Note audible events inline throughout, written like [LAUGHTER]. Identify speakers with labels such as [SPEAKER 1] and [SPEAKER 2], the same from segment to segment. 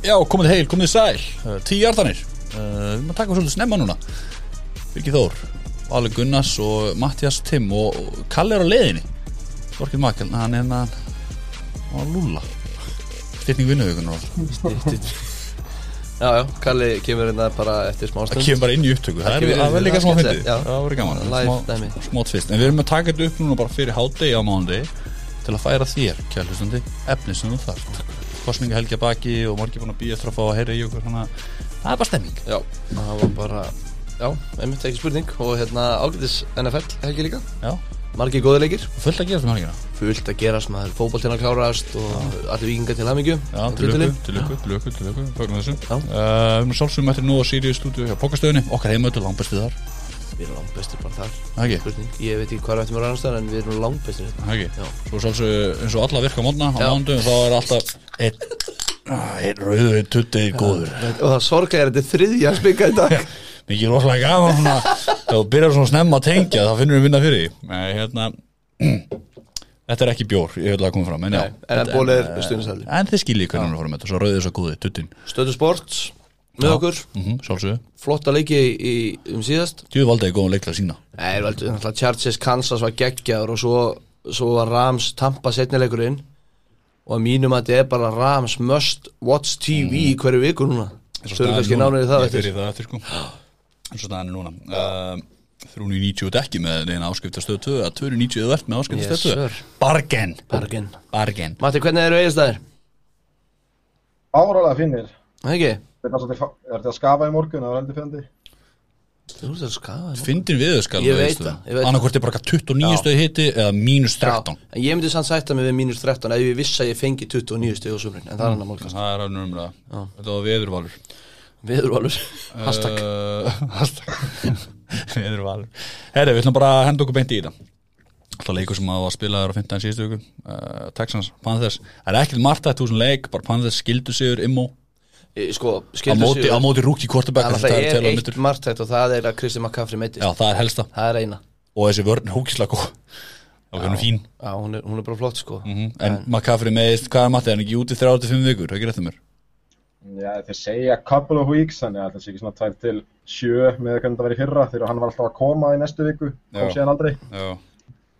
[SPEAKER 1] Já, komið heil, komið sæl, uh, tíu jarðanir uh, Við maður taka svolítið snemma núna Birgir Þór, Valur Gunnars og Mattias Timm og og Kalli er á leiðinni Þorkil Makkel, hann er hérna, hann á Lúla Styrning vinnuðugunar
[SPEAKER 2] Já, já, Kalli kemur hérna bara eftir smá
[SPEAKER 1] Það
[SPEAKER 2] stund
[SPEAKER 1] kemur bara inn í upptöku, það
[SPEAKER 2] kemur
[SPEAKER 1] er-
[SPEAKER 2] inn í-
[SPEAKER 1] það er líka
[SPEAKER 2] það er
[SPEAKER 1] smá
[SPEAKER 2] skemmtilegt,
[SPEAKER 1] fyndið
[SPEAKER 2] já.
[SPEAKER 1] Það verður gaman,
[SPEAKER 2] Live
[SPEAKER 1] smá,
[SPEAKER 2] dæmi.
[SPEAKER 1] smá tvist En við erum að taka þetta upp núna bara fyrir hádegi á mándi Til að færa þér, kjærlustandi, efni sem þú þarft Kostninga helgja baki og margir búin að býja eftir að fá að heyra í okkur Þannig að það er bara stemming
[SPEAKER 2] Já, það var bara Já, einmitt ekki spurning Og hérna ágætis NFL helgi líka
[SPEAKER 1] Já,
[SPEAKER 2] Margi góði leikir
[SPEAKER 1] fullt að gera þetta með helgina
[SPEAKER 2] Fullt að gerast maður Fótboltinn að klárast Og allir vikingar til hamingju
[SPEAKER 1] Já,
[SPEAKER 2] Á
[SPEAKER 1] til löku,
[SPEAKER 2] titlinum.
[SPEAKER 1] til löku, til löku, til löku, fagnar þessu
[SPEAKER 2] Já.
[SPEAKER 1] Uh, Við erum sálsum mættir nú á Sirius stúdíu hjá Pókastöðunni, okkar heimöldu langbæst við þar
[SPEAKER 2] Við erum langt bestir bara þar
[SPEAKER 1] Það ekki,
[SPEAKER 2] Spurning Ég veit ekki hvað er eftir mér annars þar En við erum langt bestir hérna
[SPEAKER 1] það ekki
[SPEAKER 2] Já.
[SPEAKER 1] Svo sálsum eins og alla virka mótna á
[SPEAKER 2] Já.
[SPEAKER 1] mándum þá er alltaf einn ah, einn rauðu tutti góður
[SPEAKER 2] Og það sorglega er þetta er þriðja spika í
[SPEAKER 1] [LAUGHS]
[SPEAKER 2] dag
[SPEAKER 1] Mikið er rosalega gaman svona þegar þú byrjar svona snemma að tengja þá finnur við minna fyrir því Nei, hérna Þetta er ekki bjór, ég vil að koma fram, en já
[SPEAKER 2] Nei, en
[SPEAKER 1] Þetta-
[SPEAKER 2] bólið er
[SPEAKER 1] eh,
[SPEAKER 2] stuðningsaðili.
[SPEAKER 1] En þið skiljið hvernig við fórum þetta, svo rauðið svo góði, tuttin
[SPEAKER 2] Stöðu sport Með okkur
[SPEAKER 1] mm -hmm, Sálsöðu,
[SPEAKER 2] Flotta leiki í, um síðast
[SPEAKER 1] djúðu valdaði góðan leikla sína
[SPEAKER 2] Nei, er veldur, náttúrulega Chargers Kansas var geggjaður og svo, svo var Rams Tampa setnilegurinn og að mínum að þetta er bara Rams must watch TV í hverju viku núna Þau eru kannski nánir í það
[SPEAKER 1] eftir
[SPEAKER 2] eftir
[SPEAKER 1] það eftir sko eins og staðan er núna uh, 390 og ekki með neina Eh, áskriftastöð 2 að 290 eða verð með
[SPEAKER 2] Yes,
[SPEAKER 1] áskriftastöð 2
[SPEAKER 2] sir.
[SPEAKER 1] bargen
[SPEAKER 2] Bergen
[SPEAKER 1] bargen
[SPEAKER 2] Matti, hvernig eru eiginstæðir?
[SPEAKER 3] Áralega finnir.
[SPEAKER 2] Það ekki?
[SPEAKER 3] Þetta er bara svolítið, fa- er þetta að skafa í morgun, það var heldur fyndi.
[SPEAKER 2] Þú ert að skafa þér.
[SPEAKER 1] fyndin við þau skal
[SPEAKER 2] Ég veit það, ég veit það.
[SPEAKER 1] annarkvort er bara eitthvað 29
[SPEAKER 2] Já.
[SPEAKER 1] stöð hitti eða mínus
[SPEAKER 2] Já,
[SPEAKER 1] 13
[SPEAKER 2] En ég myndi samt sætta mig við mínus 13 ef ég viss að ég fengi 29 stig á sumrin en það er annar málkast
[SPEAKER 1] það er alveg umræða þetta var veðurvalur
[SPEAKER 2] Viðurvalur Hashtag
[SPEAKER 1] uh, [LAUGHS] hashtag veðurvalur herri við ætlum bara að henda okkur beint í þetta alltaf leikur sem að var spilaður á 15 síðustu viku uh, Texans, Panthers það er ekkert margt að þúsund leik bara Panthers skildu sigur immo
[SPEAKER 2] Í- Sko,
[SPEAKER 1] á
[SPEAKER 2] skildur
[SPEAKER 1] móti, á móti rúki
[SPEAKER 2] Það
[SPEAKER 1] kvortabæk
[SPEAKER 2] náttúrulega er eitt margt þetta og það er að Kristi McCaffrey meittist
[SPEAKER 1] já það er helsta
[SPEAKER 2] Það er eina
[SPEAKER 1] og þessi vörn er hókislega góð og hún er fín
[SPEAKER 2] Já, hún er, hún er bara flott sko
[SPEAKER 1] Mhm. en McCaffrey meðist hvað er matið hann er ekki úti 35 vikur ekki réttum mér
[SPEAKER 3] Já, þeir segja couple of weeks, þannig að þetta sé ekki svona tvær til sjö með hvernig þetta var í fyrra, þegar hann var alltaf að koma í næstu viku, kom
[SPEAKER 1] Já.
[SPEAKER 3] síðan aldrei.
[SPEAKER 1] já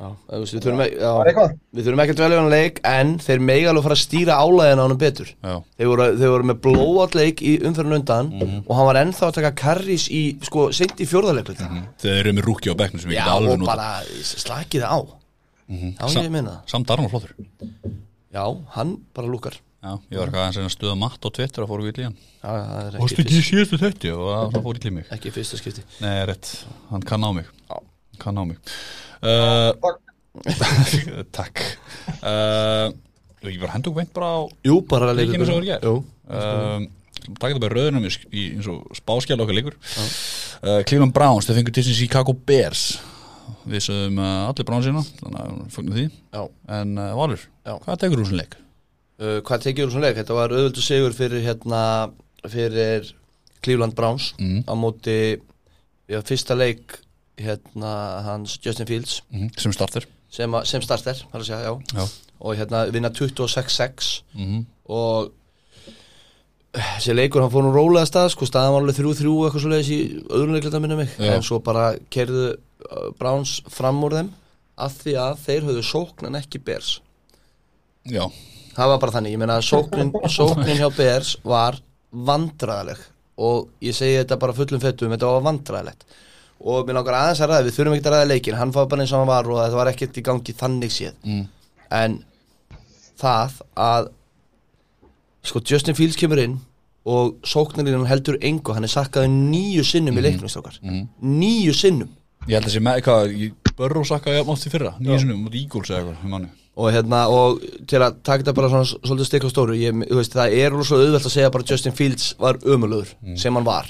[SPEAKER 2] Já, þú veist, við þurfum ekki- já,
[SPEAKER 3] Það er eitthvað.
[SPEAKER 2] við þurfum ekki að dvelja á hann leik en þeir mega alveg fara að stýra álæðina á hann betur
[SPEAKER 1] já
[SPEAKER 2] þeir voru, þeir voru með blóat leik í umferðin undan
[SPEAKER 1] Mhm.
[SPEAKER 2] og hann var ennþá að taka karris í sko, seint í fjórðarleik mm
[SPEAKER 1] þeir eru með rúki á bekknum sem Mhm. við
[SPEAKER 2] já,
[SPEAKER 1] geta alveg Mhm.
[SPEAKER 2] og
[SPEAKER 1] nota
[SPEAKER 2] bara slakið á já, ég meina það
[SPEAKER 1] samt Arnold flottur
[SPEAKER 2] já, hann bara lúkar
[SPEAKER 1] já ég var eitthvað aðeins að stöða matt og tvittur að fóru vill í hann
[SPEAKER 2] já, já, það er
[SPEAKER 1] og
[SPEAKER 2] ekki,
[SPEAKER 1] ekki í síðustu þetta og það- það fór illa í mig
[SPEAKER 2] ekki fyrsta skipti
[SPEAKER 1] nei rétt hann kann á mig
[SPEAKER 2] Já.
[SPEAKER 1] kann á mig uh,
[SPEAKER 3] Takk.
[SPEAKER 1] [LAUGHS] takk uh, ég var hendur veint bara á
[SPEAKER 2] jú, bara leikur
[SPEAKER 1] Leikina sem voru í gær?
[SPEAKER 2] jú,
[SPEAKER 1] um, Takk þetta bara rauðunum í, í eins og spáskjala okkar leikur uh, Cleveland Browns, þeir fengur til sinni Chicago Bears Við sögum uh, allir Browns hérna Þannig að fóknum því
[SPEAKER 2] já
[SPEAKER 1] En uh, Valur,
[SPEAKER 2] Já.
[SPEAKER 1] hvað tekur þú sem leik?
[SPEAKER 2] Uh, hvað tekið úr svona leik? Þetta var auðvöldu sigur fyrir hérna fyrir Cleveland Browns
[SPEAKER 1] Mhm.
[SPEAKER 2] á móti já, fyrsta leik hérna hans Justin Fields
[SPEAKER 1] Sem starter
[SPEAKER 2] sem, að- sem starter, þarf að segja, já
[SPEAKER 1] Já.
[SPEAKER 2] og hérna vinna 26-6
[SPEAKER 1] Mhm.
[SPEAKER 2] og þessi leikur, hann fór nú rólega af stað sko, staðan var alveg 3-3 og eitthvað svo leiðis í öðrum leikleita minna mig,
[SPEAKER 1] Já.
[SPEAKER 2] en svo bara kerðu uh, Browns fram úr þeim af því að þeir höfðu sóknan ekki bers
[SPEAKER 1] Já,
[SPEAKER 2] það var bara þannig, ég meina að sóknin, sóknin hjá BRs var vandræðaleg og ég segi þetta bara fullum fettum, þetta var vandræðalegt og mér langar aðeins að ræða, við þurfum ekki að ræða leikin hann fór bara eins og hann var og þetta var ekkert í gangi þannig séð,
[SPEAKER 1] Mm.
[SPEAKER 2] en það að sko Justin Fields kemur inn og sóknarinn heldur engu hann er sakkaði nýju sinnum í leiknum strókar mm. nýju sinnum
[SPEAKER 1] ég held að sé með hvað ég- Burrow sakkaði jafn oft í fyrra Nýju sinni, mútið Eagles eða eitthvað ég man ekki.
[SPEAKER 2] og hérna og til að taka þetta bara svona s- svolítið stikla á stóru ég, þú veist, það er alveg svo auðvelt að segja bara Justin Fields var ömulugur sem hann var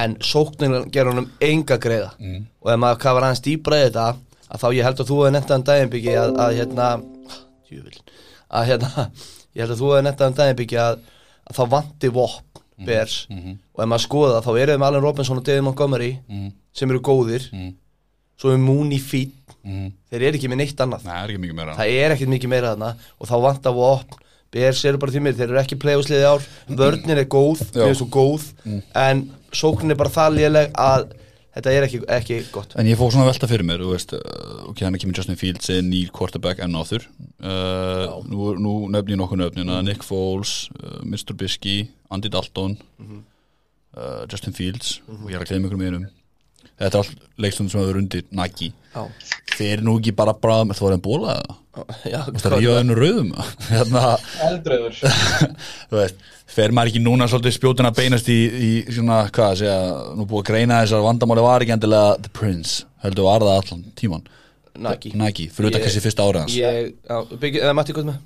[SPEAKER 2] en sóknin gerur hann um enga greiða og ef maður kafar aðeins dýbra í þetta að þá ég held að þú hefði nefnt að hann daginn byggja að, að hérna djúvil, að hérna ég held að þú hefði nefnt að hann daginn byggja að, að þá vanti vopn Bears og ef maður skoða þá eru þeim Allen Robinson og David Montgomery sem eru góðir svo er Mooney fít
[SPEAKER 1] Mhm.
[SPEAKER 2] þeir eru ekki með neitt annað
[SPEAKER 1] Nei, það er ekki mikið meira
[SPEAKER 2] það er ekkert mikið meira þarna og þá vantar við opn Bers eru bara því mér, þeir eru ekki playoffsliði ár vörnin er góð,
[SPEAKER 1] Já. Mm.
[SPEAKER 2] mér er svo góð en sóknin er bara það léleg að þetta er ekki, ekki gott
[SPEAKER 1] En ég fór svona að velta fyrir mér, þú veist, uh, ok, hann er kemur Justin Fields, eða Neil Quarterback enn áþur. Uh, nú, nú nefni ég nokkuð nöfnina, Nick Foles, uh, Mr. Biskey, Andy Dalton, uh, Justin Fields, og ég er að gleyma ykkur með einum. Þetta er allt leikstund sem hefur undir Nike.
[SPEAKER 2] Já,
[SPEAKER 1] Þeir eru nú ekki bara bráðum, þú var enn bóla það?
[SPEAKER 2] já
[SPEAKER 1] Það er
[SPEAKER 2] hvað-
[SPEAKER 1] ég enn rauðum. [LAUGHS] hérna,
[SPEAKER 4] Eldröður
[SPEAKER 1] þú veist, fer maður ekki núna svolítið spjótin að beinast í, í svona, hvað að segja, nú búið að greina þessar vandamáli var ekki endilega The Prince, heldur var það allan tíman.
[SPEAKER 2] Nagi
[SPEAKER 1] Nike, fyrir auðvitað
[SPEAKER 2] Ég-
[SPEAKER 1] kannski fyrsta árið hans
[SPEAKER 2] Ég, já, byggja, eða Matti, hvað er með?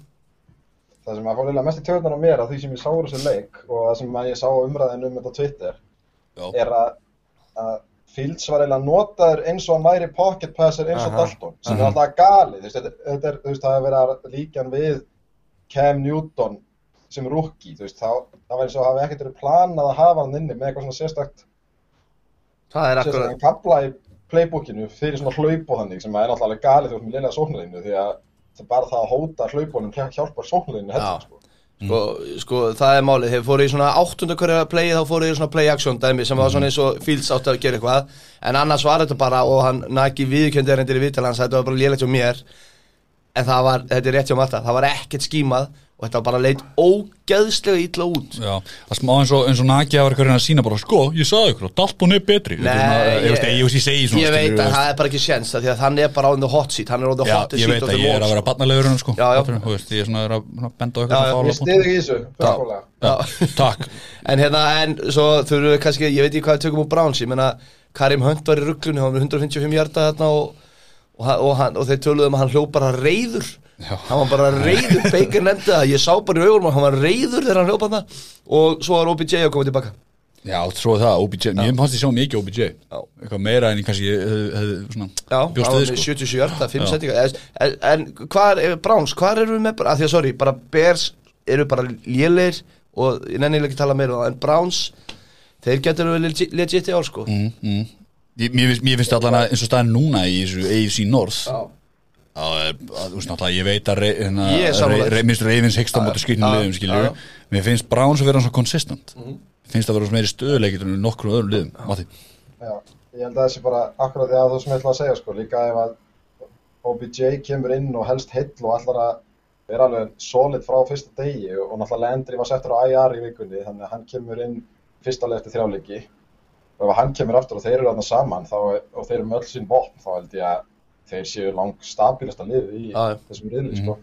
[SPEAKER 3] Það sem að fór eiginlega mest í tjóðunar á mér að því sem ég sá úr þessu leik og það sem að ég sá umræðin um þetta á Twitter
[SPEAKER 1] Já.
[SPEAKER 3] er að, að Fields var eiginlega notaður eins og hann væri pocket passer eins og
[SPEAKER 2] Aha.
[SPEAKER 3] Dalton sem er alltaf galið, þú veist, þetta, þetta er, þú veist, það er verið að líka hann við Cam Newton sem rookie, þú veist, þá, það var eins og hafi ekkert verið planað að hafa hann inni með eitthvað svona sérstakt,
[SPEAKER 2] Það er akkurat
[SPEAKER 3] sérstakt kapla í playbookinu fyrir svona hlaup og þannig sem að er alltaf alveg galið þú veist með leilaða sóknarinu því að það er bara það að hóta hlaupunum hjálpar sóknarinu
[SPEAKER 2] Já.
[SPEAKER 3] heldur, sko.
[SPEAKER 2] sko, sko, það er málið, þeir fóru í svona áttundu hverja play þá fóru í svona play action dæmi sem var svona eins og Fields átti að gera eitthvað en annars var þetta bara og hann naki viðkjöndi erindir í viðtalans, þetta var bara lélegt hjá mér en það var, þetta er rétt hjá Marta það var ekkert skímað og þetta var bara leit ógeðslega illa út
[SPEAKER 1] Já, það smá eins og, eins og Nagi hafa eitthvað að sína bara sko, ég sagði ykkur, Dalton er betri Þetta er svona, ég, veist, ég, ég, ég segi svona
[SPEAKER 2] ég veit
[SPEAKER 1] skilurðu,
[SPEAKER 2] að
[SPEAKER 1] veist.
[SPEAKER 2] það er bara ekki séns það því að hann er bara on the hot seat, hann er on the
[SPEAKER 1] Já,
[SPEAKER 2] hot seat
[SPEAKER 1] ég veit
[SPEAKER 2] of
[SPEAKER 1] að
[SPEAKER 2] the
[SPEAKER 1] ég er að
[SPEAKER 2] Lord,
[SPEAKER 1] vera að batna leiðurinn sko,
[SPEAKER 2] Já, já.
[SPEAKER 1] Fattur, þú veist, ég er svona að vera að svona benda á
[SPEAKER 2] Já,
[SPEAKER 1] eitthvað
[SPEAKER 2] já,
[SPEAKER 1] fála
[SPEAKER 3] Ég stiði ekki í þessu, fullkóla.
[SPEAKER 1] Já, takk
[SPEAKER 2] En hérna, en svo þurfum við kannski, ég veit ekki hvað við tökum úr Browns, ég meina Karim Hunt var í rugglunni, hann var með 155 hjarta þarna og, og, hann- og, hann, og þeir töluðu um að hann hljóð bara reyður,
[SPEAKER 1] Já.
[SPEAKER 2] hann var bara reyður, Baker nefndi það, ég sá bara í augunum að hann var reyður þegar hann hljóð bara það og svo var OBJ að koma tilbaka.
[SPEAKER 1] Já, svo er það, OBJ, mér fannst ég sjá mikið OBJ
[SPEAKER 2] Já.
[SPEAKER 1] Eitthvað meira en ég kannski hef, hef, svona,
[SPEAKER 2] Já, hann
[SPEAKER 1] bjóst
[SPEAKER 2] var
[SPEAKER 1] við
[SPEAKER 2] með
[SPEAKER 1] sko
[SPEAKER 2] 77 hjarta, 5
[SPEAKER 1] Já.
[SPEAKER 2] settinga, en, en hvað er, Browns, hvað eru við með, að því að sorry, bara Bears eru bara lélir og ég nenni ekki að tala meira um það, en Browns, þeir getur við legit, legit í ár sko.
[SPEAKER 1] mm, mm. Ég- Mér finnst- mér finnst allan að eins og staðan núna í þessu AFC North
[SPEAKER 2] Já.
[SPEAKER 1] Já, að- að- þú veist náttúrulega, ég veit að rey- hérna,
[SPEAKER 2] Ég er sammála.
[SPEAKER 1] rey- rey- minnst reyfins hegst á móti skrýtnum
[SPEAKER 2] já,
[SPEAKER 1] liðum, skilur
[SPEAKER 2] já. Mhm.
[SPEAKER 1] Mér finnst Browns að vera svona konsistent Finnst að vera svona meiri stöðuleikir en nokkrum öðrum liðum, Matti
[SPEAKER 3] Já, ég held að það sé bara akkurat því að það sem ég ætla að segja sko, líka ef að OBJ kemur inn og helst heill og allar að vera alveg solid frá fyrsta degi og náttúrulega Landry var settur á IR í vikunni, þannig að hann kemur inn fyrsta leið eftir þrjáleiki og ef hann kemur aftur og þeir eru aðna saman þá, og þeir eru með öll sín vopn, þá held ég að þeir séu langt stabilasta liðið í
[SPEAKER 2] Já, Mhm. já.
[SPEAKER 3] þessum riðli sko.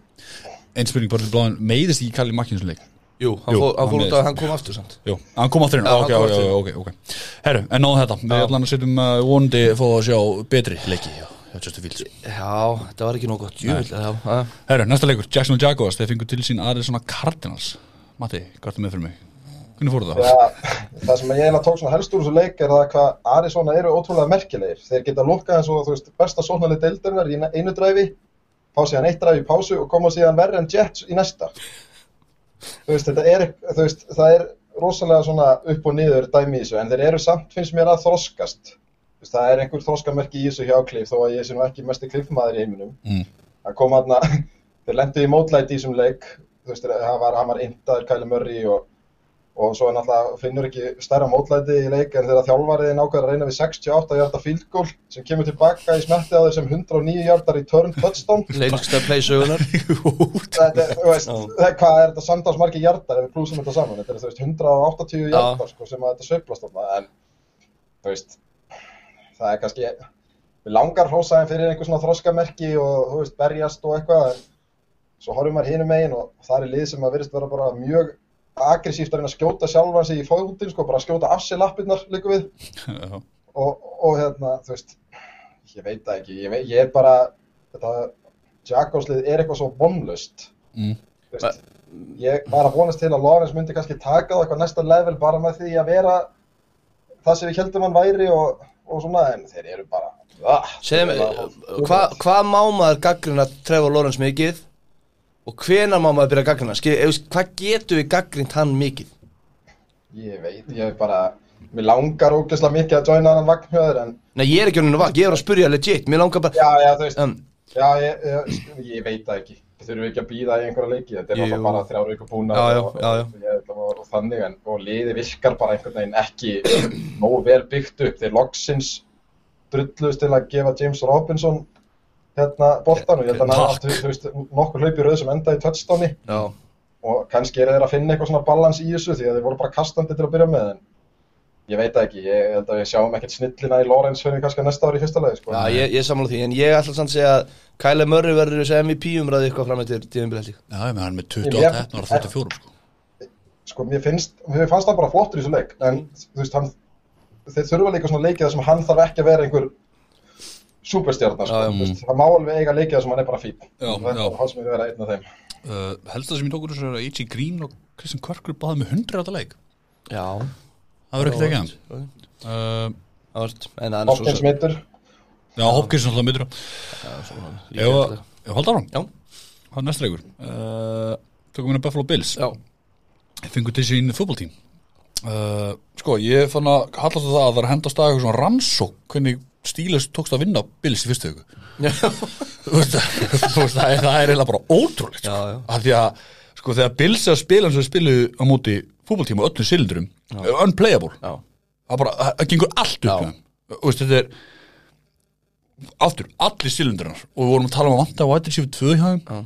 [SPEAKER 1] Einn spurning bara til bláðin, meiðist ekki Kalli Makkins leik?
[SPEAKER 2] Jú, hann,
[SPEAKER 1] Jú,
[SPEAKER 2] fór, hann
[SPEAKER 1] hann
[SPEAKER 2] fór út
[SPEAKER 1] er-
[SPEAKER 2] að hann kom aftur samt
[SPEAKER 1] Jú, Ah, hann kom aftur inn,
[SPEAKER 2] Já,
[SPEAKER 1] ok,
[SPEAKER 2] hann kom
[SPEAKER 1] ok,
[SPEAKER 2] aftur inn.
[SPEAKER 1] ok, ok Herru, en náðum þetta, við
[SPEAKER 2] Já.
[SPEAKER 1] allan að setjum uh, vonandi að fá að sjá betri leiki Já, Justin Fields
[SPEAKER 2] Já, þetta var ekki nóg gott Jú, já, já.
[SPEAKER 1] Herru, næsta leikur, Jackson Jaguars, þeir fengur til sín aðeins svona Cardinals Matti, hvað er það með fyrir mig? Hvernig fóru það?
[SPEAKER 3] Já, það sem ég eiginlega tók svona helst úr þessu leik er það hvað Arizona eru ótrúlega merkilegir. Þeir geta lukkað eins og þú veist, besta sóknarlið deildarinnar í einu dræfi, fá síðan eitt dræfi í pásu og koma síðan verri en Jets í næsta. Þú veist, þetta er, þú veist, það er rosalega svona upp og niður dæmi í þessu, en þeir eru samt, finnst mér, að þroskast. Þú veist, það er einhver þroskamerki í þessu hjá Cliff, þó að ég sé nú ekki mesti kliffmaður í heiminum.
[SPEAKER 1] Mm.
[SPEAKER 3] Það kom hann að, [LAUGHS] þeir lendu í mótlæti í þessum leik, þú veist, hann var, hann var intaður Kæli Murray og og svo er náttúrulega finnur ekki stærra mótlæti í leik en þegar þjálfariðin ákveður að reyna við 68 hjarta field goal sem kemur tilbaka í smerti á þeir sem 109 hjartar í turn touchdown
[SPEAKER 2] Lengsta play [LAUGHS] sögunar
[SPEAKER 3] þetta, er, þú veist,
[SPEAKER 2] Já.
[SPEAKER 3] það, er- hvað er þetta samtalsmarki hjartar ef við plusum þetta saman, þetta er þú veist 180
[SPEAKER 2] Já.
[SPEAKER 3] hjartar sko, sem að þetta sveiflast þarna en þú veist það er kannski við langar hrósaðin fyrir einhver svona þroskamerki og þú veist berjast og eitthvað en svo horfum maður hinum megin og það er lið sem að virðist vera bara mjög aggressíft að reyna að skjóta sjálfan sig í fóðutin sko, bara að skjóta af sér lappirnar líka við
[SPEAKER 1] [LAUGHS] Já.
[SPEAKER 3] og, og hérna, þú veist ég veit það ekki, ég, veit, ég er bara þetta Jakobslið er eitthvað svo vonlust
[SPEAKER 1] Mm.
[SPEAKER 3] Þú veist, ég var að vonast til að Lawrence myndi kannski taka það eitthvað næsta level bara með því að vera það sem við heldum hann væri og, og svona, en þeir eru bara ah,
[SPEAKER 2] Segðu mig, hvað hva má maður gaggrina Trevor Lawrence mikið og hvenar má maður byrja að gaggrina Skil, ef, Hvað getur við gaggrint hann mikið?
[SPEAKER 3] ég veit, ég er bara mér langar ógeðslega mikið að joina hann vagnhjöður en
[SPEAKER 2] Nei, ég er ekki honum að vakk, ég er að spurja legit Mér langar bara
[SPEAKER 3] já, já, þú veist
[SPEAKER 2] um,
[SPEAKER 3] Já, ég, ég, ég veit það ekki. þurfum við ekki að býða í einhverja leiki þetta er
[SPEAKER 2] Jú.
[SPEAKER 3] náttúrulega bara þrjár vikur búna
[SPEAKER 2] Já, já,
[SPEAKER 3] og,
[SPEAKER 2] já, já.
[SPEAKER 3] og, ég ætla að- og þannig en og liði virkar bara einhvern veginn ekki nógu vel byggt upp þeir loksins drullust til að gefa James Robinson hérna boltan og ég held að hann hafi
[SPEAKER 1] Takk.
[SPEAKER 3] átt, þú veist, nokkur hlaup í rauð sem enda í touchdowni
[SPEAKER 2] Já,
[SPEAKER 3] og kannski eru þeir að finna eitthvað svona balans í þessu því að þeir voru bara kastandi til að byrja með en ég veit það ekki, ég held að við sjáum ekkert snillina í Lawrence fyrir kannski næsta ári í fyrsta lagi sko.
[SPEAKER 2] já ég, ég samla því, en ég ætla samt að segja að Kyle Murray verður þessu MVP umræði eitthvað fram eftir tíðumbil held ég.
[SPEAKER 1] Já, ég með hann er með
[SPEAKER 3] Ég-
[SPEAKER 1] 28 hefnur og 34 sko.
[SPEAKER 3] sko, mér finnst, mér fannst það bara flottur í þessu leik en þú veist, hann, þeir þurfa líka svona leikið þar sem hann þarf ekki að vera einhver superstjarnar, sko,
[SPEAKER 2] Já, já.
[SPEAKER 3] þú veist, hann má alveg eiga leikið þar sem hann er bara fín
[SPEAKER 1] Já,
[SPEAKER 3] Og þetta
[SPEAKER 1] já.
[SPEAKER 3] var hans mér að vera einn af þeim
[SPEAKER 1] uh, Helsta sem ég tók úr þessu er að A.G. Green og Christian Körkur báði með 100 átta leik
[SPEAKER 2] Já,
[SPEAKER 1] Það verður ekkert ekki hann
[SPEAKER 2] ok.
[SPEAKER 1] uh,
[SPEAKER 2] ást, en það er svo
[SPEAKER 3] Hopkins mittur,
[SPEAKER 1] Já, Hopkins er alltaf myndur Ég
[SPEAKER 2] Já,
[SPEAKER 1] hald áfram
[SPEAKER 2] Já.
[SPEAKER 1] Það er næsta leikur uh, Tökum við að Buffalo Bills
[SPEAKER 2] já,
[SPEAKER 1] fengur til sín fútboltím uh, sko, ég fann að hallast á það að það er að henda af stað eitthvað svona rannsók hvernig stílus tókst að vinna Bills í fyrstu hugu það er það er eiginlega bara ótrúlegt sko.
[SPEAKER 2] Já, já.
[SPEAKER 1] af því að sko, þegar Bills er að spila eins og þeir spilu á móti fútboltíma öllum silindurum unplayable
[SPEAKER 2] já,
[SPEAKER 1] það bara, það- það gengur allt upp
[SPEAKER 2] Já.
[SPEAKER 1] með þeim. Þú veist, þetta er aftur, allir silindurnar og við vorum að tala um að vanta á White Receiver 2 hjá þeim
[SPEAKER 2] Já.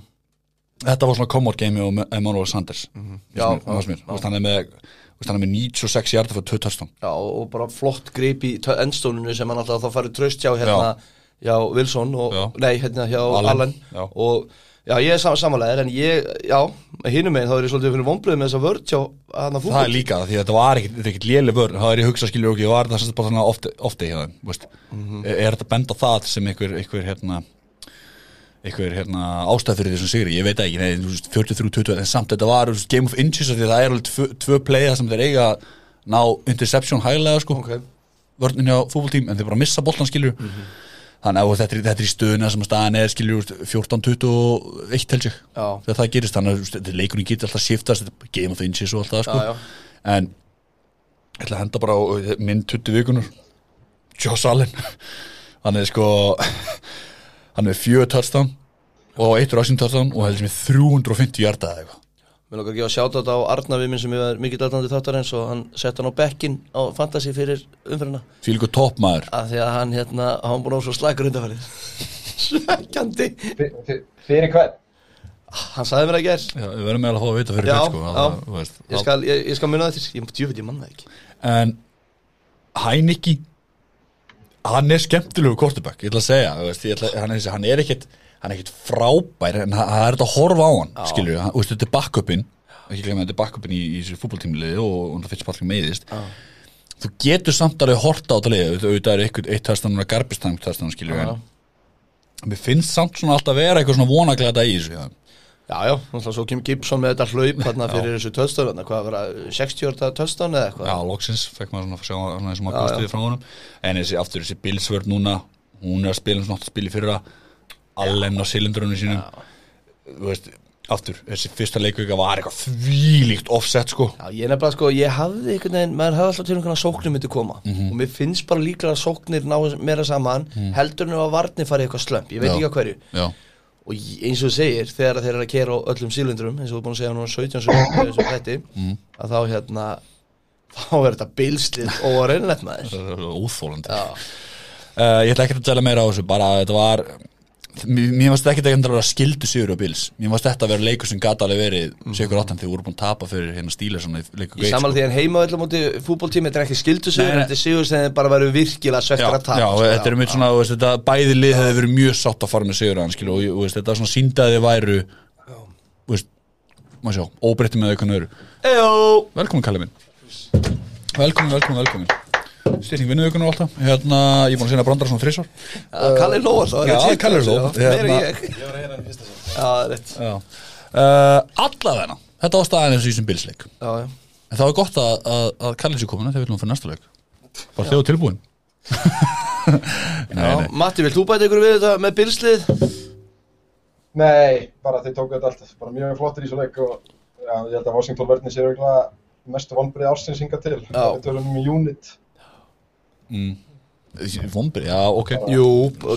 [SPEAKER 1] þetta var svona come-out game og Emmanuel Sanders mm -hmm.
[SPEAKER 2] Mhm. Já,
[SPEAKER 1] fannst mér, Þú veist, hann er með þú veist, hann er með 96 hjarta fyrir 2 touchdown
[SPEAKER 2] já, og bara flott grip í endstóninu sem hann alltaf þá farið tröst hjá hérna, já, Wilson og,
[SPEAKER 1] Já.
[SPEAKER 2] nei, hérna hjá
[SPEAKER 1] Allen.
[SPEAKER 2] Allen,
[SPEAKER 1] Já.
[SPEAKER 2] og já, ég er sam samanlegaður en ég, já, hinum megin þá er ég svolítið fyrir vonblöð með þessa vörd hjá hann að
[SPEAKER 1] það er líka það, því að þetta var ekkit, þetta er ekkit léli vörn það er ég hugsa skilur okkur, var það sem sagt bara svona ofti, ofti hjá þeim, þú veist
[SPEAKER 2] Mhm.
[SPEAKER 1] er, er þetta að benda það sem einhver, einhver hérna einhver hérna ástæð fyrir þessum sigri, ég veit það ekki, nei, þú veist, 43-20 en samt þetta var þú veist, game of inches af því að það er alveg tvö, tvö playa sem þeir eiga að ná interception hæglega sko
[SPEAKER 2] Ok. Mhm.
[SPEAKER 1] vörnin hjá fútboltím en þeir bara missa boltan skilur þannig að og þetta er, þetta er í stöðuna sem að staðan er skilur þú veist, 14-21 held ég
[SPEAKER 2] Já.
[SPEAKER 1] þegar það gerist þannig að þú veist, þetta leikurinn getur alltaf shiftast þetta er game of inches og allt það sko
[SPEAKER 2] Já, já.
[SPEAKER 1] en ég ætla að henda bara á eh, minn 20 vikunar Josh Allen hann er sko [LAUGHS] hann er fjögur touchdown og eitt rushing touchdown og heldur sem er 350 hjarta eða eitthvað
[SPEAKER 2] Mér lókar ekki að sjáta þetta á Arnar við minn sem ég var mikið dætandi þáttarins og hann sett hann á bekkin á fantasy fyrir umfyrirna
[SPEAKER 1] því líka toppmaður
[SPEAKER 2] að því að hann hérna, hann búin á svo slagur undanfærið [LAUGHS] Svekkjandi
[SPEAKER 3] Fyr- fyr- fyrir hvern
[SPEAKER 2] Hann sagði mér að gerð
[SPEAKER 1] Já, við verðum eiginlega að fá að vita fyrir
[SPEAKER 2] Já,
[SPEAKER 1] hvern, sko, að
[SPEAKER 2] já.
[SPEAKER 1] það, þú veist,
[SPEAKER 2] Ég skal, ég, ég skal muna það til, ég djúfitt ég manna það ekki
[SPEAKER 1] en Hæniki hann er skemmtilegu kortebæk ég ætla að segja, þú veist, ég ætla, hann, er, hann er ekkit hann er ekkit frábær en það það er þetta að horfa á hann,
[SPEAKER 2] Já.
[SPEAKER 1] skilur við hann- þú veist, þetta er backupin, ekki glemma þetta er backupin í, í þessu fútboltímliði og og hann finnst palling meiðist
[SPEAKER 2] Já.
[SPEAKER 1] þú getur samt alveg horta á þetta liði auðvitað- auðvitað er eitthvað eitt tæstan og garbistang tæstan skilur við, en mér finnst samt svona alltaf vera eitthvað svona vonaglæta í þessu já.
[SPEAKER 2] Já, já, náttúrulega svo kemur Gibson með þetta hlaup hérna fyrir þessu töðstán, hérna, hvað var það, 60 orða töðstán eða eitthvað?
[SPEAKER 1] Já, loksins fekk maður svona að sjá svona eins og maður
[SPEAKER 2] Já,
[SPEAKER 1] bjóst
[SPEAKER 2] já.
[SPEAKER 1] við frá honum en þessi aftur þessi bilsvörð núna hún er að spila eins og nátt að spila í fyrra allen á silindrunum sínum þú veist, aftur þessi fyrsta leikvika var eitthvað þvílíkt offset sko
[SPEAKER 2] Já, ég nefnilega sko, ég hafði einhvern veginn, maður hafði alltaf til einhvern veginn að sóknir myndi koma
[SPEAKER 1] Mhm.
[SPEAKER 2] og mér finnst bara líklega að sóknir ná meira saman heldur en að varnir farið eitthvað slömp, ég veit
[SPEAKER 1] Já.
[SPEAKER 2] ekki að hverju
[SPEAKER 1] Já,
[SPEAKER 2] og ég- eins og þú segir, þegar þeir eru að kera á öllum sílundrum, eins og þú er búin að segja núna 17 sögum eins og þetta,
[SPEAKER 1] Mhm.
[SPEAKER 2] að þá hérna þá er þetta bilslið óareinlegt maður
[SPEAKER 1] það er óþólandi
[SPEAKER 2] Já,
[SPEAKER 1] uh, Ég ætla ekkert að tala meira á þessu bara að þetta var mér mér varst ekkert ekkert að vera skildu sigur á bils mér varst þetta að vera leikur sem gata alveg verið
[SPEAKER 2] Mhm.
[SPEAKER 1] sigur áttan þegar voru búin að tapa fyrir hérna stíla svona leikur
[SPEAKER 2] ég samanlega því en heima öllum móti fútbóltími, þetta er ekki skildu sigur,
[SPEAKER 1] sko. Nei, nei.
[SPEAKER 2] þetta er sigur sem þeir bara verður virkilega svektir
[SPEAKER 1] já,
[SPEAKER 2] að tapa
[SPEAKER 1] já,
[SPEAKER 2] sko,
[SPEAKER 1] þetta er mitt svona, þú veist, þetta, bæði lið hefði verið mjög sátt að fara með sigur hann, skilur, og ég- þú veist, þetta var svona síndaði væru, þú veist, maður sjá, óbreytti með eitthvað nöðru.
[SPEAKER 2] Ejó!
[SPEAKER 1] Velkomin, Kalli minn. Velkomin, velkomin, velkomin. Styrning vinnuðu ykkur nú alltaf, hérna, ég er búin að segna brandara svona þrísvar.
[SPEAKER 2] Já, Kalli Lóa þá
[SPEAKER 1] Já, Kalli Lóa.
[SPEAKER 2] Meir
[SPEAKER 1] Hérna-
[SPEAKER 2] ég
[SPEAKER 3] ég var að heyra hann fyrsta sem
[SPEAKER 2] Já, það er rétt
[SPEAKER 1] Já. Uh, allavegna, þetta var staðan eins og í sem bilsleik.
[SPEAKER 2] Já, já
[SPEAKER 1] En það var gott að, að, að Kalli sér komin, þegar við viljum fyrir næsta leik. Bara þegar tilbúin. [LAUGHS] nei, nei.
[SPEAKER 2] Já, Matti, vilt þú bæta ykkur við þetta með bilslið?
[SPEAKER 3] Nei, bara þeir tóku þetta allt bara mjög flottir í svo leik og já, ég held að Washington verðin sér auðvitað mestu vonbrið ársins hinga til við tölum um unit
[SPEAKER 1] Vombri, já, ok.
[SPEAKER 2] Jú,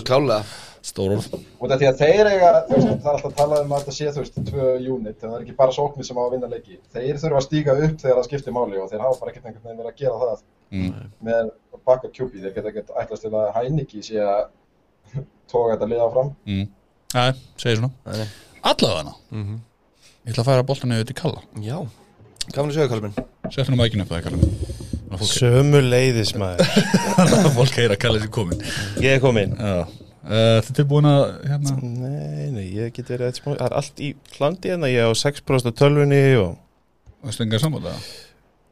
[SPEAKER 2] klálega
[SPEAKER 1] Stór orð
[SPEAKER 3] út af því að þeir eiga, þú veist, það er alltaf talað um að þetta sé, þú veist, tvö unit, það er ekki bara sóknir sem á að vinna leiki, þeir þurfa að stíga upp þegar það skiptir máli og þeir hafa bara ekkert einhvern veginn verið að gera það
[SPEAKER 1] mm.
[SPEAKER 3] með baka kjúpi, þeir geta ekkert ætlast til að hæniki sé að [LAUGHS] toga þetta liða áfram,
[SPEAKER 1] Mm. Æ, segir svona
[SPEAKER 2] Nei.
[SPEAKER 1] Allavega hana Ég ætla að færa boltan eða til Kalla
[SPEAKER 2] Já, gaman að sjöga Karlsminn
[SPEAKER 1] Settu hann á mækinu upp það Kalla Þannig
[SPEAKER 4] Sömu leiðis maður
[SPEAKER 1] að fólk heyra að Kalla sér komin
[SPEAKER 4] Ég er komin
[SPEAKER 1] Já Uh, þetta er tilbúin að hérna
[SPEAKER 4] Nei, nei, ég get verið eitt smá Það er allt í hlandi hérna, ég á 6% á tölvunni og
[SPEAKER 1] að stunga sammála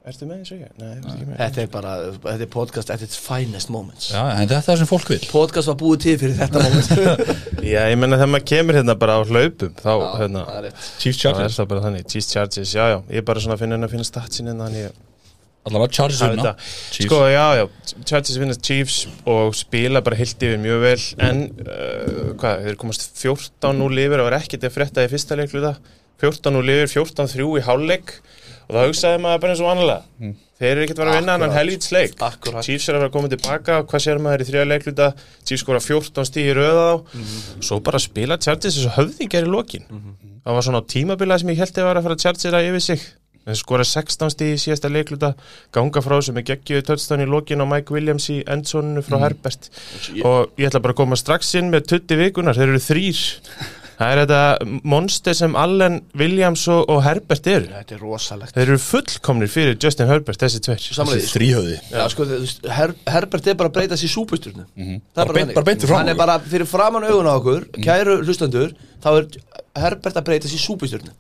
[SPEAKER 4] Ertu með eins og ég? Nei, ég er ekki með
[SPEAKER 2] Þetta er bara, þetta er podcast at its finest moments
[SPEAKER 1] Já, en þetta er það sem fólk vil
[SPEAKER 2] Podcast var búið til fyrir þetta moment
[SPEAKER 4] Já, ég menna þegar maður kemur hérna bara á hlaupum þá, hérna,
[SPEAKER 2] Það er rétt.
[SPEAKER 1] Chief
[SPEAKER 4] þá er
[SPEAKER 1] Chargers,
[SPEAKER 4] það bara þannig Cheese charges, já, já, ég er bara svona að finna henni að finna statsin hérna, þannig ég
[SPEAKER 1] allavega Chargers
[SPEAKER 4] hafa
[SPEAKER 1] vinna
[SPEAKER 4] þetta Sko, já, já, charges vinna Chiefs og spila bara heilt yfir mjög vel en, uh, hvað, þeir komast 14 úr lifir, það var ekkert að frétta í fyrsta leikluta 14 úr lifir, 14-3 í hálfleik og það hugsaði maður bara eins og annarlega Þeir eru ekkert að vera að vinna annan
[SPEAKER 2] Akkurat.
[SPEAKER 4] helvíts leik
[SPEAKER 2] Akkurat.
[SPEAKER 4] Chiefs er að vera að koma tilbaka og hvað sér maður í þrjá leikluta Chiefs skora 14 stíð í röða á Svo bara spila Chargers eins og höfðingar í lokin Það var svona á tímabila sem ég held að vera að fara að Chargers að yfir sig En skora 16 stíð í síðasta leikluta Ganga frá sem er geggjöðu töldstæðan í lokin á Mike Williams í endsoninu frá Herbert Og Mhm. ég ætla bara að koma strax inn með 20 vikunar Þeir eru þrýr Það er þetta monster sem Allen, Williams og, og Herbert eru
[SPEAKER 2] Þetta er rosalegt
[SPEAKER 4] Þeir eru fullkomnir fyrir Justin Herbert, þessi tveir.
[SPEAKER 2] Samlega, sko,
[SPEAKER 1] Þrýhöði
[SPEAKER 2] já, sko, þú veist, Her, Herbert er bara að breyta sér súpustjörnu Það
[SPEAKER 1] Mhm. Bara beint-
[SPEAKER 2] þannig.
[SPEAKER 1] bara beint fyrir framan Mhm.
[SPEAKER 2] Hann er
[SPEAKER 1] okkur.
[SPEAKER 2] bara fyrir framann augun á okkur Kæru hlustendur Þá er Herbert að breyta sér súpustjörnu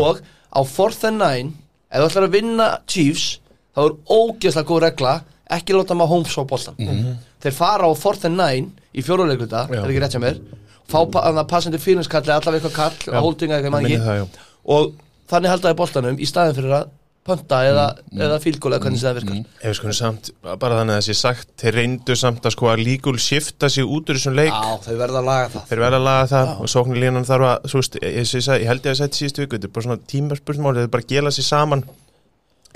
[SPEAKER 2] Og á 4th and 9 Ef þú ætlar að vinna Chiefs Þá er ógeðslega góð regla Ekki láta maður Holmes á boltan
[SPEAKER 1] Mhm.
[SPEAKER 2] Þeir fara á 4th and 9 Í fjóruleikuta, það er ekki rétt hjá mér Fá pa- þarna passandi fílingskalli, allavega eitthvað kall
[SPEAKER 4] Já.
[SPEAKER 2] Holdinga eitthvað, ég man
[SPEAKER 4] Minni
[SPEAKER 2] ekki
[SPEAKER 4] það, já.
[SPEAKER 2] og þannig haldaði boltanum í staðin fyrir að pönta eða,
[SPEAKER 1] Mhm.
[SPEAKER 2] mm. eða fílgóla hvernig sem það virkar
[SPEAKER 4] Ef við skoðum samt, bara þannig að það sé sagt, þeir reyndu samt að sko að líkul shifta sig út úr þessum leik.
[SPEAKER 2] Já, þau verða að laga það
[SPEAKER 4] Þeir verða að laga það og sóknarlínan þarf að, þú veist, ég, ég, ég, ég held ég að setja síðustu viku, þetta er bara svona tímarspursmáli, þeir bara gela sig saman.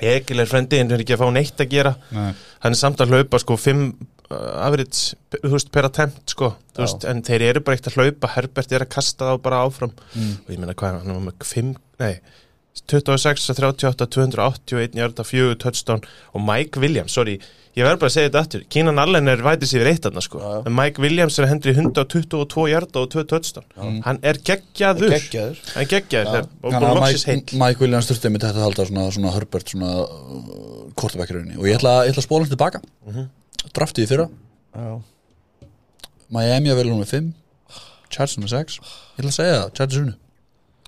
[SPEAKER 4] Egil er frendi, en þeir er ekki að fá neitt að gera.
[SPEAKER 1] Nei.
[SPEAKER 4] Hann er samt að hlaupa sko fimm uh, afrits, þú veist, per attempt sko, þú veist, en þeir eru bara eitt að hlaupa, Herbert er að kasta þá bara áfram og ég meina hvað, hann var með fimm, nei, 26, 38, 281, hjarta, 4, touchdown og Mike Williams, sorry, ég verður bara að segja þetta aftur Kínan Allen er vætis yfir eitt aðna sko en Mike Williams er hendur í 122 hjarta og 2 touchdown, hann er geggjaður
[SPEAKER 2] Geggjaður.
[SPEAKER 4] Mm. hann er geggjaður þegar- og
[SPEAKER 1] Þannig
[SPEAKER 4] bara
[SPEAKER 1] að
[SPEAKER 4] loksis
[SPEAKER 1] Mike,
[SPEAKER 4] heill
[SPEAKER 1] Mike Williams þurfti með þetta að halda svona, svona Herbert svona uh, quarterback í rauninni og ég ætla, ég ætla að spóla hann tilbaka mm -hmm. draftið í fyrra Miami að velja hún með 5 Chargers með 6 ég ætla að segja það, Chargers unnu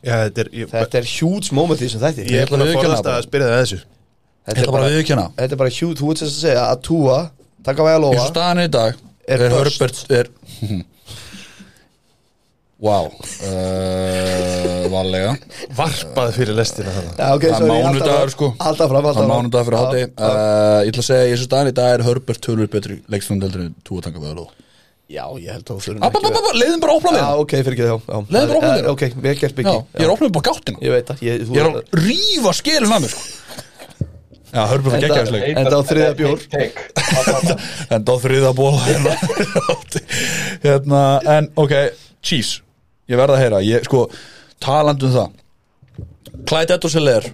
[SPEAKER 4] Já, þetta er, ég,
[SPEAKER 2] Þetta er huge moment í þessum þætti
[SPEAKER 4] ég er búin að
[SPEAKER 1] viðurkenna
[SPEAKER 4] forðast
[SPEAKER 1] bara.
[SPEAKER 4] að spyrja það að þessu
[SPEAKER 1] ég ætla bara að viðkjöna
[SPEAKER 2] þetta er bara huge, þú ert sem að segja að túa taka vega
[SPEAKER 1] eins
[SPEAKER 2] lofa
[SPEAKER 1] og staðan er í dag er,
[SPEAKER 2] Er bust.
[SPEAKER 1] Herbert er wow uh, varlega
[SPEAKER 4] varpað fyrir lestina þannig
[SPEAKER 2] Já, ok,
[SPEAKER 1] Það er
[SPEAKER 2] sorry, halda
[SPEAKER 1] mánudagur,
[SPEAKER 2] fram.
[SPEAKER 1] sko.
[SPEAKER 2] Halda fram, halda
[SPEAKER 1] Það er
[SPEAKER 2] fram
[SPEAKER 1] mánudag fyrir
[SPEAKER 2] Já.
[SPEAKER 1] hátti uh, Ég ætla að segja, ég svo staðan í dag er Herbert tölur betri leikstund heldur en Tua tanga veðaló
[SPEAKER 2] Já, ég held að þú þurfum ekki að-
[SPEAKER 1] Leiðum bara að opna
[SPEAKER 2] Já,
[SPEAKER 1] með það
[SPEAKER 2] ok, fyrir ekki þá já.
[SPEAKER 1] Leðum bara opnum
[SPEAKER 2] Eh,
[SPEAKER 1] þér.
[SPEAKER 2] Ok, vel gert
[SPEAKER 1] Já,
[SPEAKER 2] byggi
[SPEAKER 1] Ég er að opna með bara gáttina
[SPEAKER 2] Ég veit það ég- þú-
[SPEAKER 1] Ég er að rífa skelin að mér sko. Já, Herbert var
[SPEAKER 2] Enda-
[SPEAKER 1] geggjaðisleik
[SPEAKER 2] Enda á þriðja bjór.
[SPEAKER 3] take, take.
[SPEAKER 1] En þá þriða ból hérna, [LAUGHS] hérna, en ok Cheese, ég verða að heyra ég, sko, talandi um það Clyde Edwardseleir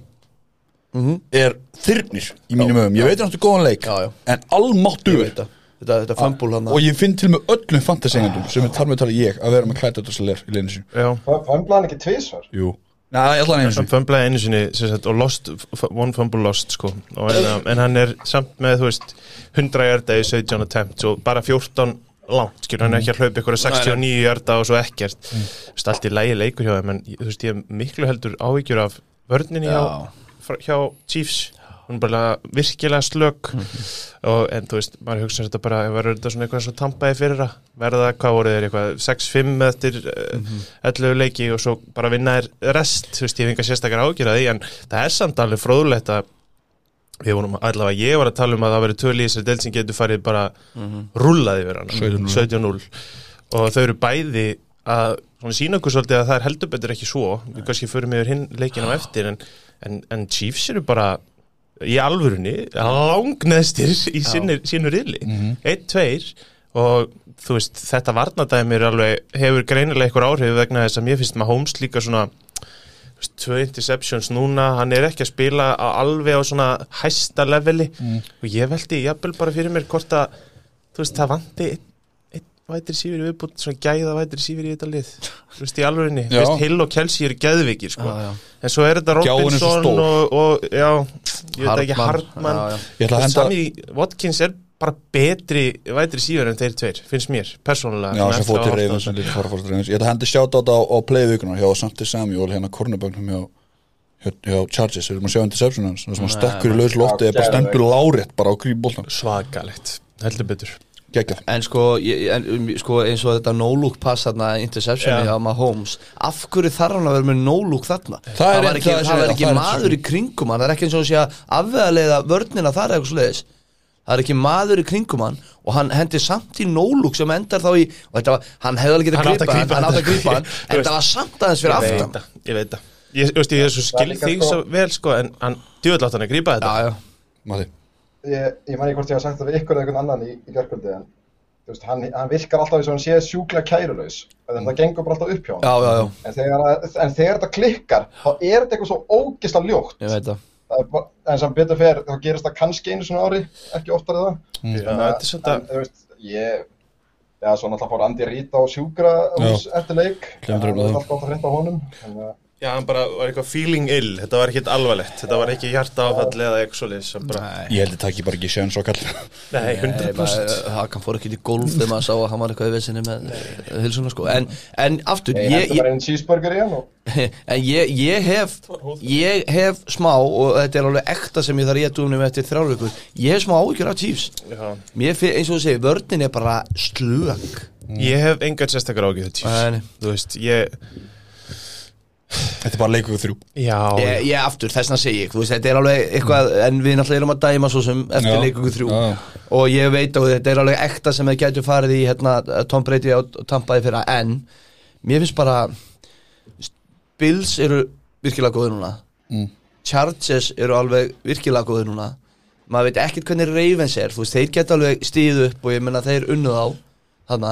[SPEAKER 1] er þyrnir í mínum öfum, ég veit hann átti góðan leik
[SPEAKER 2] Mhm. Já, já.
[SPEAKER 1] en almáttur
[SPEAKER 2] Ég veit það. Þetta þetta fumble hann
[SPEAKER 1] Ah, og ég finn til með öllum fantasengandum sem er þar með að tala ég að vera með Clyde Edwardseleir í leinu sinu
[SPEAKER 4] Já,
[SPEAKER 3] Fömblaði hann ekki tvísvar
[SPEAKER 1] Jú, næ, ég ætla hann einu
[SPEAKER 4] hann
[SPEAKER 1] sinu
[SPEAKER 4] fömblaði einu sinni sem sagt, og lost, f- one fumble lost sko. og en, um, en hann er samt með þú veist, 100 hjarta í 17 attempts og bara 14 langt skilur, hann er ekki að hlaupa ykkur 69 hjarta og svo ekkert, mm. veist, allt í lægi leikur hjá þeim en þú veist, ég hef miklu heldur áhyggjur af vörninni hjá, frá- hjá Chiefs hún er bara virkilega slök og, en þú veist, maður hugsa þetta bara ef verður þetta svona eitthvað svo tampaði fyrir að verða, hvað voru þeir eitthvað, 6-5 eftir mm 11 leiki og svo bara vinna þeir rest, þú veist, ég hef enga sérstakar ágjur að því, en það er samt alveg fróðlegt að við vorum allavega, ég var að tala um að það verið tvö lýsir del sem getur farið bara rúllaði yfir hana, 17-0 og þau eru bæði að svona sína okkur svolítið að það er heldur betur ekki svo, við kannski förum yfir hinn leikin á eftir en, en, en Chiefs eru bara í alvörunni langneðstir í sinni, sínu riðli einn, tveir og þú veist, þetta varnadæmi er alveg, hefur greinilega einhver áhrif vegna þess að mér finnst maður Holmes líka svona þú veist, tvö interceptions núna hann er ekki að spila á alveg á svona hæsta leveli og ég veldi jafnvel bara fyrir mér hvort að þú veist, það vandi einn ein, vætir sífur viðbútt, svona gæða vætir sífur í þetta lið, þú veist, í alvegurinni
[SPEAKER 1] Já.
[SPEAKER 4] Hill og Kelsey eru gæðvikir, sko
[SPEAKER 2] Já, já.
[SPEAKER 4] en svo er þetta
[SPEAKER 1] Gjáin er svo
[SPEAKER 4] Robinson
[SPEAKER 1] stór.
[SPEAKER 4] og, og, já, ég veit ekki Hartmann
[SPEAKER 2] já, já.
[SPEAKER 1] Ég ætla að henda-
[SPEAKER 4] Sami Watkins er bara betri vætri síður en þeir tveir, finnst mér, persónulega
[SPEAKER 1] Já,
[SPEAKER 4] Svona
[SPEAKER 1] sem
[SPEAKER 4] eftir
[SPEAKER 1] fór
[SPEAKER 4] að
[SPEAKER 1] til
[SPEAKER 4] horfa á
[SPEAKER 1] reyfins
[SPEAKER 4] þetta.
[SPEAKER 1] sem lítið fara fór til reyfins Ég ætla að hendi sjáta á þetta á, á playvíkunar hjá Santi Samuel hérna kornabögnum hjá, hjá, hjá Chargers Við erum að sjá interception hans þar sem hann stekkur í laus lofti
[SPEAKER 3] Já,
[SPEAKER 1] eða bara
[SPEAKER 3] geðveikt.
[SPEAKER 1] stendur lárétt bara á grípbóltan
[SPEAKER 4] svakalegt, heldur betur
[SPEAKER 1] Gekka
[SPEAKER 2] En sko, ég, en, um, sko eins og þetta no-look pass þarna interceptioni
[SPEAKER 4] Já.
[SPEAKER 2] á Mahomes af hverju þarf hann að vera með no-look þarna? Það,
[SPEAKER 1] er
[SPEAKER 2] var
[SPEAKER 1] einn-
[SPEAKER 2] ekki,
[SPEAKER 1] það er
[SPEAKER 2] það var
[SPEAKER 1] sem-
[SPEAKER 2] ekki
[SPEAKER 1] það er
[SPEAKER 2] maður í kringum hann það er ekki eins og hann sé að afvegaleiða vörnina þar eða eitthvað svoleiðis það er ekki maður í kringum hann og hann hendi samt í no-look sem endar þá í og þetta var, hann hefði alveg
[SPEAKER 4] Hann átti
[SPEAKER 2] getað gripa
[SPEAKER 4] að
[SPEAKER 2] hann
[SPEAKER 4] grípa
[SPEAKER 2] hann átt að
[SPEAKER 4] þetta.
[SPEAKER 2] gripa hann
[SPEAKER 4] Þú
[SPEAKER 2] en
[SPEAKER 4] veist.
[SPEAKER 2] það var samt aðeins fyrir
[SPEAKER 4] ég veit
[SPEAKER 2] aftan
[SPEAKER 4] það, ég veit það ég, veist, ég er svo
[SPEAKER 3] Það er
[SPEAKER 4] skil
[SPEAKER 3] líka
[SPEAKER 4] þig
[SPEAKER 3] sko-
[SPEAKER 4] svo vel sko, en hann djöðlátt hann að grípa þetta
[SPEAKER 2] já, já,
[SPEAKER 1] Mati
[SPEAKER 3] ég, ég man ekki hvort ég hafa sagt það við ykkur eða einhvern annan í, í gerkvöldi en þú veist, hann, hann virkar alltaf eins og hann sé sjúkla kærulaus en það gengur bara alltaf upp hjá
[SPEAKER 2] já,
[SPEAKER 3] hann
[SPEAKER 2] já, já,
[SPEAKER 3] en þegar, að- en þegar þetta klikkar þá er þetta eitthvað svo ógisla ljótt
[SPEAKER 2] ég veit það
[SPEAKER 3] Það er bara- en sem betur fer þá gerist það kannski einu svona ári ekki oftar eða
[SPEAKER 4] Mm. Já, þetta er svona
[SPEAKER 3] en, þú veist, ég já, svo náttúrulega fór Andi Rít á sjúkra hús eftir leik
[SPEAKER 1] Gleymdur
[SPEAKER 3] það
[SPEAKER 1] að
[SPEAKER 3] er
[SPEAKER 1] það.
[SPEAKER 3] alltaf að hreint á honum en, uh,
[SPEAKER 4] já, hann bara var eitthvað feeling ill, þetta var ekkit alvarlegt þetta var ekki hjartaáfall eða eitthvað svoleiðis hann bara-
[SPEAKER 1] Ég held að takk ég bara ekki séns og kall
[SPEAKER 4] [LAUGHS] nei,
[SPEAKER 2] Nei,
[SPEAKER 4] 100%
[SPEAKER 2] maður- Hakan fór ekki til golf þegar maður sá að hann var eitthvað í vissinni með eh, hilsuna sko en, en aftur,
[SPEAKER 3] ég
[SPEAKER 2] ég,
[SPEAKER 3] hætti
[SPEAKER 2] ég,
[SPEAKER 3] bara einn cheeseburger í hann og
[SPEAKER 2] en ég, ég hef ég hef smá og þetta er alveg ekta sem ég þarf ég að dúnum eftir þrjárvíkur ég hef smá áhyggjur af Chiefs
[SPEAKER 4] Já.
[SPEAKER 2] mér fyrir, eins og þú segir, vörnin er bara slög
[SPEAKER 4] ég hef engar sérstakar ágjöð
[SPEAKER 2] Nei, nei.
[SPEAKER 4] þú veist, ég
[SPEAKER 1] Þetta er bara leikur þrjú
[SPEAKER 4] já,
[SPEAKER 2] ég, ég aftur, þessna segi ég, þú veist, þetta er alveg eitthvað en við náttúrulega erum að dæma svo sem eftir
[SPEAKER 1] Já.
[SPEAKER 2] leikungu þrjú
[SPEAKER 1] Já.
[SPEAKER 2] og ég veit að þetta er alveg ekta sem þið gætu farið í hérna, Tom Brady og Tampaði fyrra en mér finnst bara Bills eru virkilega góður núna
[SPEAKER 1] Mm.
[SPEAKER 2] Chargers eru alveg virkilega góður núna maður veit ekkert hvernig Ravens er þú veist, þeir geta alveg stíð upp og ég menna þeir unnu þá þarna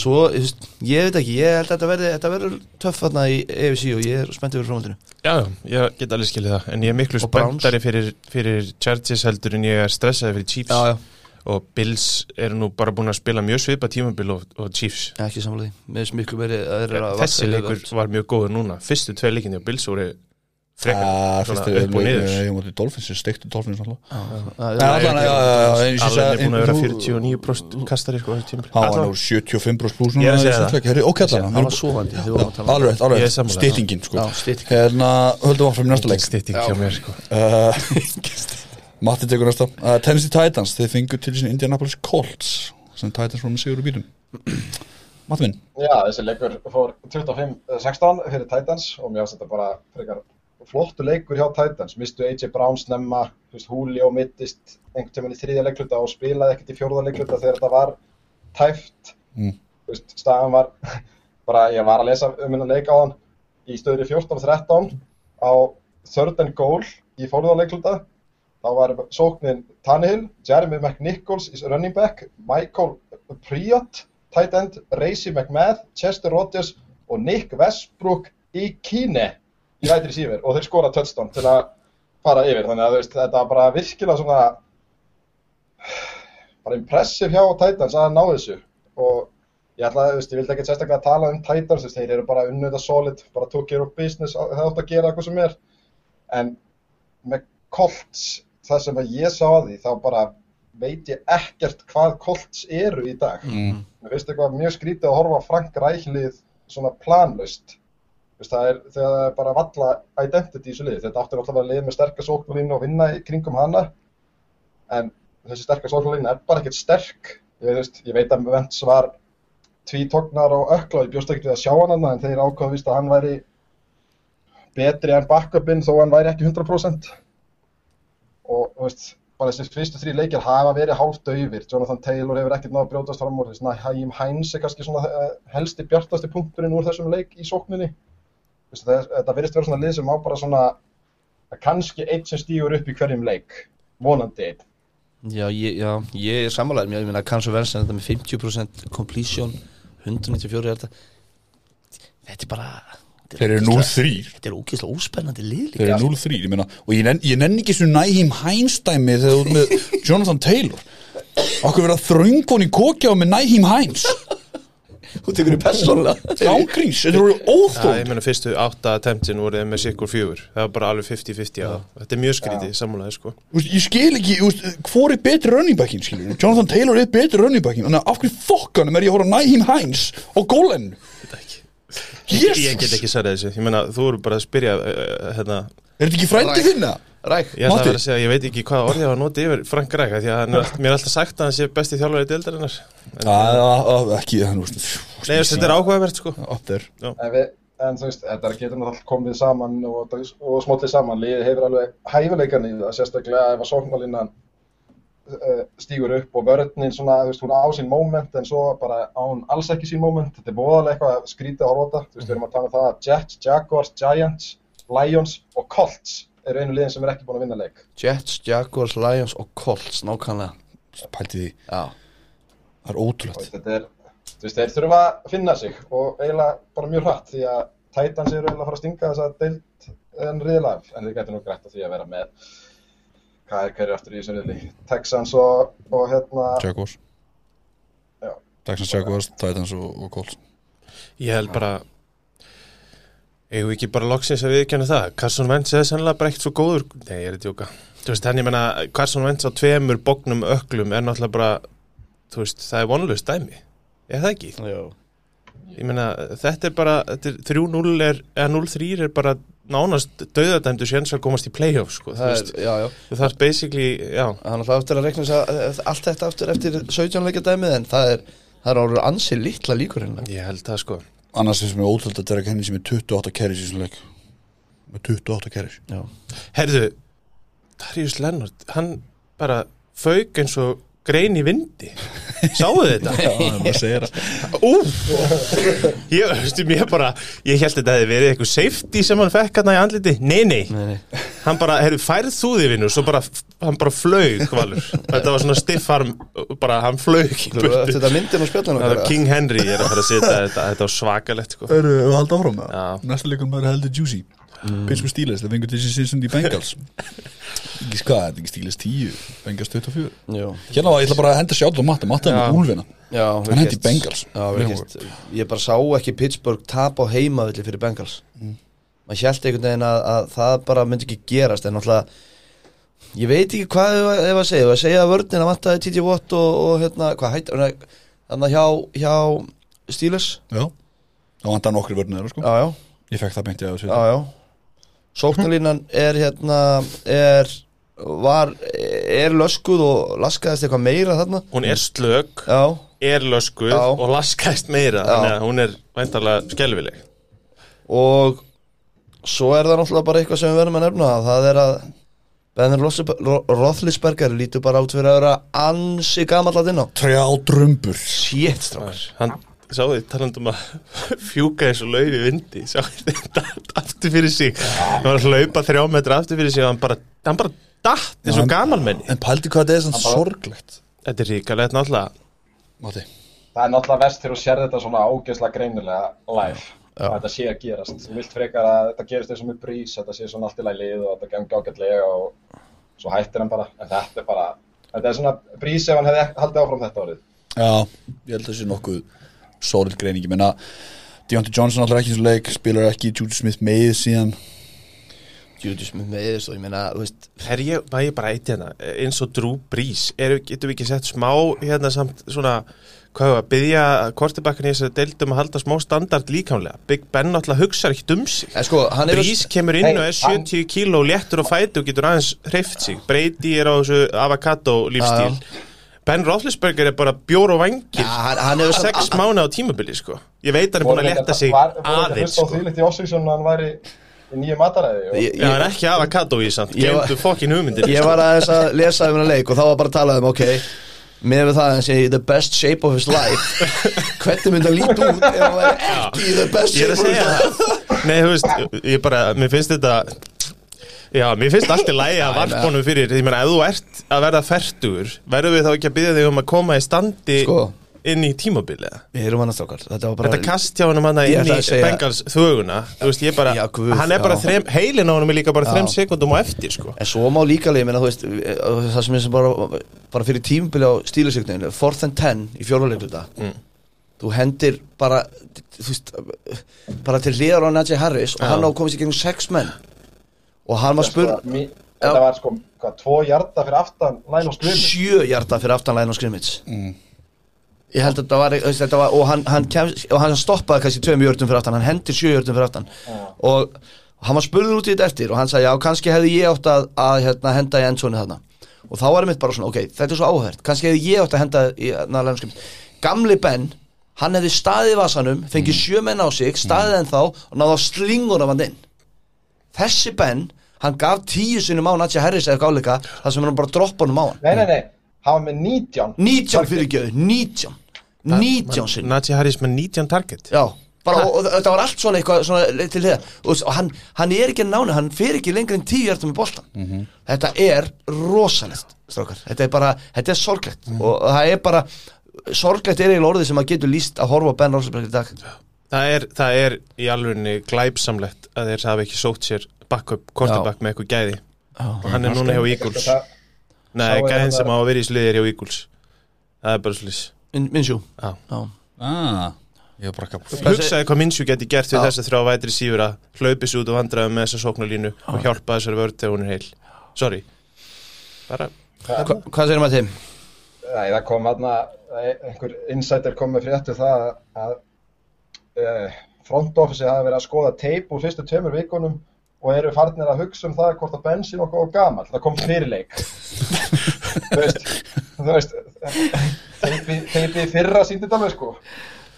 [SPEAKER 2] svo, þú veist, ég veit ekki, ég held að þetta verði þetta verður töff þarna í EFC og ég er spenntið fyrir framhaldinu
[SPEAKER 4] Já, já, ég get alveg skilið það En ég er miklu
[SPEAKER 2] Og Browns.
[SPEAKER 4] spenntari fyrir, fyrir Chargers heldur en ég er stressaði fyrir Chiefs
[SPEAKER 2] já, já,
[SPEAKER 4] Og Bills eru nú bara búin að spila mjög svipa tímabil og, og Chiefs
[SPEAKER 2] Ég er ekki samfélag því, mér finnst miklu meiri að þeir eru að
[SPEAKER 4] Þessi
[SPEAKER 2] vakna
[SPEAKER 4] leikur var mjög góður núna Fyrstu tvei leikinni á Bills voru
[SPEAKER 1] Ah,
[SPEAKER 4] frekar
[SPEAKER 1] Fyrst
[SPEAKER 4] svona upp og niður
[SPEAKER 1] Ég mútið Dolphins, ég steikti Dolphins alltaf
[SPEAKER 2] Já,
[SPEAKER 1] Já,
[SPEAKER 2] já,
[SPEAKER 1] allan, já, já, já, eins og ég
[SPEAKER 4] Alveg er
[SPEAKER 1] sagði-
[SPEAKER 4] búin að vera
[SPEAKER 1] þú-
[SPEAKER 4] 49% kastari sko þessi tímabil
[SPEAKER 1] Há, hann
[SPEAKER 4] Allavega.
[SPEAKER 1] er úr 75 brús pluss
[SPEAKER 4] Ég er að segja það.
[SPEAKER 1] Herri, ok, allan
[SPEAKER 2] Það var sofandi, þið vorum að tala um.
[SPEAKER 1] Alveg,
[SPEAKER 4] Ég
[SPEAKER 1] alveg,
[SPEAKER 4] er sammála.
[SPEAKER 1] stýtingin sko
[SPEAKER 2] Já, stytting.
[SPEAKER 1] Hérna, höldum áfram í næsta leik
[SPEAKER 4] Stytting hjá mér sko
[SPEAKER 1] uh, [LAUGHS] Matti tekur næsta uh, Tennessee Titans, þeir fengu til sín Indianapolis Colts sem Titans voru með sigur úr bílum [CLEARS THROAT] Matti minn
[SPEAKER 3] Já, þessi leikur fór 25-16 eh, fyrir Titans og mér finnst þetta bara frekar flottu leikur hjá Titans. Mistu AJ Brown snemma, þú veist, Húli og mittist einhvern tímann í þriðja leikluta og spilaði ekkert í fjórða leikluta þegar þetta var tæft.
[SPEAKER 1] Mm.
[SPEAKER 3] Þú veist, staðan var, [LAUGHS] bara ég var að lesa um hennan leik á hann í stöðri 14-13 á third and goal í fjórða leikluta. Þá var sóknin Tannehill, Jeremy McNichols is running back, Michael Priot, tight end, Racy McMath, Chester Rodgers og Nick Westbrook í Kíne í vætri sífur og þeir skora touchdown til að fara yfir þannig að þú veist, þetta var bara virkilega svona bara impressive hjá Titans að ná þessu og ég ætla að, þú veist, ég vildi ekki sérstaklega tala um Titans, þú veist, þeir eru bara unnöða solid, bara took care of business, það átt að gera eitthvað sem er en með Colts, það sem að ég sá að því, þá bara veit ég ekkert hvað Colts eru í dag.
[SPEAKER 1] mm.
[SPEAKER 3] Mér finnst eitthvað mjög skrítið að horfa á Frank Ræklið svona planlaust. Þú Veist, það er þegar það er bara valla identity í þessu liði. Þetta áttur alltaf að vera lið með sterkast óknulínu og vinna í kringum hana. En þessi sterkast óknulínu er bara ekkert sterk. Ég, þú veist, ég veit að með vents var tvítognar og ökla og ég bjóst ekkert við að sjá hann annað en þeir ákvaðu víst að hann væri betri en backupinn þó hann væri ekki 100% og þú veist, bara þessi fyrstu þrý leikir hafa verið hálft auðvir, Jonathan Taylor hefur ekkert náða að brjótast fram úr, þess að Haim Hines er kannski svona uh, helsti bjartasti punkturinn úr þessum leik í sókninni Þú veist, það- þetta verðist vera svona lið sem á bara svona að kannski einn sem stígur upp í hverjum leik, vonandi einn
[SPEAKER 2] Já, ég, já, ég er sammálaður mér, ég meina Kansu Vensen þetta hérna með 50% completion 194 er þetta Þetta er bara þetta er
[SPEAKER 1] Þeir eru
[SPEAKER 2] ógeðslega-
[SPEAKER 1] 0-3
[SPEAKER 2] Þetta er ógeðslega óspennandi lið
[SPEAKER 1] Þeir
[SPEAKER 2] líka
[SPEAKER 1] eru 0-3, ég meina Og ég nenn, ég nenn ekki svo nægjum Hænstæmi þegar þú ert með
[SPEAKER 2] [LAUGHS]
[SPEAKER 1] Jonathan Taylor Okkur verið að þröngkon í kokja og með nægjum Hæns
[SPEAKER 2] Þú tekur í persónulega
[SPEAKER 1] Ángrís, þetta eru
[SPEAKER 4] Já, ég
[SPEAKER 1] óþónd
[SPEAKER 4] meina fyrstu átta attemptin voru þeim með sikkur fjögur Það var bara alveg 50-50 að það Þetta er mjög skrítið sammálaði sko
[SPEAKER 1] Úst, Ég skil ekki, úst, hvor er betri rönnibækin skilur við? Jonathan Taylor er betri rönnibækin Þannig að af hverju fokkanum er ég að horfa nægjum Hæns og gólenn Jesus,
[SPEAKER 4] Ég get ekki særi þessu, ég meina þú eru bara að spyrja uh, hérna,
[SPEAKER 1] er þetta ekki frændi þinna?
[SPEAKER 2] Ræk
[SPEAKER 4] Ég ætla að
[SPEAKER 1] Matti?
[SPEAKER 4] vera að segja, ég veit ekki hvað orðið var að nota yfir Frank Ræk Því að hann er, allt- mér er alltaf sagt að hann sé besti þjálfari deildarinnar En-
[SPEAKER 1] Já, já, já, ekki, hann úst
[SPEAKER 4] Nei, þessi, þetta er áhugavert sko
[SPEAKER 1] Up there
[SPEAKER 3] En, við, en þú veist, þetta getur náttúrulega komið saman og, og smollið saman. Liðið hefur alveg hæfileikan í það, sérstaklega ef að sóknarlinnan uh, stígur upp og vörðnin svona, þú veist, hún á sín moment en svo bara á hún alls ekki sín moment. Þetta er voðalega eitthvað að skrýta að horfa á þetta. Þú veist, við erum að tala um það að Jets, Jaguars, Giants, Lions og Colts eru einu liðin sem er ekki búin að vinna leik.
[SPEAKER 2] Jets, Jaguars, Lions og Colts nákvæmlega
[SPEAKER 1] Pælti því,
[SPEAKER 2] Já
[SPEAKER 1] það er ótrúlegt
[SPEAKER 3] Og Þetta er, þú veist, þeir þurfa að finna sig og eiginlega bara mjög hratt því að Titans eru eiginlega að fara að stinga þess að deilt en riðlag, en þeir gætu nú grætt að því að vera með hvað er hverju aftur í þessu riðli Texans og, og hérna
[SPEAKER 1] Jaguars
[SPEAKER 3] Já.
[SPEAKER 1] Texans, Jaguars, Titans og, og Colts
[SPEAKER 4] Ég held bara eigum við ekki bara loksins að viðkjanna það Carson Wentz er sennilega bara ekkert svo góður Nei, ég er að djóka Þú veist, henni menna, Carson Wentz á tveimur bóknum öklum er náttúrulega bara þú veist, það er vonlust dæmi Er það ekki?
[SPEAKER 2] Já
[SPEAKER 4] Ég meina, þetta er bara þetta er 3-0 er, eða 0-3 er bara nánast döðadæmdu séns að komast í playoff, sko, þú
[SPEAKER 2] Það
[SPEAKER 4] veist
[SPEAKER 2] er, já, já
[SPEAKER 4] Þú þarf basically, já
[SPEAKER 2] Það er náttúrulega eftir að reikna þess að- að allt þetta aftur eftir 17 leikja dæmið en það er það er árið ansi litla líkur hérna
[SPEAKER 4] Ég held það, sko
[SPEAKER 1] Annars finnst mér ótrúlegt að Derek Henry sem er 28 carries í svona leik með 28 carries
[SPEAKER 2] Já
[SPEAKER 4] Herðu, Darius Lennart hann bara fauk eins og grein í vindi Sáðu þetta?
[SPEAKER 1] Já, það er bara að segja það
[SPEAKER 4] Úf Ég, veistu, mér bara, ég held þetta hefði verið eitthvað safety sem hann fekk hann í andliti Nei, nei,
[SPEAKER 2] Nei, nei
[SPEAKER 4] hann bara, heyrðu, færð þú þig vinnu Svo bara, hann bara flaug, valur Þetta var svona stiffarm, bara hann flaug í
[SPEAKER 2] Þú veist
[SPEAKER 4] burtu
[SPEAKER 2] þetta myndin og spjallin
[SPEAKER 4] Það var
[SPEAKER 2] okkar
[SPEAKER 4] King Henry, ég er að fara að setja þetta Þetta var svakalegt, sko
[SPEAKER 1] Eru við haldið áfram með
[SPEAKER 4] Já.
[SPEAKER 1] það? Næsta leikum er heldur juicy Pittsburgh Steelers, það vengur þessi Cincinnati [LAUGHS] Bengals Ekki hvað, þetta er ekki Steelers 10 Bengals 24
[SPEAKER 2] Já
[SPEAKER 1] Hérna var ég ætla bara að henda sjátt á matta, matta er með úlfina
[SPEAKER 2] Já, við
[SPEAKER 1] Hann hendi
[SPEAKER 2] gert-
[SPEAKER 1] Bengals.
[SPEAKER 2] Já, við
[SPEAKER 1] Vel
[SPEAKER 2] gert, Ég bara sá ekki Pittsburgh tap á heimavilli fyrir Bengals
[SPEAKER 1] Mm.
[SPEAKER 2] Maður hjælt einhvern veginn að, að það bara myndi ekki gerast En náttúrulega Ég veit ekki hvað ef, ef að segja Ef að segja að vörnina vantaði TJ Watt og, og hérna Hvað hætt Þannig hjá, hjá Steelers
[SPEAKER 1] Já, þá vantar nokkri vörnir þeirra sko
[SPEAKER 2] Já, já,
[SPEAKER 1] Ég fekk það beint í aðeins
[SPEAKER 2] já, já. Sóknarlínan er hérna Er Var Er löskuð og laskaðist eitthvað meira þarna
[SPEAKER 4] Hún er slök,
[SPEAKER 2] Já
[SPEAKER 4] er löskuð
[SPEAKER 2] Já.
[SPEAKER 4] og laskæst meira
[SPEAKER 2] Já.
[SPEAKER 4] Þannig að hún er væntarlega skelvileg
[SPEAKER 2] og svo er það náttúrulega bara eitthvað sem við verðum að nefna það er að Benner Rothlisberger lítur bara át fyrir að vera ansi gamall að inná
[SPEAKER 1] Trjá drumbur
[SPEAKER 2] Sjétt strákar
[SPEAKER 4] Hann sáði talandum um að [LAUGHS] fjúka eins og lauf í vindi sáði þetta aftur fyrir sig hann var að hlaupa þrjá metra aftur fyrir sig og hann bara, hann bara datt eins og
[SPEAKER 1] hann-
[SPEAKER 4] gamalmenni
[SPEAKER 1] En pældi hvað þetta er svona sorglegt
[SPEAKER 4] Þetta er ríkalegt náttúrulega
[SPEAKER 1] Matti
[SPEAKER 3] það er náttúrulega verst þegar þú sér þetta svona ágeðslega greinilega live að þetta sé að gerast, þú vilt frekar að þetta gerist eins og með brís, þetta sé svona allt í lagi lið og þetta gangi ágætlega og svo hættir hann bara, en þetta er bara þetta er svona brís ef hann hefði ekki- haldið áfram þetta árið
[SPEAKER 1] Já, ég held að það sé nokkuð sólid greiningi, menna Deontay Johnson allra ekki í þessu leik, spilar ekki Judy Smith meið síðan
[SPEAKER 2] Júdís með meðist og sko, ég meina þú veist,
[SPEAKER 4] Er ég, maður ég bara eitt hérna eins og Drew Brees, er, getum við ekki sett smá hérna samt svona hvað var, byggja kortibakkan í þess að deildum að halda smá standard líkamlega Big Ben náttúrulega hugsar ekkert um sig
[SPEAKER 2] en sko hann er
[SPEAKER 4] Brís kemur inn
[SPEAKER 3] Hey,
[SPEAKER 4] og er
[SPEAKER 3] hann-
[SPEAKER 4] 70 kíló léttur og fæti og getur aðeins hreift sig Brady er á þessu avocado lífstíl Ben Roethlisberger er bara bjór og
[SPEAKER 2] ja,
[SPEAKER 4] vangir
[SPEAKER 2] hann, hann hefur
[SPEAKER 4] sex
[SPEAKER 2] samt
[SPEAKER 4] mánu á tímabili sko Ég veit hann er búin að létta sig
[SPEAKER 3] var, voru ekki
[SPEAKER 4] aðeins
[SPEAKER 3] hlust á
[SPEAKER 4] sko
[SPEAKER 3] því litt í off-season að hann væri í nýju mataræði og
[SPEAKER 2] ég,
[SPEAKER 4] Já,
[SPEAKER 2] ég,
[SPEAKER 4] hann er ekki avocado í samt
[SPEAKER 2] Ég var-
[SPEAKER 4] Glemdu fokkin hugmyndir
[SPEAKER 2] ég var aðeins að lesa um hennar leik og þá var bara að tala um ok með við það að hann sé í the best shape of his life hvernig myndi hann líta út ef hann væri ekki í the best
[SPEAKER 4] Ég er
[SPEAKER 2] shape of
[SPEAKER 4] að
[SPEAKER 2] his
[SPEAKER 4] segja
[SPEAKER 2] life
[SPEAKER 4] það Nei, þú veist, ég bara, mér finnst þetta Já, mér finnst allt í lægi að varpa honum fyrir Ég meina, ef þú ert að verða fertur Verðum við þá ekki að byrja þig um að koma í standi
[SPEAKER 2] Sko.
[SPEAKER 4] Inn í tímabilið
[SPEAKER 2] Við erum annars okkar Þetta var bara
[SPEAKER 4] Þetta kast hjá honum hann
[SPEAKER 2] Ég
[SPEAKER 4] inn
[SPEAKER 2] ætla
[SPEAKER 4] í
[SPEAKER 2] að segja-
[SPEAKER 4] Bengals þöguna Þú veist, ég bara
[SPEAKER 2] Já, guð,
[SPEAKER 4] Hann er bara
[SPEAKER 2] já.
[SPEAKER 4] þrem Heilin á honum er líka bara þrem
[SPEAKER 2] Já.
[SPEAKER 4] sekundum á eftir, sko
[SPEAKER 2] En svo má líka leið, menna, þú veist, eh, það sem er sem bara, bara fyrir tímubili á stílusíkninu, 4th and 10 í fjórnuleikluta, mm. þú hendir bara, þú veist, bara til hliðar á Najee Harris og hann á komist í gegnum 6 menn og hann var spurð
[SPEAKER 3] Sko, mí- Þetta var sko, hvað, tvo hjarta fyrir aftan Læn og skrifin
[SPEAKER 2] 7 hjarta fyrir aftanlæðin á skrimmits. Ég held að þetta var, þú veist, þetta var og, hann, hann kem, og hann stoppaði kannski 2 hjartum fyrir aftan, hann hendir 7 hjartum fyrir aftan og hann var spurður út í þetta eftir og hann sagði já, kannski hefði ég átt að, að hérna, henda í endsónu þarna og þá var mitt bara svona, ok, þetta er svo áhært kannski hefði ég átt að henda í hérna, nálæðum gamli Ben, hann hefði staðið í vasanum, fengið sjö menn á sig staðið ennþá og náða slingur af hann inn þessi Ben hann gaf tíu sinum á Natsi Harris eða gáleika, þar sem hann bara droppa honum á hann
[SPEAKER 3] Nei, nei, nei, hann var með 19
[SPEAKER 2] nítján fyrirgjöðu, nítján nítján sinum
[SPEAKER 4] Najee Harris með 19 target
[SPEAKER 2] Já, bara, og, og þetta var allt svona eitthvað svona leið til hliðar og, og hann, hann er ekki nánu, hann fer ekki lengri en tíu hjartum í boltan þetta er rosalegt strókar, þetta er bara, þetta er sorglegt og það er bara, sorglegt er eiginlega orðið sem maður getur líst að horfa á Ben Rosenberg í dag
[SPEAKER 4] Það er, það er í alvegni glæpsamlegt að þeir hafa ekki sótt sér backup, quarterback með eitthvað gæði og hann er núna hjá Eagles
[SPEAKER 3] Sko, Það-
[SPEAKER 4] Nei,
[SPEAKER 3] Sá er
[SPEAKER 4] gæðin
[SPEAKER 3] að-
[SPEAKER 4] sem á að vera í sliðir hjá Eagles Það er bara slis
[SPEAKER 2] Min, minnsjú
[SPEAKER 4] Já.
[SPEAKER 1] Ah, ég var bara ekki að
[SPEAKER 4] Hugsaði hvað Minsju geti gert við
[SPEAKER 2] Já.
[SPEAKER 4] þess að þrjá vætri sífur að hlaupi sér út og vandraði með þessa sóknarlínu og hjálpa þessari vörð þegar hún er heil Sorry Bara,
[SPEAKER 2] Hva, hvað segir maður þeim?
[SPEAKER 3] Nei, það kom hann einhver insider kom með fréttu það að uh, front office hafi verið að skoða tape úr fyrstu tveimur vikunum og eru farnir að hugsa um það hvort að bensin og góð gamall, það kom
[SPEAKER 4] [LAUGHS]
[SPEAKER 3] fyrirleik þú veist þú veist teipið í fyrra síndi þetta með sko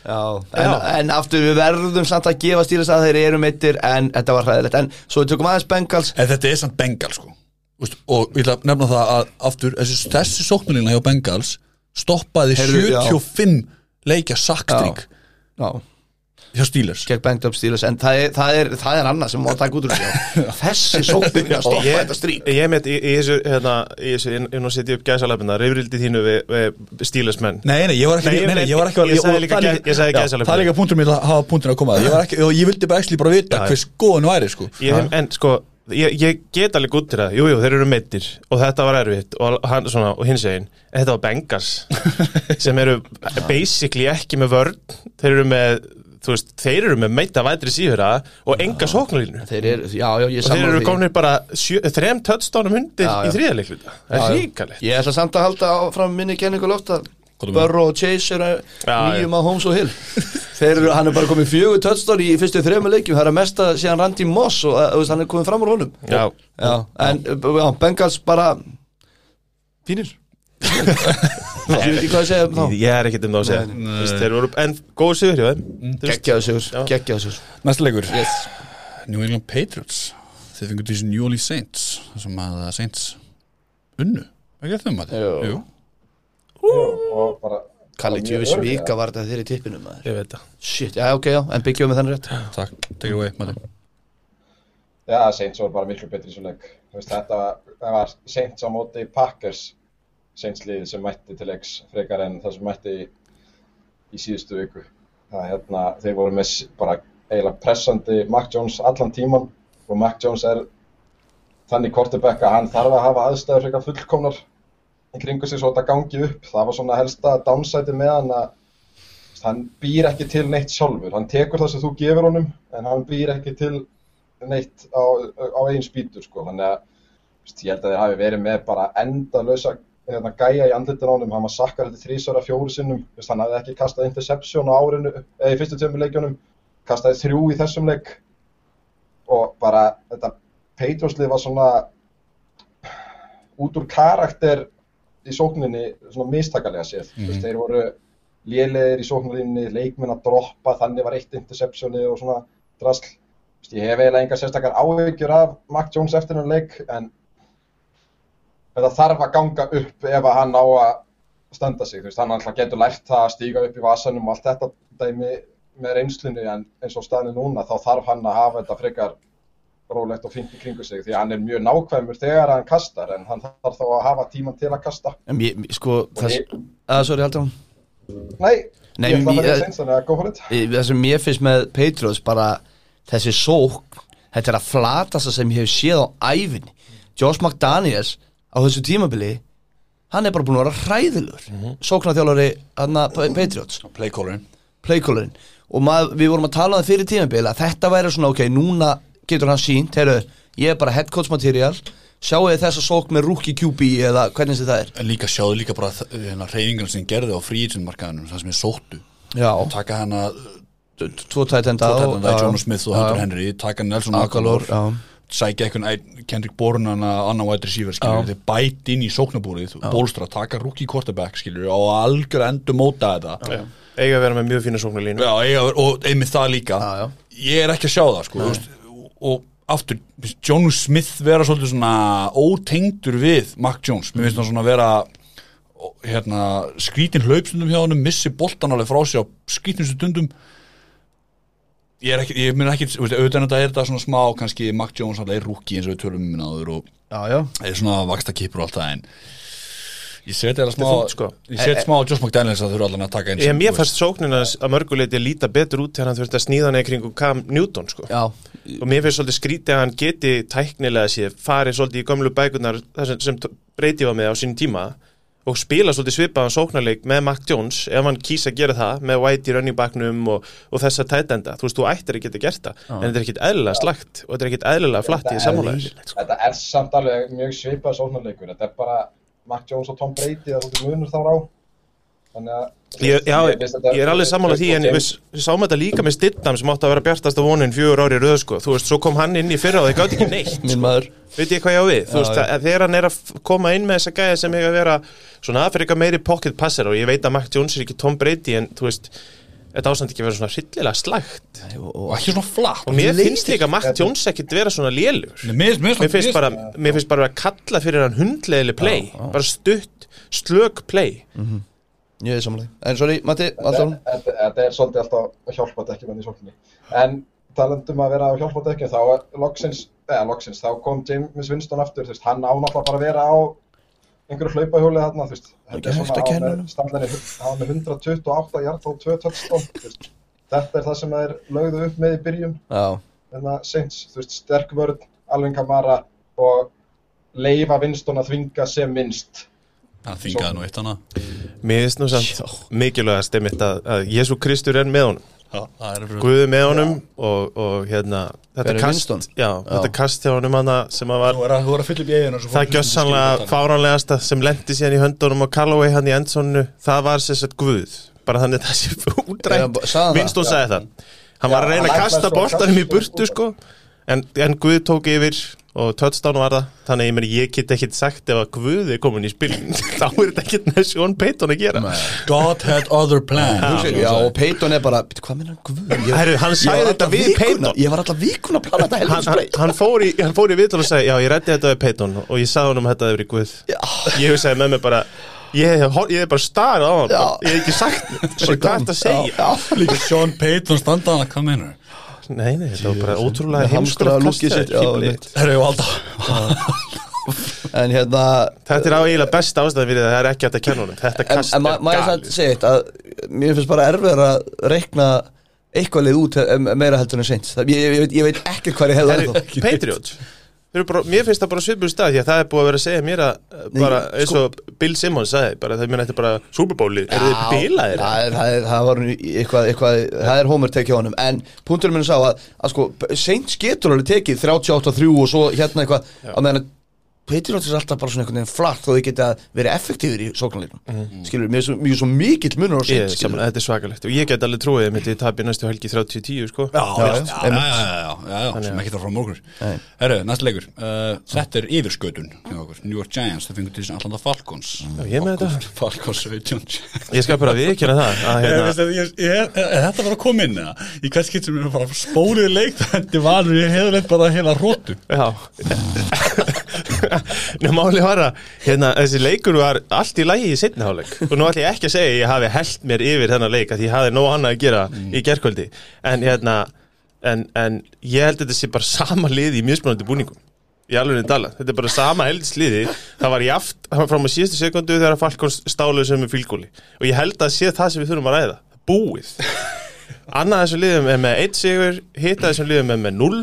[SPEAKER 2] Já, en, en aftur við verðum samt að gefa stílis að þeir eru meittir en þetta var hræðilegt, en svo við tökum aðeins Bengals
[SPEAKER 1] En þetta er samt Bengal sko Vist, Og ég ætla að nefna það að aftur Þessi, þessi sóknulina hjá Bengals Stoppaði
[SPEAKER 2] Heyrðu, já.
[SPEAKER 1] 75 leikja sakkstrík
[SPEAKER 2] Já,
[SPEAKER 1] Hjá Steelers
[SPEAKER 2] gegn banged up Steelers en það er, það er, það er annað sem má taka út úr
[SPEAKER 4] [LAUGHS]
[SPEAKER 2] þessu þessi sóknir að stoppa
[SPEAKER 4] ég,
[SPEAKER 2] þetta strík
[SPEAKER 4] ég met í, í þessu, hérna, í þessu inn, inn og setja upp gæsalöfna, reyfrildi þínu við, við stílasmenn
[SPEAKER 1] Nei, nei, ég var ekki,
[SPEAKER 4] Nei,
[SPEAKER 1] nei,
[SPEAKER 4] ég-
[SPEAKER 1] nei, ég var ekki
[SPEAKER 4] ég sagði
[SPEAKER 1] og
[SPEAKER 4] líka
[SPEAKER 1] það er
[SPEAKER 4] gæ- ég sagði
[SPEAKER 1] já,
[SPEAKER 4] gæsalöfn.
[SPEAKER 1] Það er líka punktur mér að hafa punktur að koma að Ég, var ekki, og ég vildi bara ekki bara vita
[SPEAKER 4] Já,
[SPEAKER 1] hver skoðan væri sko
[SPEAKER 4] ég, hef- en sko ég, ég get alveg út til það, jújú, jú, þeir eru meittir og þetta var erfitt og, hann, svona, og hins einn, þetta var Bengals
[SPEAKER 2] [LAUGHS]
[SPEAKER 4] sem eru basically ekki með vörn, þeir eru með þú veist, þeir eru með meita vætri sífura og enga sóknulínu og
[SPEAKER 2] þeir eru, já, já, ég er
[SPEAKER 4] þeir
[SPEAKER 2] sammála
[SPEAKER 4] eru
[SPEAKER 2] því.
[SPEAKER 4] komnir bara sjö, þrem töttstónum hundir
[SPEAKER 2] Já, já.
[SPEAKER 4] í þriðarleikluta það
[SPEAKER 2] Já,
[SPEAKER 4] er
[SPEAKER 2] já.
[SPEAKER 4] ríkalegt
[SPEAKER 2] ég ætla samt að halda áfram minni kenningu loft að
[SPEAKER 1] Hvað er með?
[SPEAKER 2] Burrow og Chase eru
[SPEAKER 4] Já, já.
[SPEAKER 2] nýjum á Holmes og Hill þeir eru, hann er bara komið fjögur touchdown í fyrstu þrejum leikjum, það er að mesta síðan Randy Moss og uh, hann er komið fram úr honum
[SPEAKER 4] Já,
[SPEAKER 2] já, en uh, já, Bengals bara fínir
[SPEAKER 4] [LAUGHS]
[SPEAKER 2] ég veit ekki hvað að segja um þá
[SPEAKER 4] ég er ekkert um það að segja Þú veist, þeir voru, en góð sigur hjá þeim Þú veist,
[SPEAKER 2] geggjaðu sigur, geggjaðu sigur
[SPEAKER 1] Næsta leikur yes. New England Patriots Þeir fengur þessi New Orleans Saints þar Sem að Saints unnu Ekki að þau maður
[SPEAKER 2] Jú.
[SPEAKER 3] Jú, og bara
[SPEAKER 2] Kalli,
[SPEAKER 3] Mjög
[SPEAKER 2] tjöfis
[SPEAKER 3] örugglega.
[SPEAKER 2] vika var þetta þér í tippinu maður
[SPEAKER 4] ég veit það
[SPEAKER 2] Shit, já, ok, já, en byggjum við þennan rétt
[SPEAKER 1] Takk, take it away maður
[SPEAKER 3] já, Saints var bara miklu betri í svo leik Þú veist, þetta var, það var Saints á móti Packers Saints liðið sem mætti til leiks frekar en það sem mætti í, í síðustu viku það, er hérna, þeir voru með s- bara eiginlega pressandi Mac Jones allan tíman og Mac Jones er þannig quarterback að hann þarf að hafa aðstæður frekar fullkomnar í kringu sig svo þetta gangi upp það var svona helsta downside með hann að hann býr ekki til neitt sjálfur hann tekur það sem þú gefur honum en hann býr ekki til neitt á, á eigin spýtur sko. þannig að veist, ég held að þeir hafi verið með bara endalösa hérna, gæja í andlitin á honum, hann var sakkar þetta þrísvara fjóru sinnum, veist, hann hafði ekki kastað interception á árinu, eða í fyrstu tjömmu leikjunum kastaði þrjú í þessum leik og bara þetta Patrioslið var svona út úr karakter í sókninni svona mistakalega séð, mm veist, þeir voru lélegir í sókninni, leikmenn að droppa þannig var eitt interceptionið og svona drasl, Veist, ég hef eiginlega engar sérstakar áhyggjur af Mac Jones eftir hann leik en þetta þarf að ganga upp ef að hann á að standa sig, þú veist, hann alltaf getur lært það að stíga upp í vasanum og allt þetta dæmi með reynslunni en eins og staðinu núna þá þarf hann að hafa þetta frekar rólegt og fínt í kringu sig því að hann er mjög nákvæmur þegar hann kastar en hann þarf þá að hafa tíman til að kasta
[SPEAKER 2] En ég, sko, það að, sorry, haldur hann
[SPEAKER 3] Nei,
[SPEAKER 2] Nei,
[SPEAKER 3] ég ætla að
[SPEAKER 2] mér-
[SPEAKER 3] vera
[SPEAKER 4] eh,
[SPEAKER 3] seins þannig að go for it
[SPEAKER 2] Það sem ég finnst með Patriots bara þessi sók þetta er að flatasta sem ég hef séð á ævinni Josh McDaniels á þessu tímabili hann er bara búin að vera hræðilur mm -hmm. sóknarþjálfari hana, Patriots
[SPEAKER 1] Playcallerinn
[SPEAKER 2] playcallerinn og maður, við vorum að tala um það fyrir tímabili að þetta væri svona ok, núna getur hann sínt heyrðu, ég er bara head coach material sjáu þið þessa sók með rookie QB eða hvernig sem það er
[SPEAKER 1] En líka sjáðu líka bara þ- hérna reyningan sem gerði á fríinsindmarkaðunum það sem ég sóttu
[SPEAKER 2] Já,
[SPEAKER 1] taka hana
[SPEAKER 2] tvo tætenda
[SPEAKER 1] Tóttenda, John Smith og Hunter Henry taka Nelson
[SPEAKER 2] Aguilar,
[SPEAKER 1] Aguilar
[SPEAKER 2] já.
[SPEAKER 1] sækja einhvern einn- Kendrick Bourne hana annan wide receiver skilur
[SPEAKER 2] Já.
[SPEAKER 1] þeir bæti inn í sóknabúrið bólstra taka rookie quarterback skilur og algjör endur móta þetta já.
[SPEAKER 4] eiga að vera með mjög fína sóknarlínu
[SPEAKER 1] eiga, og einmitt það líka
[SPEAKER 2] Já, já.
[SPEAKER 1] ég er ekki að sjá það sko, þú veist, og aftur, finnst John Smith vera svolítið svona ótengdur við Mac Jones, mér finnst hann svona vera ó, hérna, skrítin hlaupstundum hjá hann, missi boltan alveg frá sér á skrítinustu stundum ég er ekki, ég minn ekki þú veist, auðvitað en þetta er þetta svona smá, kannski Mac Jones alltaf er rúki eins og við tölum um minnaður og
[SPEAKER 2] Já, já
[SPEAKER 1] er svona vaksta kipur og allt það en ég seti alveg smá
[SPEAKER 4] Þetta er þungt, sko.
[SPEAKER 1] ég seti smá Josh McDaniels að þurfa allan að taka eins
[SPEAKER 4] Ég, mér fannst sóknina að mörguleiti líta betur út þegar hann þurfti að sníða hann eða kringu Cam Newton sko.
[SPEAKER 2] Já,
[SPEAKER 4] og mér finnst svolítið skrítið að hann geti tæknilega sér farið svolítið í gömlu bækunar sem, sem breytið var með á sínum tíma og spila svolítið svipaðan sóknarleik með Mac Jones ef hann kýsa að gera það með White í running backnum og, og þessa tætenda þú veist, þú ættir ekki að geta gert það en þetta er ekkit eðlilega slagt og þetta er ekkit eðlilega flatt í sammálaðis
[SPEAKER 3] Þetta er samt alveg mjög svipað sóknarleikur Þetta er bara Mark Jones og Tom Brady það er svolítið munur þar á Þannig að
[SPEAKER 4] Ég, já,
[SPEAKER 3] Ég finnst þetta-
[SPEAKER 4] ég er alveg sammála því en við s- við sáum þetta líka með Stidham sem átti að vera bjartasta vonin fjögur ári röð sko. þú veist, svo kom hann inn í fyrra og það gátt ekki neitt
[SPEAKER 2] [LAUGHS] minn maður
[SPEAKER 4] veit ég hvað ég á við, þú
[SPEAKER 2] Já,
[SPEAKER 4] veist,
[SPEAKER 2] já.
[SPEAKER 4] að þegar hann er að f- koma inn með þessa gæði sem hefur að vera svona aðferðika meiri pocket passer og ég veit að Mac Jones er ekki Tom Brady en þú veist, þetta ástand ekki að vera svona hryllilega slagt
[SPEAKER 1] og ekki svona flatt
[SPEAKER 4] og mér finnst líka Mac Jones ekkit vera svona lélur
[SPEAKER 1] Nei, mér, mér,
[SPEAKER 4] mér finnst bara, mér finnst bara að kalla fyrir hann hundlegili play, bara stutt slök play
[SPEAKER 2] Ég er samanlega En sorry, Matti, alltaf hún
[SPEAKER 3] þetta þetta er svolítið alltaf að hjálpa dekkjum hérna í sókninni en talandum að vera að hjálpa dekkjum þá er loksins, eða loksins þá kom James Winston aftur, þú veist, hann á náttúrulega bara að vera á einhverju hlaupahjóli þarna, þú veist
[SPEAKER 2] Ekki hægt að kenna
[SPEAKER 3] hann
[SPEAKER 2] honum.
[SPEAKER 3] með standinni hann með 128 hjart og 2 touchdown þú veist. þetta er það sem er lögðu upp með í byrjum
[SPEAKER 2] Já,
[SPEAKER 3] en það seins, þú veist, sterk vörð alveg kamara og leifa Winston að þvinga sem minnst
[SPEAKER 1] hann þingaði nú eitt hana
[SPEAKER 4] Mér finnst nú samt mikilvægast einmitt að, að Jésu Kristur er með honum
[SPEAKER 1] það er fyrir
[SPEAKER 4] Guði með honum og, og hérna þetta
[SPEAKER 2] Barry
[SPEAKER 4] kast,
[SPEAKER 2] Winston?
[SPEAKER 4] já, þetta kast hjá honum hana sem að var
[SPEAKER 1] Þú er að, þú er að fylla upp í eiginu
[SPEAKER 4] það gjössanlega fáránlegasta sem lendi síðan í höndunum á Callaway hann í endsonu það var sér sett Guð bara þannig að það sé
[SPEAKER 2] Já,
[SPEAKER 4] útrænt
[SPEAKER 2] bara- sagði hann
[SPEAKER 4] Winston sagði það hann var að reyna
[SPEAKER 3] hann
[SPEAKER 4] að
[SPEAKER 3] ætlaði
[SPEAKER 4] kasta
[SPEAKER 3] svo að
[SPEAKER 4] boltanum í
[SPEAKER 3] kasta
[SPEAKER 4] burtu sko en, en Guð tók yfir og touchdown var það þannig að ég, meni, ég get ekkit sagt ef að Guð er komin í spil [LAUGHS] þá er þetta ekkit með Sean Payton að gera
[SPEAKER 1] um God had other plan hugsaði ég.
[SPEAKER 2] já og Peyton er bara "Bíddu, Hvað minn hann guð? Ég-
[SPEAKER 4] Herru, hann
[SPEAKER 2] ég
[SPEAKER 4] sagði
[SPEAKER 2] var
[SPEAKER 4] þetta
[SPEAKER 2] alla
[SPEAKER 4] við
[SPEAKER 2] vikuna-
[SPEAKER 4] Peyton.
[SPEAKER 2] Ég var alltaf vikun að plana þetta
[SPEAKER 4] hann,
[SPEAKER 2] helvins
[SPEAKER 4] hann,
[SPEAKER 2] play
[SPEAKER 4] hann fór í, hann fór í viðtal og sagði já ég rætti þetta við Peyton og ég sagði honum að þetta hefur verið guð ég hefur sagði með mér bara ég hef, hor- ég hef bara starað á hann
[SPEAKER 2] Já.
[SPEAKER 4] ég hef ekki
[SPEAKER 2] [LAUGHS]
[SPEAKER 4] sagt neitt. Bara, hvað er þetta að segja
[SPEAKER 2] Já,
[SPEAKER 1] Líka Sean Payton standaðan að hvað meinar
[SPEAKER 4] nei nei þetta var bara ótrúlega
[SPEAKER 2] Með hamstraða
[SPEAKER 4] heimskulegt
[SPEAKER 2] lúkið sitt, já,
[SPEAKER 4] kastað.
[SPEAKER 2] einmitt.
[SPEAKER 1] Herru, og alltaf
[SPEAKER 2] en hérna
[SPEAKER 4] þetta er á eiginlega besta ástæðan fyrir það það er ekki hægt að kenna honum þetta
[SPEAKER 2] En,
[SPEAKER 4] kast
[SPEAKER 2] en ma
[SPEAKER 4] er
[SPEAKER 2] maður
[SPEAKER 4] galið
[SPEAKER 2] sagði segið að mér finnst bara erfiðar að reikna eitthvað leið út eh, meira heldur en seint Það- ég, ég, veit, ég veit ekki hvað ég hefði
[SPEAKER 4] Herru, Patriot Þeir eru bara, mér finnst það bara svipur stað því að það er búið að vera að segja mér að uh, bara
[SPEAKER 2] sko-
[SPEAKER 4] eins og Bill Simmons sagði bara það meina þetta er bara Superbowli, eru þið bilaðir?
[SPEAKER 2] Já, Það er, það er, það var nú í- eitthvað, eitthvað, það er homer tekið á honum En punkturinn minn sá að, að sko, Saints getur alveg tekið 38-3 og svo hérna eitthvað Á meðan að Patriots er alltaf bara svona einhvern veginn flatt Þó þið geta verið effektífur í sóknarleiknum Skilur, mér er svo, mjög svo mikill munur á
[SPEAKER 4] Mhm. Ég,
[SPEAKER 2] Saints
[SPEAKER 4] saman,
[SPEAKER 2] skilur
[SPEAKER 4] þetta er svakalegt og ég get alveg trúið að ég tapir næstu helgi 30-10 sko
[SPEAKER 1] Já, já, já,
[SPEAKER 2] já,
[SPEAKER 1] já, já, já, já, já, sem ekki þarf frá morgur Herru, næsta leikur uh, Þetta er yfirskötun hjá okkur New York Giants, þau fengur til þess Atlanta Falcons
[SPEAKER 4] ég með þetta.
[SPEAKER 1] Falcons- Falcons 17
[SPEAKER 4] Ég skal bara viðkjöna það að,
[SPEAKER 1] Ég
[SPEAKER 4] [LAUGHS] hérna,
[SPEAKER 1] veist að ég- ég- er Þetta var að koma inn eða? Í hvert skipt sem við erum bara spórið leik [LAUGHS] Þetta var alveg heðurleitt bara heila rótu
[SPEAKER 4] Já Nú máli var að hérna, þessi leikur var allt í lagi í seinni hálfleik og nú ætla ég ekki að segja að ég hafi held mér yfir þennan leik að ég hafi nóg annað að gera í gerkvöldi en hérna en, en ég held að þetta sé bara sama liði í mismunandi búningum í alveg niður tala, þetta er bara sama eldsliði það var jaft frá maður síðustu sekundu þegar Falkons stáluðu sem er fylgóli og ég held að sé það sem við þurfum að ræða búið annað þessum liðum er með 1 sigur, hitta þessum liðum er með 0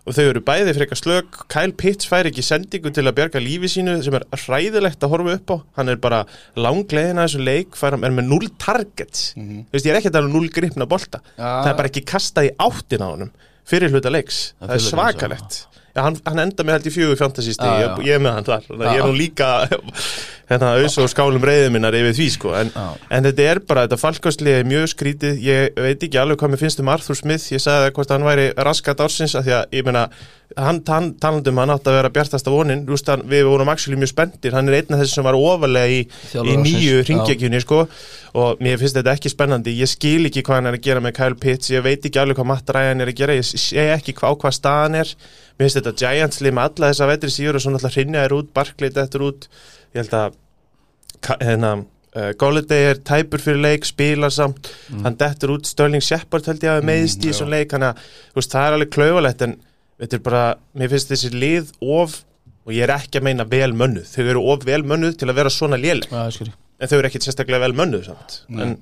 [SPEAKER 4] og þau eru bæði frekar slök Kyle Pitts fær ekki sendingu til að bjarga lífi sínu sem er hræðilegt að horfa upp á hann er bara langlegin að þessum leik fær, hann- er með 0 targets þú veist ég er ekki að tala um 0 gripna bolta
[SPEAKER 2] Ja.
[SPEAKER 4] það er bara ekki kastað í áttin á honum fyrir hluta leiks, það
[SPEAKER 2] fyrir hluta
[SPEAKER 4] er
[SPEAKER 2] leiks,
[SPEAKER 4] svakalegt Já, hann, hann enda með held í fjögur fantasy stigi,
[SPEAKER 2] Já, já.
[SPEAKER 4] ég, ég er með hann þar þannig að ég er nú líka hérna, auðs og skálum reyðið minnar yfir því sko. en,
[SPEAKER 2] Já.
[SPEAKER 4] en þetta er bara, þetta falkastlið er mjög skrítið, ég veit ekki alveg hvað mér finnst um Arthur Smith, ég sagði það hvort hann væri raskat ársins, af því að ég meina hann tan, talandum hann átt að vera bjartasta vonin Þú veist, hann, við vorum actually mjög spendir hann er einn af þessi sem var ofalega í,
[SPEAKER 2] Þjálfari
[SPEAKER 4] í nýju
[SPEAKER 2] ársins, já.
[SPEAKER 4] ringjakjunni sko. og mér finnst þetta ekki spennandi ég skil ekki hvað hann er að gera með Kyle Pitts ég veit ekki alveg hvað Matt Ryan er að gera ég sé ekki hvað á hvað staðan er mér finnst þetta Giants lið með alla þessa vetri síður og svona alltaf hrinja er út, Barkley þetta er út ég held að Ka- hérna, uh, Golladay er tæpur fyrir leik, spilar samt hann dettur út, Störling Shepard held ég að meðist í þessum leik, hann að þú veist, það er alveg klaufalegt en þetta er bara, mér finnst þessi lið of og ég er ekki að meina vel mönnuð þau eru of vel mönnuð til að vera svona léleg
[SPEAKER 2] Já, ég skil
[SPEAKER 4] en þau eru ekkit sérstaklega vel mönnuð samt en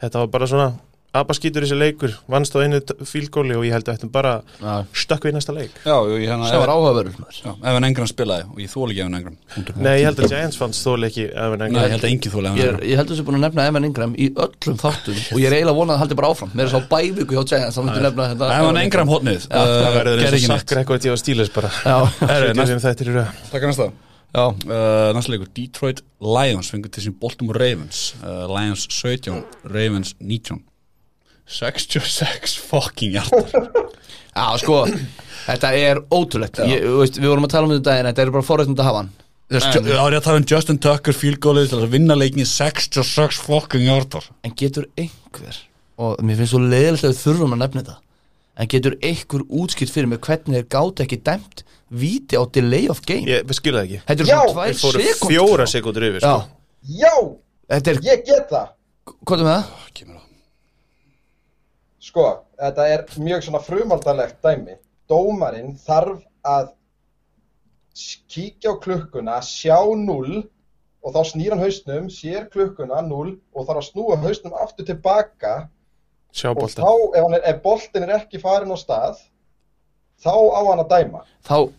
[SPEAKER 4] þetta var bara svona abaskýtur þessi leikur, vannst á einu fílgóli og ég held að þetta bara
[SPEAKER 2] Já.
[SPEAKER 4] stökk við næsta leik
[SPEAKER 1] Já, jú, ég hérna
[SPEAKER 2] Það var áhugaverður
[SPEAKER 1] Já, ef hann engram spilaði og ég þóla ekki ef hann engram
[SPEAKER 4] Nei, ég held að Giants fannst þóli ekki Evan
[SPEAKER 1] Nei, ég
[SPEAKER 4] Engram.
[SPEAKER 1] held að engin þóla ef hann
[SPEAKER 2] Ég, er-
[SPEAKER 1] engram
[SPEAKER 2] ég heldur þessi búin að nefna Evan Ingram í öllum þáttum og ég er eiginlega vonað að það haldi bara áfram Mér er sá bæviku hjá Giants að myndi nefna þetta
[SPEAKER 1] Ef hann engram hotnið uh,
[SPEAKER 4] það verður
[SPEAKER 1] Gerði
[SPEAKER 4] eins
[SPEAKER 1] ekki
[SPEAKER 4] og
[SPEAKER 1] neitt
[SPEAKER 4] sakkar eitthvað tíu á stílis
[SPEAKER 2] [LAUGHS]
[SPEAKER 4] bara
[SPEAKER 2] Já,
[SPEAKER 4] Það er um þetta í röð
[SPEAKER 1] Takk að næsta
[SPEAKER 2] já,
[SPEAKER 1] Uh, næsta leikur, Detroit Lions fengur til sín Baltimore Ravens uh, Lions 17, Ravens 19 66 fucking hjartar
[SPEAKER 2] já, sko Þetta er ótrúlegt ég, þú veist, Við vorum að tala um þetta en þetta er bara forréttund að hafa hann
[SPEAKER 1] Þess-
[SPEAKER 2] En-
[SPEAKER 1] Já, ég að tala um Justin Tucker fílgólið til að vinna leikin 66 fucking hjartar
[SPEAKER 2] En getur einhver Og mér finnst svo leiðilegt að við þurfum að nefna þetta En getur einhver útskipt fyrir mig hvernig þeir gátu ekki dæmt Víti á delay of game
[SPEAKER 4] Ég skilja það ekki
[SPEAKER 2] Þetta er
[SPEAKER 3] Já,
[SPEAKER 2] svona
[SPEAKER 4] Þeir
[SPEAKER 2] tvær
[SPEAKER 4] fóru
[SPEAKER 2] sekúndur
[SPEAKER 4] fjóra sekundur yfir
[SPEAKER 2] Já,
[SPEAKER 4] sko.
[SPEAKER 3] Já,
[SPEAKER 2] þetta er,
[SPEAKER 3] ég get það
[SPEAKER 2] hvað er með það?
[SPEAKER 3] Sko, þetta er mjög svona frumaldalegt dæmi. Dómarinn þarf að s- kíkja á klukkuna, sjá 0 og þá snýr hann hausnum, sér klukkuna 0 og þarf að snúa hausnum aftur tilbaka
[SPEAKER 4] Sjá
[SPEAKER 3] og
[SPEAKER 4] bolta
[SPEAKER 3] þá ef, hann er, ef boltin er ekki farin á stað þá á hann að dæma.
[SPEAKER 2] Þá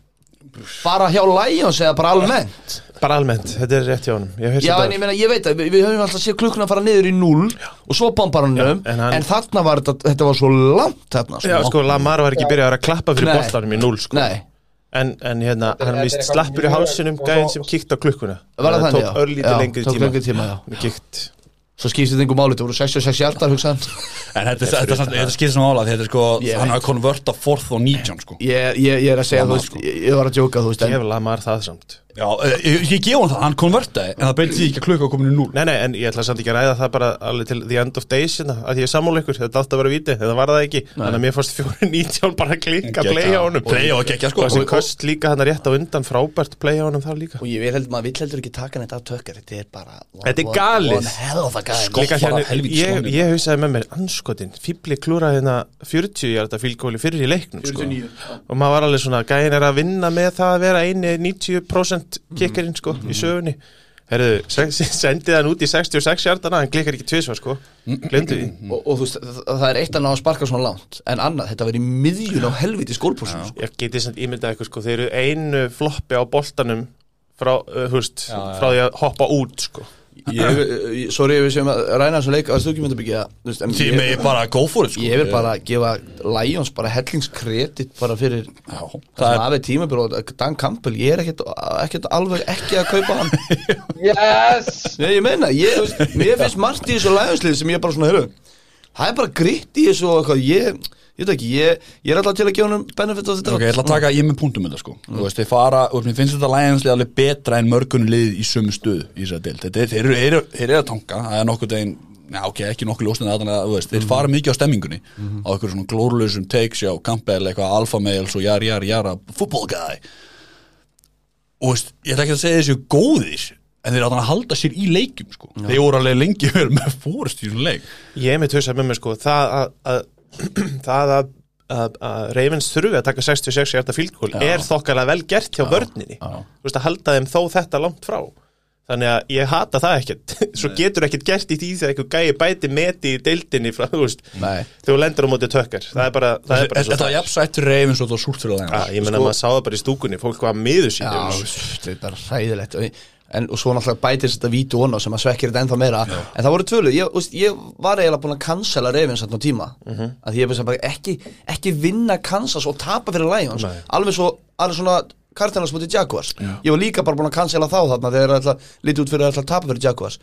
[SPEAKER 2] bara hjá Lions eða bara almennt
[SPEAKER 4] Bara almennt, þetta er rétt hjá honum Ég hef
[SPEAKER 2] Já, en
[SPEAKER 4] heyrt
[SPEAKER 2] ég
[SPEAKER 4] þetta
[SPEAKER 2] meina, ég veit að við, við höfum alltaf séð klukkuna fara niður í 0 og svo bombaranum,
[SPEAKER 4] Já, en
[SPEAKER 2] en,
[SPEAKER 4] hann-
[SPEAKER 2] þarna var þetta, þetta var svo langt þarna sko.
[SPEAKER 4] Já, sko, Lamar var ekki byrjað að klappa fyrir
[SPEAKER 2] Nei.
[SPEAKER 4] boltanum í núl sko.
[SPEAKER 2] Nei,
[SPEAKER 4] En, en hérna,
[SPEAKER 3] er-
[SPEAKER 4] hann
[SPEAKER 3] þetta er
[SPEAKER 4] vist
[SPEAKER 3] eitthvað
[SPEAKER 4] slappur í
[SPEAKER 3] mjög-
[SPEAKER 4] hálsinum
[SPEAKER 3] og
[SPEAKER 4] Gæðin
[SPEAKER 3] svo-
[SPEAKER 4] sem kíkt á klukkuna
[SPEAKER 2] Var það þannig, já?
[SPEAKER 4] tók örlítið
[SPEAKER 2] Já,
[SPEAKER 4] lengri
[SPEAKER 2] Eh, tók
[SPEAKER 4] tíma
[SPEAKER 2] lengri tíma, já.
[SPEAKER 4] Kíkt
[SPEAKER 2] svo skýrst þetta einhver máli, þetta voru 66 hjartar, hugsaðan
[SPEAKER 1] En þetta, þetta, þetta, þetta skýrst sem ála þetta er sko,
[SPEAKER 2] Ég
[SPEAKER 1] hann er að konverta 4th og 19 sko.
[SPEAKER 2] ég, ég, ég er að segja, þú veist, ég, sko. ég var að djóka, þú veist en,
[SPEAKER 4] Gef Lamar það samt
[SPEAKER 1] Já, eh, ég, ég gef hann það, hann konvertaði en það beintið ekki að klukka á kominu 0
[SPEAKER 4] Nei, nei, en ég ætla samt ekki að ræða það bara alveg til the end of days hérna, að ég er sammála ykkur, þetta átti að vera víti, en það var það ekki þannig að mér fannst 4.19 bara klikka play á honum
[SPEAKER 1] Play á að gegja
[SPEAKER 4] og
[SPEAKER 1] sko
[SPEAKER 4] þessi köst líka hann rétt á undan frábært play á honum þar líka
[SPEAKER 2] Og ég vil heldur, maður vill heldur ekki taka neitt af tökkar Þetta er bara
[SPEAKER 4] Þetta er galið.
[SPEAKER 2] One hell of a galið
[SPEAKER 1] Sko-
[SPEAKER 4] Líka
[SPEAKER 1] Fara
[SPEAKER 4] hérna,
[SPEAKER 1] helvítis
[SPEAKER 4] ég,
[SPEAKER 1] vonum.
[SPEAKER 4] ég hugsaði með mér anskotin, fýbli klúra hérna 40 hjarta fylgóli fyrir í leiknum sko. og maður var alveg svona, gæin er að vinna með það að vera eini 90% kikkarinn sko, í sögunni Herðu, se- se- sendið hann út í 66 hjartana, hann klikkar ekki tvisvar sko glemdu því,
[SPEAKER 2] og, og þú veist, það, það er eitt að ná að sparka svona langt En annað, þetta var í miðjun á helviti skólpúsum sko.
[SPEAKER 4] ég geti samt ímyndað eitthvað sko, þeir eru einu floppi á boltanum frá, uh, húst, frá því að hoppa út sko
[SPEAKER 2] ég, ég- Sorry, við séum að ræna þessu leik að þú ekki myndi byggja þú veist, en
[SPEAKER 1] Því
[SPEAKER 2] ég-
[SPEAKER 1] með ég bara go for it sko
[SPEAKER 2] Ég vil bara gefa Lions bara hellingskredit bara fyrir
[SPEAKER 1] Já,
[SPEAKER 2] það
[SPEAKER 1] það
[SPEAKER 2] sem
[SPEAKER 1] er
[SPEAKER 2] aðeins tímabil Dan Campbell, ég er ekkert, ekkert alveg ekki að kaupa [LAUGHS] hann
[SPEAKER 3] Yes!
[SPEAKER 2] Nei, ég meina, ég, þú veist, mér finnst margt í þessu Lionslið sem ég bara svona, heyrðu Það er bara gritt í þessu og eitthvað Ég, ég veit ekki, ég, ég er alltaf til að gefa hann benefit á þetta
[SPEAKER 1] Ok, ég ætla að taka, ég er með punktum þetta sko
[SPEAKER 4] Mm.
[SPEAKER 1] Þú veist, þeir fara, og mér finnst þetta lægjanslið alveg betra en mörgun lið í sömu stöðu í þessari deild, þetta er, þeir eru, eru, þeir eru að tanka það er nokkuð deginn, já ok, ekki nokkuð ljósnið að þannig að, þú veist,
[SPEAKER 4] Mm.
[SPEAKER 1] þeir fara mikið á stemmingunni
[SPEAKER 4] Mhm.
[SPEAKER 1] á einhverjum svona glórulausum takes já, Campbell, eitthvað alfa males og jar, jar, jara football guy og veist, ég ætla ekki að segja þessu góðir en þeir eru að halda sér í leikjum sko. þeir voru alveg lengi [LAUGHS] vel með fórst í svona leik
[SPEAKER 4] Ég er með tausa með mér sko [CLEARS THROAT] það að, að, það að að að Ravens þurfi að taka 66 hjarta fílgól er þokkalega vel gert hjá vörninni
[SPEAKER 1] já.
[SPEAKER 4] þú veist að halda þeim þó þetta langt frá þannig að ég hata það ekkert [LAUGHS] svo getur ekkert gert í því þegar einhver gæi bæti meti í deildinni frá, þú veist
[SPEAKER 2] Nei.
[SPEAKER 4] þegar þú lendur á móti tökkar það er bara, það er Sko, bara
[SPEAKER 1] Þetta var sko- jafnsættur reyfins og það var súrt fyrir
[SPEAKER 4] ja,
[SPEAKER 1] það
[SPEAKER 4] ég menna maður sá það bara í stúkunni fólk var miður
[SPEAKER 2] Já,
[SPEAKER 4] síðan
[SPEAKER 2] þetta er bara hræðilegt og, en, og svo náttúrulega bætist þetta vítu onna sem að svekkir þetta ennþá meira en það voru tvölu, ég, úst, ég var eiginlega búin að cancela Ravens þarna á tíma mm
[SPEAKER 4] Mhm.
[SPEAKER 2] -hmm. að ég bara, ekki, ekki vinna Kansas og tapa fyrir Lions
[SPEAKER 4] Nei.
[SPEAKER 2] alveg svo, alveg svona Cardinals mútið Jaguars, ég var líka bara búin að cancela þá þarna þegar þeir ætla lítið út fyrir að ætla að tapa fyrir Jaguars,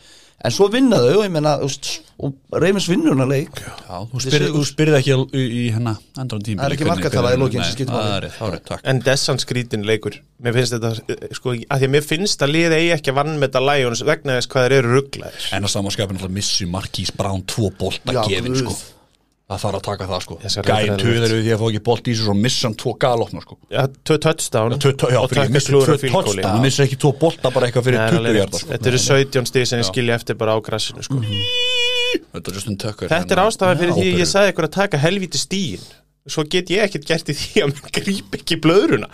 [SPEAKER 2] en svo vinna þau og ég menna, úst, og Ravens vinnur hana leik
[SPEAKER 1] Já, þú spyrð- þú spyrði ekki í, í hennar endur tíma
[SPEAKER 2] Það er ekki markatala í lokin sem skiptir máli.
[SPEAKER 1] Það er rétt, það er rétt, takk
[SPEAKER 4] en dessan skrítin leikur mér finnst þetta, eh, sko, að því að mér finnst að liða eigi ekki að vannmeta Lions vegna þess hvað þeir eru rugglaðir
[SPEAKER 1] En að samanskapin alltaf missi Markís Brown tvo bolta
[SPEAKER 2] Já,
[SPEAKER 1] gefin
[SPEAKER 2] guð.
[SPEAKER 1] sko Það þarf að taka það sko
[SPEAKER 4] Þessi er
[SPEAKER 1] Gæin
[SPEAKER 4] reyndar
[SPEAKER 1] töður
[SPEAKER 4] erfitt.
[SPEAKER 1] við því að fá ekki bolt í sig og missa hann tvo galopna sko
[SPEAKER 4] ja, tvö touchdown
[SPEAKER 1] Tvö- tvö- Já,
[SPEAKER 4] og
[SPEAKER 1] fyrir ekki,
[SPEAKER 4] tökkar
[SPEAKER 1] missi
[SPEAKER 4] klúður
[SPEAKER 1] tvö
[SPEAKER 4] og
[SPEAKER 1] touchdown,
[SPEAKER 4] fílgóli
[SPEAKER 1] hann missi ekki tvo bolta bara eitthvað
[SPEAKER 4] Nei,
[SPEAKER 1] fyrir
[SPEAKER 4] alveg
[SPEAKER 1] 20
[SPEAKER 4] rétt.
[SPEAKER 1] hjarta sko
[SPEAKER 4] Þetta eru 17 stíð sem ég skilja eftir bara á grassinu sko.
[SPEAKER 1] Þetta er Justin Tucker
[SPEAKER 4] Þetta er
[SPEAKER 1] hérna.
[SPEAKER 4] ástæðan fyrir
[SPEAKER 1] Já,
[SPEAKER 4] því að
[SPEAKER 1] ábyrgur.
[SPEAKER 4] ég sagði ykkur að taka helvíti stíðin Svo get ég ekkert gert í því að mér gríp ekki blöðruna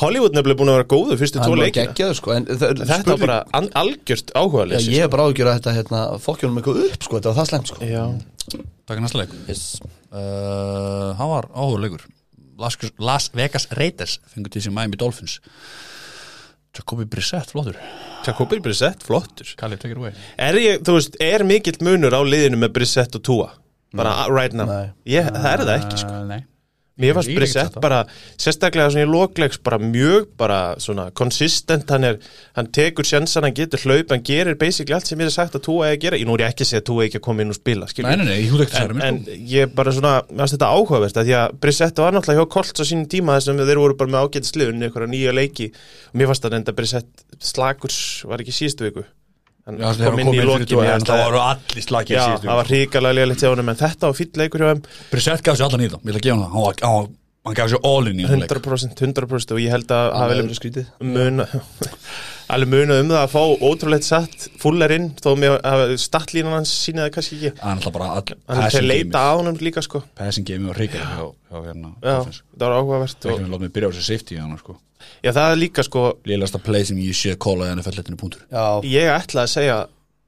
[SPEAKER 4] Hollywood nefnilega búin að vera góðu fyrstu tvo
[SPEAKER 2] hann var
[SPEAKER 4] leikina
[SPEAKER 2] geggjaður sko en það-
[SPEAKER 4] Þetta var
[SPEAKER 2] spurning-
[SPEAKER 4] bara an- algjört sko.
[SPEAKER 2] Já,
[SPEAKER 4] áhugaðleysi
[SPEAKER 2] ég er bara ágjör að þetta hérna, fokkjónum eitthvað upp sko, þetta var það slemt sko
[SPEAKER 4] Já,
[SPEAKER 1] Takk næsta leik Uh, Hann var áhugleikur Las, Las Vegas Raiders fengur til sem Miami Dolphins Jacobi Brissett, flottur
[SPEAKER 4] Jakobi Brissett, flottur
[SPEAKER 1] Kalli, take it away
[SPEAKER 4] Er, ég, þú veist, er mikill munur á liðinu með Brissett og Tua? Bara right now
[SPEAKER 2] Nei.
[SPEAKER 4] ég, Það er það ekki sko
[SPEAKER 1] uh, Nei
[SPEAKER 4] Mér fannst
[SPEAKER 1] Ég er
[SPEAKER 4] Brissett
[SPEAKER 1] ekki
[SPEAKER 4] bara, sérstaklega svona í lokleiks bara mjög bara svona konsistent, hann er, hann tekur sjansan, hann getur hlaup, hann gerir basically allt sem ég er sagt að Tua eigi að gera, ég nú er ég ekki að segja að Tua eigi að koma inn og spila,
[SPEAKER 1] Nei,
[SPEAKER 4] skilur
[SPEAKER 1] nei, nei, ég hútt ekkert að
[SPEAKER 4] En,
[SPEAKER 1] særa
[SPEAKER 4] en
[SPEAKER 1] mér
[SPEAKER 4] ég bara svona, mér fannst þetta áhugavert að því að Brissett var náttúrulega hjá Colts á sínum tíma þessum þeir voru bara með ágætt sliðunni, einhverja nýja leiki og mér fannst að enda Brissett slakurs var ekki í síðustu viku hann
[SPEAKER 1] Já, þegar hann kom inn fyrir
[SPEAKER 4] lokin,
[SPEAKER 1] Tua,
[SPEAKER 4] ég
[SPEAKER 1] en
[SPEAKER 4] held
[SPEAKER 1] þá
[SPEAKER 4] að-
[SPEAKER 1] voru allir slakir
[SPEAKER 4] Já,
[SPEAKER 1] síðustu
[SPEAKER 4] það var hrikalega leiligt hjá honum en þetta var fýll leikur hjá hann
[SPEAKER 1] Brissett gaf sér allan í það, ég ætla að gefa hann það Hann, var, hann, var, hann gaf sér all in í hann leik
[SPEAKER 4] 100% 100% og ég held að
[SPEAKER 2] Það
[SPEAKER 4] hafi
[SPEAKER 2] verið skrítið.
[SPEAKER 4] muna, [LAUGHS] alveg muna um það að fá ótrúleitt satt fullerinn þó með að stattlínan hans sínaði kannski ekki
[SPEAKER 1] Hann ætla bara all
[SPEAKER 4] hann er til að
[SPEAKER 1] passing
[SPEAKER 4] leita
[SPEAKER 1] game
[SPEAKER 4] á honum líka sko
[SPEAKER 1] Passing game var hrikar hjá, hjá hérna
[SPEAKER 4] já,
[SPEAKER 1] Dolphins.
[SPEAKER 4] það var
[SPEAKER 1] Það
[SPEAKER 4] áhugavert
[SPEAKER 1] er
[SPEAKER 4] og,
[SPEAKER 1] ekki með látt mig byrja á þessu safety hann sko
[SPEAKER 4] já, það er líka sko,
[SPEAKER 1] Lélasta play sem ég sé kóla í NFL-letinu punktur
[SPEAKER 2] Já,
[SPEAKER 4] ég ætla að segja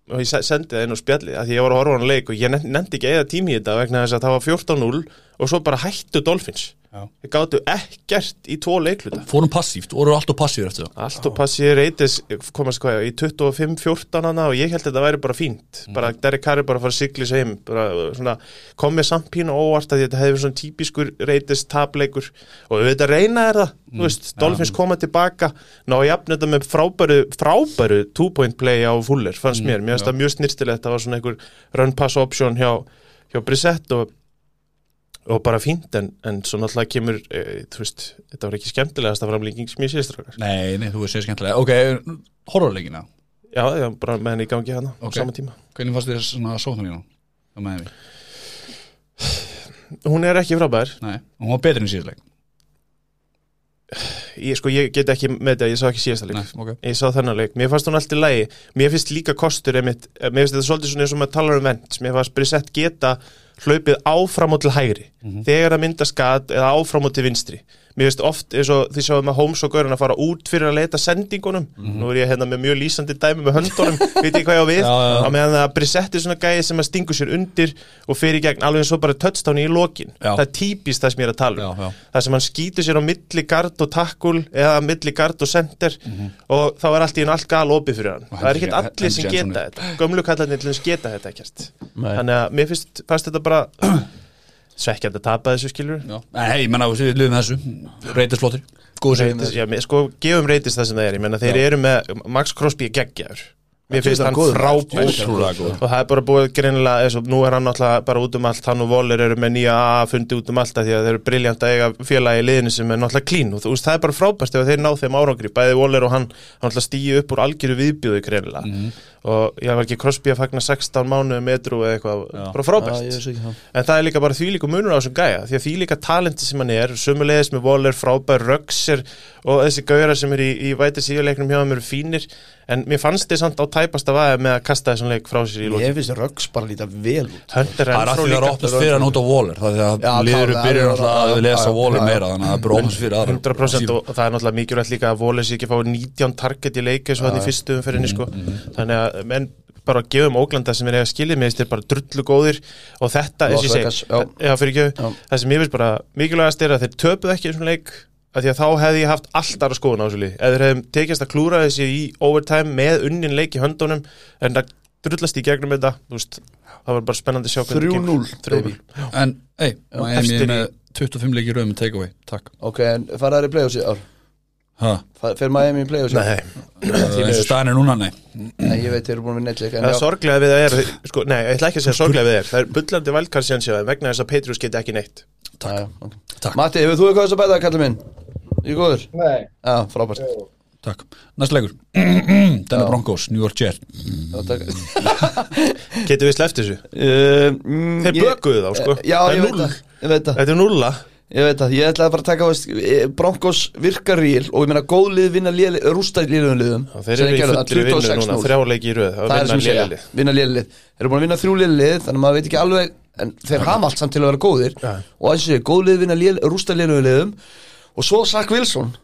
[SPEAKER 4] og ég se- sendi það inn á spjallið að því ég var að horfa á hann leik og ég nef- nefndi ekki eða tími í þetta vegna þess að það var 14-0 og svo bara hættu Dolphins
[SPEAKER 1] Já.
[SPEAKER 4] þeir gáttu ekkert í tvo leikluta
[SPEAKER 1] Fórum passíft, voru alltaf passífur eftir það
[SPEAKER 4] Allt og passi reytis komast hvað í 25-14 hana og ég held að þetta væri bara fínt bara Derek Carr er bara að fara að siglis heim bara, uh, svona, kom með samt pínu óvart að þetta hefði verið svona típiskur reytis tapleikur og auðvitað reyna er það þú veist, Dolphins koma tilbaka ná að jafna þetta með frábæru frábæru two-point play á Fuller fannst mér, mér finnst það mjög snirtilegt það var svona einhver run-pass option hjá, hjá Brissett og og bara fínt en, en svo náttúrulega kemur e, þú veist, þetta var ekki skemmtilegast að framlíking sem ég séð strákar
[SPEAKER 1] Nei, nei, þú veist sér skemmtilega Ok, horrorleikina
[SPEAKER 4] Já, já, bara með henni í gangi hana
[SPEAKER 1] Ok.
[SPEAKER 4] á sama tíma.
[SPEAKER 1] Hvernig fannst þér svona sóknar í hann? Það með því
[SPEAKER 4] Hún er ekki frábær.
[SPEAKER 1] Nei, hún var betri en síðusleik
[SPEAKER 4] Ég, sko, ég get ekki með þetta, ég sá ekki síðasta leik.
[SPEAKER 1] Nei, ok
[SPEAKER 4] Ég sá þennan leik. Mér fannst hún allt í lagi. Mér finnst líka kostur einmitt, eh, mér finnst þetta svolítið svona eins og maður talar um vent. Mér fannst Brissett geta hlaupið áfram og til hægri.
[SPEAKER 1] Mhm.
[SPEAKER 4] Þegar það mynda skat eða áfram og til vinstri. Mér finnst oft eins og því sjáum að Holmes og Gaurin að fara út fyrir að leita sendingunum. Nú er ég hérna með mjög lýsandi dæmi með
[SPEAKER 1] [LAUGHS]
[SPEAKER 4] höndunum, veit ég hvað ég á við.
[SPEAKER 1] Mhm. Já, já.
[SPEAKER 4] Á meðan að Brissett er svona gæði sem að stingu sér undir og fer í gegn alveg eins og bara touchdown í lokin.
[SPEAKER 1] Já.
[SPEAKER 4] Það er típist það sem ég er að tala um.
[SPEAKER 1] Já, já.
[SPEAKER 4] það sem hann skýtur sér á milli gard og takkul eða milli gard og sender og þá er allt í hennu allt gal opið fyrir hann
[SPEAKER 1] Og
[SPEAKER 4] það er
[SPEAKER 1] Henry-
[SPEAKER 4] ekkert allir sem
[SPEAKER 1] Henry Jensen
[SPEAKER 4] geta
[SPEAKER 1] er-
[SPEAKER 4] þetta gömlu kallarnir til þess geta þetta ekkert
[SPEAKER 2] Nei.
[SPEAKER 4] þannig að mér finnst, fannst þetta bara [CLEARS THROAT] svekkjandi að tapa þessu skilur
[SPEAKER 1] Já. Nei, ég menna, við liðum með þessu Reytis flottir Góðu
[SPEAKER 4] Reytis, já, mér- sko, gefum reytist það sem það er ég menna þeir eru með, Max Crosby er geggjaður mér finnst
[SPEAKER 2] er
[SPEAKER 4] hann
[SPEAKER 2] góður.
[SPEAKER 4] frábær
[SPEAKER 1] Ótrúlega góð
[SPEAKER 4] og það er bara búið greinilega eins og nú er hann náttúrulega bara út um allt hann og Voller eru með nýja AA fundi út um allt af því að þeir eru briljant að eiga félagi í liðinu sem er náttúrulega klín og þú veist það er bara frábært ef þeir ná þeim árangri bæði Voller og hann hann náttúrulega stýju upp úr algjöru viðbjöðu greinilega og ég var ekki Crosby að fagna 16 mánuði metru eða eitthvað bara
[SPEAKER 2] Já,
[SPEAKER 4] frábært
[SPEAKER 2] ég veist ekki það
[SPEAKER 4] En það er líka bara þvílíku munur á þessum gæja Því að þvílíka talenti sem hann er Sumulegis með Waller, frábær, Röxer Og þessi gauðar sem er í, í væti síðuleiknum hjá þeim eru fínir En mér fannst þið samt á tæpast að vaða með að kasta þessum leik frá sér í lókin
[SPEAKER 2] Ég finnst Ruggs bara líta vel út
[SPEAKER 4] Hunter
[SPEAKER 1] Það er
[SPEAKER 4] er
[SPEAKER 1] að
[SPEAKER 4] ennþá
[SPEAKER 1] því það er
[SPEAKER 4] líka
[SPEAKER 1] opnast fyrir hann út á Waller Það er því
[SPEAKER 2] Já,
[SPEAKER 1] að liður
[SPEAKER 2] klárlega,
[SPEAKER 1] byrjar
[SPEAKER 2] já,
[SPEAKER 1] alltaf
[SPEAKER 2] já,
[SPEAKER 1] að lesa
[SPEAKER 2] já,
[SPEAKER 1] Waller
[SPEAKER 2] já,
[SPEAKER 1] meira Þannig að það er bara opnast fyrir aðra
[SPEAKER 4] 100% og, og það er náttúrulega mikilvægt líka að Wallace ekki fá 19 target í leik eins og hann í fyrstu umferðinni sko. þannig að menn bara gefum Óglanda sem er eða skilið með þeir bara drullu góðir og þetta,
[SPEAKER 2] Las
[SPEAKER 4] eins og ég
[SPEAKER 2] Vegas,
[SPEAKER 4] segi
[SPEAKER 2] já.
[SPEAKER 4] já, fyrir
[SPEAKER 2] Já.
[SPEAKER 4] ekki, það sem ég veist bara mikilvægast er að þeir töpuð ekki þessum leik að því að þá hefði ég haft allt aðra skoðun á þessu lið eða þeir hefðum tekjast að klúra þessi í overtime með unnin leik í höndunum en það drullast í gegnum þetta þú veist, það var bara spennandi að sjá hvernig gengur.
[SPEAKER 2] 3-0 baby.
[SPEAKER 4] 3-0
[SPEAKER 1] En, ei, Miami
[SPEAKER 4] efstir
[SPEAKER 1] er
[SPEAKER 4] í-
[SPEAKER 1] með 25 leikir rauð með takeaway Takk
[SPEAKER 2] Ok, en fara þær í playoffs í ár
[SPEAKER 1] Ha,
[SPEAKER 2] Fa- Fer Miami í playoffs í ár
[SPEAKER 4] Nei,
[SPEAKER 1] eins og staðan er núna, nei
[SPEAKER 2] Nei, ég veit þeir eru búin að vinna eitt leik en já,
[SPEAKER 4] Það er sorglega við það er, sko, nei, ég ætla ekki að segja sorglega við það er, það er bullandi valkarsjansjáðum vegna þess að Petrus geti ekki neitt.
[SPEAKER 2] já, já, ok.
[SPEAKER 1] Takk.
[SPEAKER 2] Matti, hefur þú eitthvað þess að bæta, kallar minn? Ég góður?
[SPEAKER 3] Nei,
[SPEAKER 2] Já, frábært
[SPEAKER 1] Takk, næst leikur [CLEARS THROAT] Denver Broncos, New York Jets
[SPEAKER 2] Já, takk.
[SPEAKER 4] Getum við sleppt þessu?
[SPEAKER 2] Um, mm,
[SPEAKER 4] Ehm, Þeir
[SPEAKER 2] ég-
[SPEAKER 4] bökuðu þá, sko.
[SPEAKER 2] Já,
[SPEAKER 4] Það er
[SPEAKER 2] ég veit
[SPEAKER 4] núll.
[SPEAKER 2] það Ég veit það,
[SPEAKER 4] Þetta er nulla.
[SPEAKER 2] ég veit það Ég ætlaði bara að taka, veist, eh, Broncos virkar ríl og ég meina góð lið vinna léli- rústa líðum liðum
[SPEAKER 4] Og Þeir
[SPEAKER 2] Sem
[SPEAKER 4] eru í
[SPEAKER 2] gerðu það,
[SPEAKER 4] fullri vinnu
[SPEAKER 2] 26-0.
[SPEAKER 4] núna, þrjáleiki í röð.
[SPEAKER 2] það er sem ég segja, vinna lélið þeir eru búin að vinna þrjú lélið, þannig að maður veit ekki alveg en þeir hafa allt samt til að vera góðir
[SPEAKER 4] Já.
[SPEAKER 2] og eins og ég, góð lið vinna lélið, rústa léliðum og svo Sack Wilson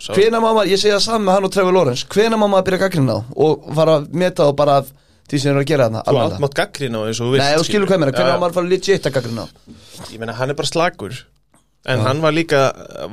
[SPEAKER 4] segja.
[SPEAKER 2] hvena maður, ég segja það saman með hann og Trevor Lawrence hvena maður að byrja gaggrina á og fara að meta þá bara af því sem þeir eru að gera þarna
[SPEAKER 4] Þú
[SPEAKER 2] almennilega.
[SPEAKER 4] átt mátt gaggrín á eins og þú
[SPEAKER 2] Nei, þú skilur hvað ég meina,
[SPEAKER 4] Já,
[SPEAKER 2] hvernig á
[SPEAKER 4] já.
[SPEAKER 2] maður að fara legit að gaggrina á
[SPEAKER 4] Ég meina, hann er bara slagur. En hann var líka,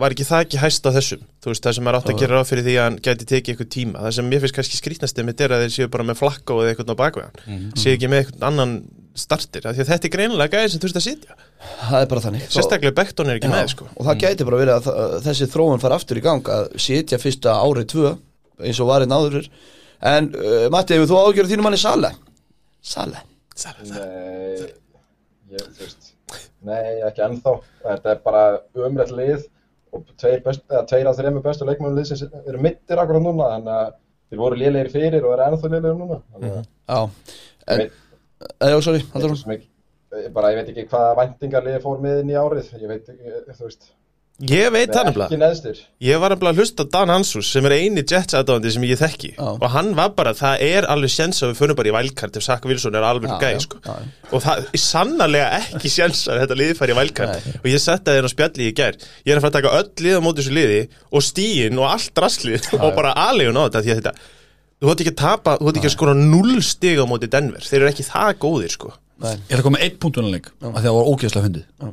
[SPEAKER 4] var ekki það ekki hæst á þessum Þú veist, það sem er átt að gera ráð fyrir því að hann gæti tekið eitthvað tíma Það sem mér finnst kannski skrýtnasti mitt er að þeir séu bara með flakka og eitthvað á bakvegan mm
[SPEAKER 2] Mhm.
[SPEAKER 4] Séu ekki með eitthvað annan startir af Því að þetta er greinilega gæði sem þurft að sitja
[SPEAKER 2] það er bara þannig Svo-
[SPEAKER 4] Sérstaklega Becton er ekki með sko
[SPEAKER 2] og það gæti bara verið að þa- þessi þróun fara aftur í gang að sitja fyrsta árið tvö eins og varinn áður fyrr. en uh, Matti, hefur þú ágjörð þínum manni Sala? Sala?
[SPEAKER 4] sko.
[SPEAKER 3] nei ég, þú veist, Nei, ekki ennþá Þetta er bara umrætt lið og tveir, best, eða, tveir að þreimur bestu leikmennum liðsins eru mittir akkurat núna þannig að þeir voru lélegir fyrir og eru ennþá lélegir núna þannig að
[SPEAKER 2] Já,
[SPEAKER 3] ég
[SPEAKER 2] en,
[SPEAKER 3] veit-
[SPEAKER 2] en já, sorry,
[SPEAKER 3] ég
[SPEAKER 2] haldur
[SPEAKER 3] veit
[SPEAKER 2] hún
[SPEAKER 3] svo mikið- ég bara ég veit ekki hvaða væntingar liði fór með inn í árið ég veit, ég, þú veist
[SPEAKER 4] Ég veit það
[SPEAKER 3] Nei,
[SPEAKER 4] nefnilega
[SPEAKER 3] ekki neðstir
[SPEAKER 4] Ég var nefnilega að hlusta á Dan Hansus sem er eini Jets aðdáðandi sem ég þekki
[SPEAKER 2] Já.
[SPEAKER 4] og hann var bara, það er alveg sjens að við förum bara í vælkart ef Saka Wilson er alveg
[SPEAKER 2] Já, já,
[SPEAKER 4] gæði sko.
[SPEAKER 2] já, já.
[SPEAKER 4] og það er sannarlega ekki sjens að þetta liði fari í vælkart og ég setti þeirn á spjalli í gær ég er að fara að taka öll liða móti þessu liði og stíin og allt rasslið og bara aðlegun á þetta því að þetta þú hótt ekki að tapa, þú hótt ekki að skora null stig á móti Denver, þeir eru ekki það góðir sko.
[SPEAKER 1] Ég er að koma með eitt punktunarleik að því að það var ógeðslega fyndið og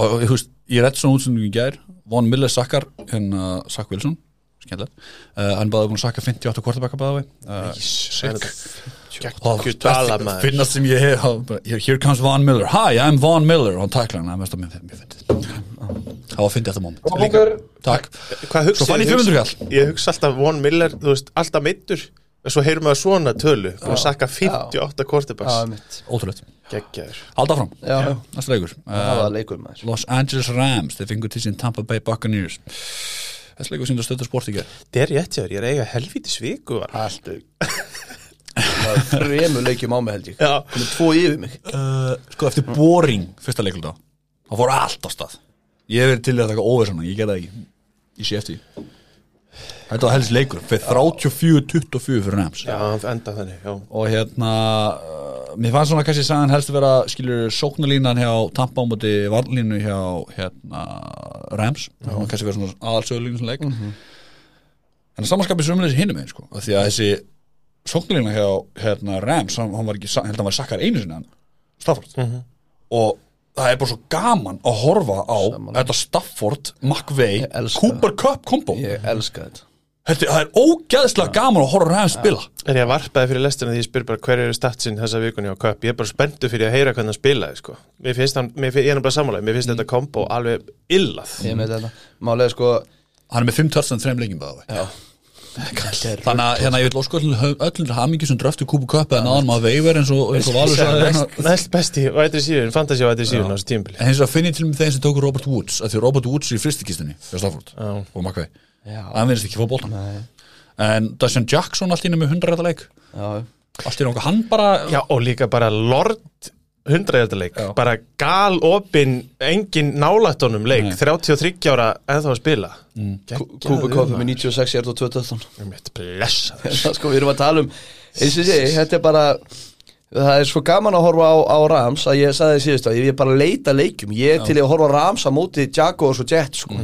[SPEAKER 1] og, ég veist, ég rétt svona útsendingu í gær Von Miller sakkar hérna Sack Wilson skemmtilegt, uh, hann bæði búin að sakka 58 kvartabækka bæði uh,
[SPEAKER 4] Gekk-
[SPEAKER 1] og
[SPEAKER 4] dvala, maður.
[SPEAKER 1] finnast sem ég hef þá bara, here comes Von Miller, hi I'm Von Miller og hann tækla hann, það er mest að mér mér fyndið það var fyndið þetta moment
[SPEAKER 3] Góð punktur.
[SPEAKER 1] takk,
[SPEAKER 4] Hvað hugsa
[SPEAKER 1] Svo fann ég 500 kall.
[SPEAKER 4] Ég hugsa alltaf Von Miller, þú veist, alltaf meittur og svo heyrum við að svona tölu og sakka 58
[SPEAKER 2] Já,
[SPEAKER 4] kortibars
[SPEAKER 2] mitt
[SPEAKER 1] ótrúleitt
[SPEAKER 4] geggjaður
[SPEAKER 1] halda fram,
[SPEAKER 2] Já, já.
[SPEAKER 1] næsta leikur
[SPEAKER 2] Það
[SPEAKER 1] uh,
[SPEAKER 2] var leikur maður
[SPEAKER 1] Los Angeles Rams, þeir fengur til sín Tampa Bay Buccaneers þessi leikur síndu stöttur sport í gær
[SPEAKER 4] Þetta er rétt hjá þér, ég er að eiga helvíti sviku var.
[SPEAKER 2] Haldur Það var þremur leikjum á mig held ég
[SPEAKER 4] Já,
[SPEAKER 2] Komið tvo yfir mig
[SPEAKER 1] uh, sko eftir boring fyrsta leikluta það fór allt á stað ég hef verið til í að taka óversana, ég gerði það ekki ég sé eftir því. þetta var helst leikur fyrir 34-24 fyrir Rams
[SPEAKER 4] já enda þannig já.
[SPEAKER 1] og hérna uh, mér fannst svona kannski sagan helst að vera skilur sóknarlínan hjá Tampa á móti varnlínu hjá hérna Rams, svona kannski verið svona aðalsöðlínu svona leik mm
[SPEAKER 2] Mhm.
[SPEAKER 1] -hmm. en samanskapið sömulegis hinum einn sko af því að þessi sóknarlína hjá hérna Rams, hann, hann var ekki, sa- ég held að hann var sakkar einu sinni hann, Stafford
[SPEAKER 2] Mhm.
[SPEAKER 1] og það er bara svo gaman að horfa á þetta Stafford, McVay,
[SPEAKER 2] Ég elska
[SPEAKER 1] Cooper Cup kombo,
[SPEAKER 2] Ég elska þetta
[SPEAKER 1] þetta það er ógæðslega gaman að horfa á Rams spila
[SPEAKER 4] En ég varpaði fyrir lestina því ég spyr bara hverju eru statsin þessa vikunni á köp, ég er bara spenntu fyrir að heyra hvernig hann spilaði sko. Mér finnst hann, mér finnst, ég er bara sammálaði, mér finnst þetta kombo alveg illað.
[SPEAKER 2] Ég með þetta Málega sko
[SPEAKER 1] hann er með 5 touchdown 3 leikjum bæði
[SPEAKER 2] Já Þetta er
[SPEAKER 1] Þannig að hérna, ég vil ósku öllum til hamingi sem dröftu kúpu köpa en aðan maður veifar eins og, eins og Valur sagði hérna.
[SPEAKER 4] Næst, næst besti vætri síðun, fantasy vætri síðun á þessu tímbili.
[SPEAKER 1] En hins vegar finn ég til með þeim sem tóku Robert Woods að því Robert Woods er í fristikistinni hjá Stafford og Makvei
[SPEAKER 2] Já.
[SPEAKER 1] hann finnst ekki fóð bóltan En Dashan Jackson allt í einu með 100 rétta leik
[SPEAKER 2] Já
[SPEAKER 1] allt í einu hann bara
[SPEAKER 4] Já, og líka bara Lord 100 leik,
[SPEAKER 1] Já.
[SPEAKER 4] bara gal opinn, engin nálættunum leik,
[SPEAKER 1] Nei.
[SPEAKER 4] 33 ára eða þá að spila mm.
[SPEAKER 2] Kúpa Koffi með 96 er á 2012
[SPEAKER 4] blessaður
[SPEAKER 2] Það [LAUGHS] sko, við erum að tala um eins og sé, þetta er bara það er svo gaman að horfa á, á Rams að ég sagði síðust að ég er bara að leita leikjum ég er til í að horfa á Rams að móti Jaguars og Jets sko.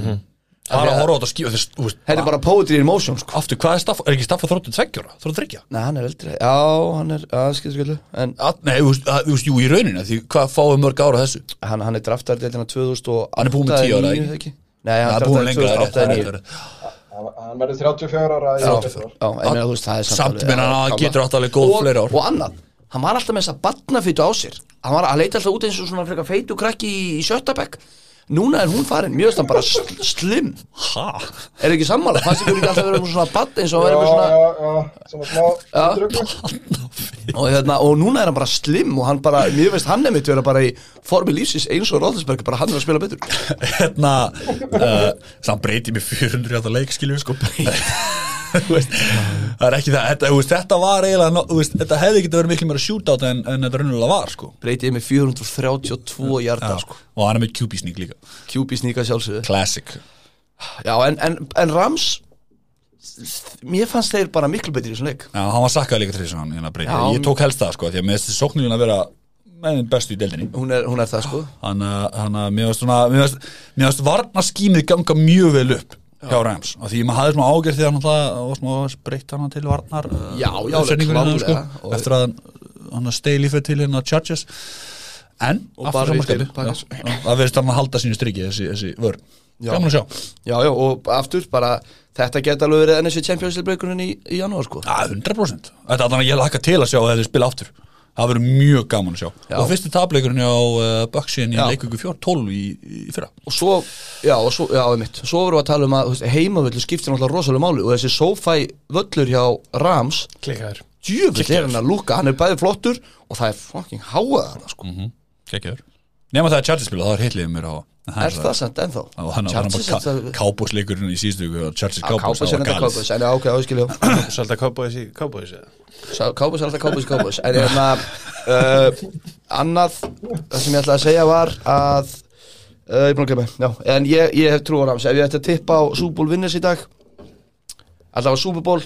[SPEAKER 1] Það er að horfa á þetta skífa þess, þú veist,
[SPEAKER 2] þetta er bara poetry in motion sko.
[SPEAKER 1] aftur, hvað er staff, er ekki staff að þróttu tveggjóra, þróttu þryggja?
[SPEAKER 2] Nei, hann er eldri, já, hann er já, skilur, skilur. en
[SPEAKER 1] Að- Nei, þú veist, að- þú veist, jú, í rauninu, því hvað fáum mörg ára þessu?
[SPEAKER 2] hann, hann er draftar deildina 2008
[SPEAKER 1] Hann er búinn með 10 ára, ekki?
[SPEAKER 2] ekki? Nei, hann
[SPEAKER 1] Það
[SPEAKER 2] er
[SPEAKER 1] er búin
[SPEAKER 2] draftar
[SPEAKER 1] lengra, það
[SPEAKER 2] 2008
[SPEAKER 1] er
[SPEAKER 2] eða 9
[SPEAKER 1] rétt,
[SPEAKER 3] Hann hann verður 34 ára í október.
[SPEAKER 2] Já, en meina, þú veist, það er
[SPEAKER 1] Samt
[SPEAKER 2] alveg-
[SPEAKER 1] meina, hann
[SPEAKER 2] gamla.
[SPEAKER 1] getur átt alveg góð
[SPEAKER 2] Og-
[SPEAKER 1] fleiri ár.
[SPEAKER 2] Og annað, hann var alltaf með þessa batnafýtu á sér Hann var að leita alltaf út eins og svona frekar feitu krakki í, í sjöttabekk Núna er hún farin, mjög stann bara sl slim
[SPEAKER 1] Ha?
[SPEAKER 2] Er ekki sammála, það sem ekki alltaf verið með svona batn eins og hann
[SPEAKER 3] Já,
[SPEAKER 2] verið með svona
[SPEAKER 3] já, já, svona smá
[SPEAKER 2] Já.
[SPEAKER 3] druggu.
[SPEAKER 2] og, hérna, og núna er hann bara slim og hann bara, mér finnst hann nefnitt vera bara í formi lífsins eins og Róðlisberg bara hann er að spila betur
[SPEAKER 1] hérna uh, samt breyti með 400 átta leik skilur sko [LAUGHS] Þú veist, það er ekki það, þetta, þú veist, þetta var eiginlega, no- þú veist, þetta hefði getið verið miklu meira shootout en, en þetta raunulega var sko.
[SPEAKER 2] Breytið með 432 hjarta
[SPEAKER 1] Já,
[SPEAKER 2] sko.
[SPEAKER 1] og hann er með QB-sník líka
[SPEAKER 2] QB sníka sjálfsögðu
[SPEAKER 1] classic,
[SPEAKER 2] Já, en, en, en Rams Mér fannst þeir bara miklu betur í þessum leik
[SPEAKER 1] já, hann var sakkað líka þrjus hann, hérna breyti,
[SPEAKER 2] Já.
[SPEAKER 1] ég tók helst það sko, því að mér þessi sóknilin að vera með þeim bestu í deildinni
[SPEAKER 2] Hún er, hún er það sko
[SPEAKER 1] hann, uh, hann að mér varst svona mér varst, mér varst varnaskýmið ganga mjög vel upp hjá Rams, af því maður hafði smá ágjörð því að hann alltaf var smá breytt hann til varnar uh,
[SPEAKER 2] Já, já, alveg
[SPEAKER 1] uppsetningunni hann, sko,
[SPEAKER 2] klárlega. Og-
[SPEAKER 1] eftir að hann- hann steili fyrir til hérna Chargers en
[SPEAKER 2] Og
[SPEAKER 1] aftur
[SPEAKER 2] bara í
[SPEAKER 1] samanskapi,
[SPEAKER 2] steini, Packers.
[SPEAKER 1] já, já, það verðist hann að halda sínu strikki þessi, þessi vörn
[SPEAKER 2] Já.
[SPEAKER 1] gaman að sjá,
[SPEAKER 2] Já, já, og aftur bara Þetta geta alveg verið NFC Champions League bleikurinn í, í janúar sko
[SPEAKER 1] að 100% þetta er þannig að ég laka til að sjá að þeir spila aftur það verður mjög gaman að sjá
[SPEAKER 2] Já.
[SPEAKER 1] og fyrsti tapleikurinn á uh, Böksin í
[SPEAKER 2] Já.
[SPEAKER 1] leikugu 4, 12 í, í fyrra
[SPEAKER 2] Og svo, já, og svo, já, einmitt Svo vorum við að tala um að þú veist, heimavöldu skiptir náttúrulega rosalega máli Og þessi sofæ völlur hjá Rams
[SPEAKER 4] klikkaður
[SPEAKER 2] Djöfull er hann að lúka, hann er bæði flottur Og það er fucking háaðan sko
[SPEAKER 1] Kekkiður Nefna það er Chargers spila, það er hitliðið mér á
[SPEAKER 2] Er það samt ennþá?
[SPEAKER 1] Og hann hann
[SPEAKER 2] Chargers
[SPEAKER 1] var
[SPEAKER 2] þetta-
[SPEAKER 1] bara kábúsleikurinn í síðustu viku og Chargers
[SPEAKER 2] Já,
[SPEAKER 1] kábús,
[SPEAKER 2] Cowboys er þetta Cowboys, en já, ok, áskiljum
[SPEAKER 4] Svolítið kábóðis í kábóðis
[SPEAKER 2] Cowboys er alltaf Cowboys, Cowboys En hérna uh, Annað, það sem ég ætlaði að segja var að uh, Ég er búin að glemma, já En ég, ég hef trú á Rams, ef ég ætti að tippa á Super Bowl vinners í dag Alltaf á Super Bowl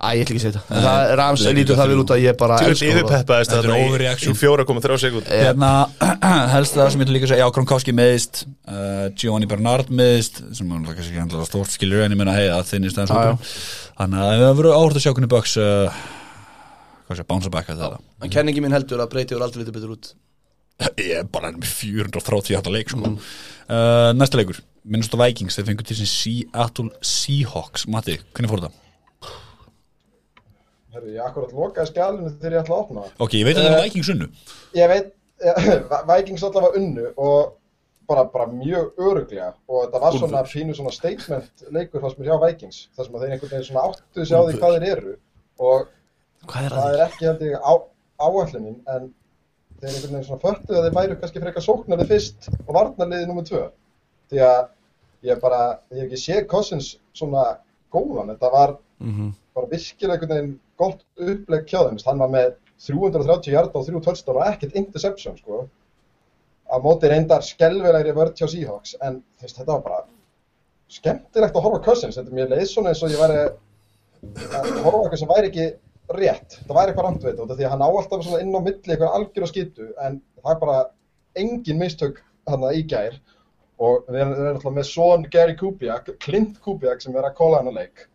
[SPEAKER 2] Æ, ég ætla ekki að segja þetta En það Rams
[SPEAKER 1] leikur
[SPEAKER 2] lítur það vel út að ég bara
[SPEAKER 4] Þú ert
[SPEAKER 2] elska horfa.
[SPEAKER 4] yfirpeppaðist
[SPEAKER 1] Þetta er
[SPEAKER 4] þarna í-
[SPEAKER 1] overreaction.
[SPEAKER 4] í 4,3 sekund
[SPEAKER 1] Hérna, [CLEARS THROAT] helst það sem ég ætla líka að segja Já, Kronkowski meðist uh, Giovanni Bernard meðist sem hann kannski ekki handlaða stórt skilur en ég menna hei að þinni stæðan
[SPEAKER 2] Já, já.
[SPEAKER 1] hópurinn. Þannig að það verður áhört að sjá hvernig Bucks uh, hvað sé, bounce back að þetta
[SPEAKER 2] En kenningi mín heldur að breyti úr aldrei litur betur út
[SPEAKER 1] Ég er bara með 430 hægt að leik sko. uh, Næsta leikur Minnust á Vikings, þeir fengur til sin Seattle Seahawks Matti, hvernig fór það?
[SPEAKER 3] Herru, ég akkurat lokaði skjálinu þegar ég ætla að opna það.
[SPEAKER 1] Ok, ég veit að það er Vikings unnu
[SPEAKER 3] Ég veit, eh, [CLEARS THROAT] Vikings allavega unnu og bara, bara mjög öruglega og þetta var svona pínu svona statement leikur fannst mér hjá Vikings þar sem að þeir einhvern veginn svona áttu sig á því hvað þeir eru og
[SPEAKER 2] Hvað er
[SPEAKER 3] það
[SPEAKER 2] að
[SPEAKER 3] er ekki held ég á, áallunin en þeir einhvern veginn svona förtu að þeir væru kannski frekar sóknarið fyrst og varnarliðið nummer tvö því að ég bara, ég hef ekki séð Cousins svona góðan, þetta var
[SPEAKER 2] Mhm.
[SPEAKER 3] bara virkilega einhvern veginn gott uppleg hjá þeim, hann var með 330 hjarta og 3 touchdown og ekkert interception sko á móti reyndar skelvelegri vörð hjá Seahawks en þú veist, þetta var bara skemmtilegt að horfa á Cousins, þetta mér leið svona eins og ég væri að horfa á eitthvað sem væri ekki rétt, það væri eitthvað rangt við þetta út af því að hann á alltaf svona inn á milli eitthvað algjör og skýtu en það er bara engin mistök hann í gær og við erum, við erum alltaf með son Gary Kubiak, Clint Kubiak sem er að kóla hann að leik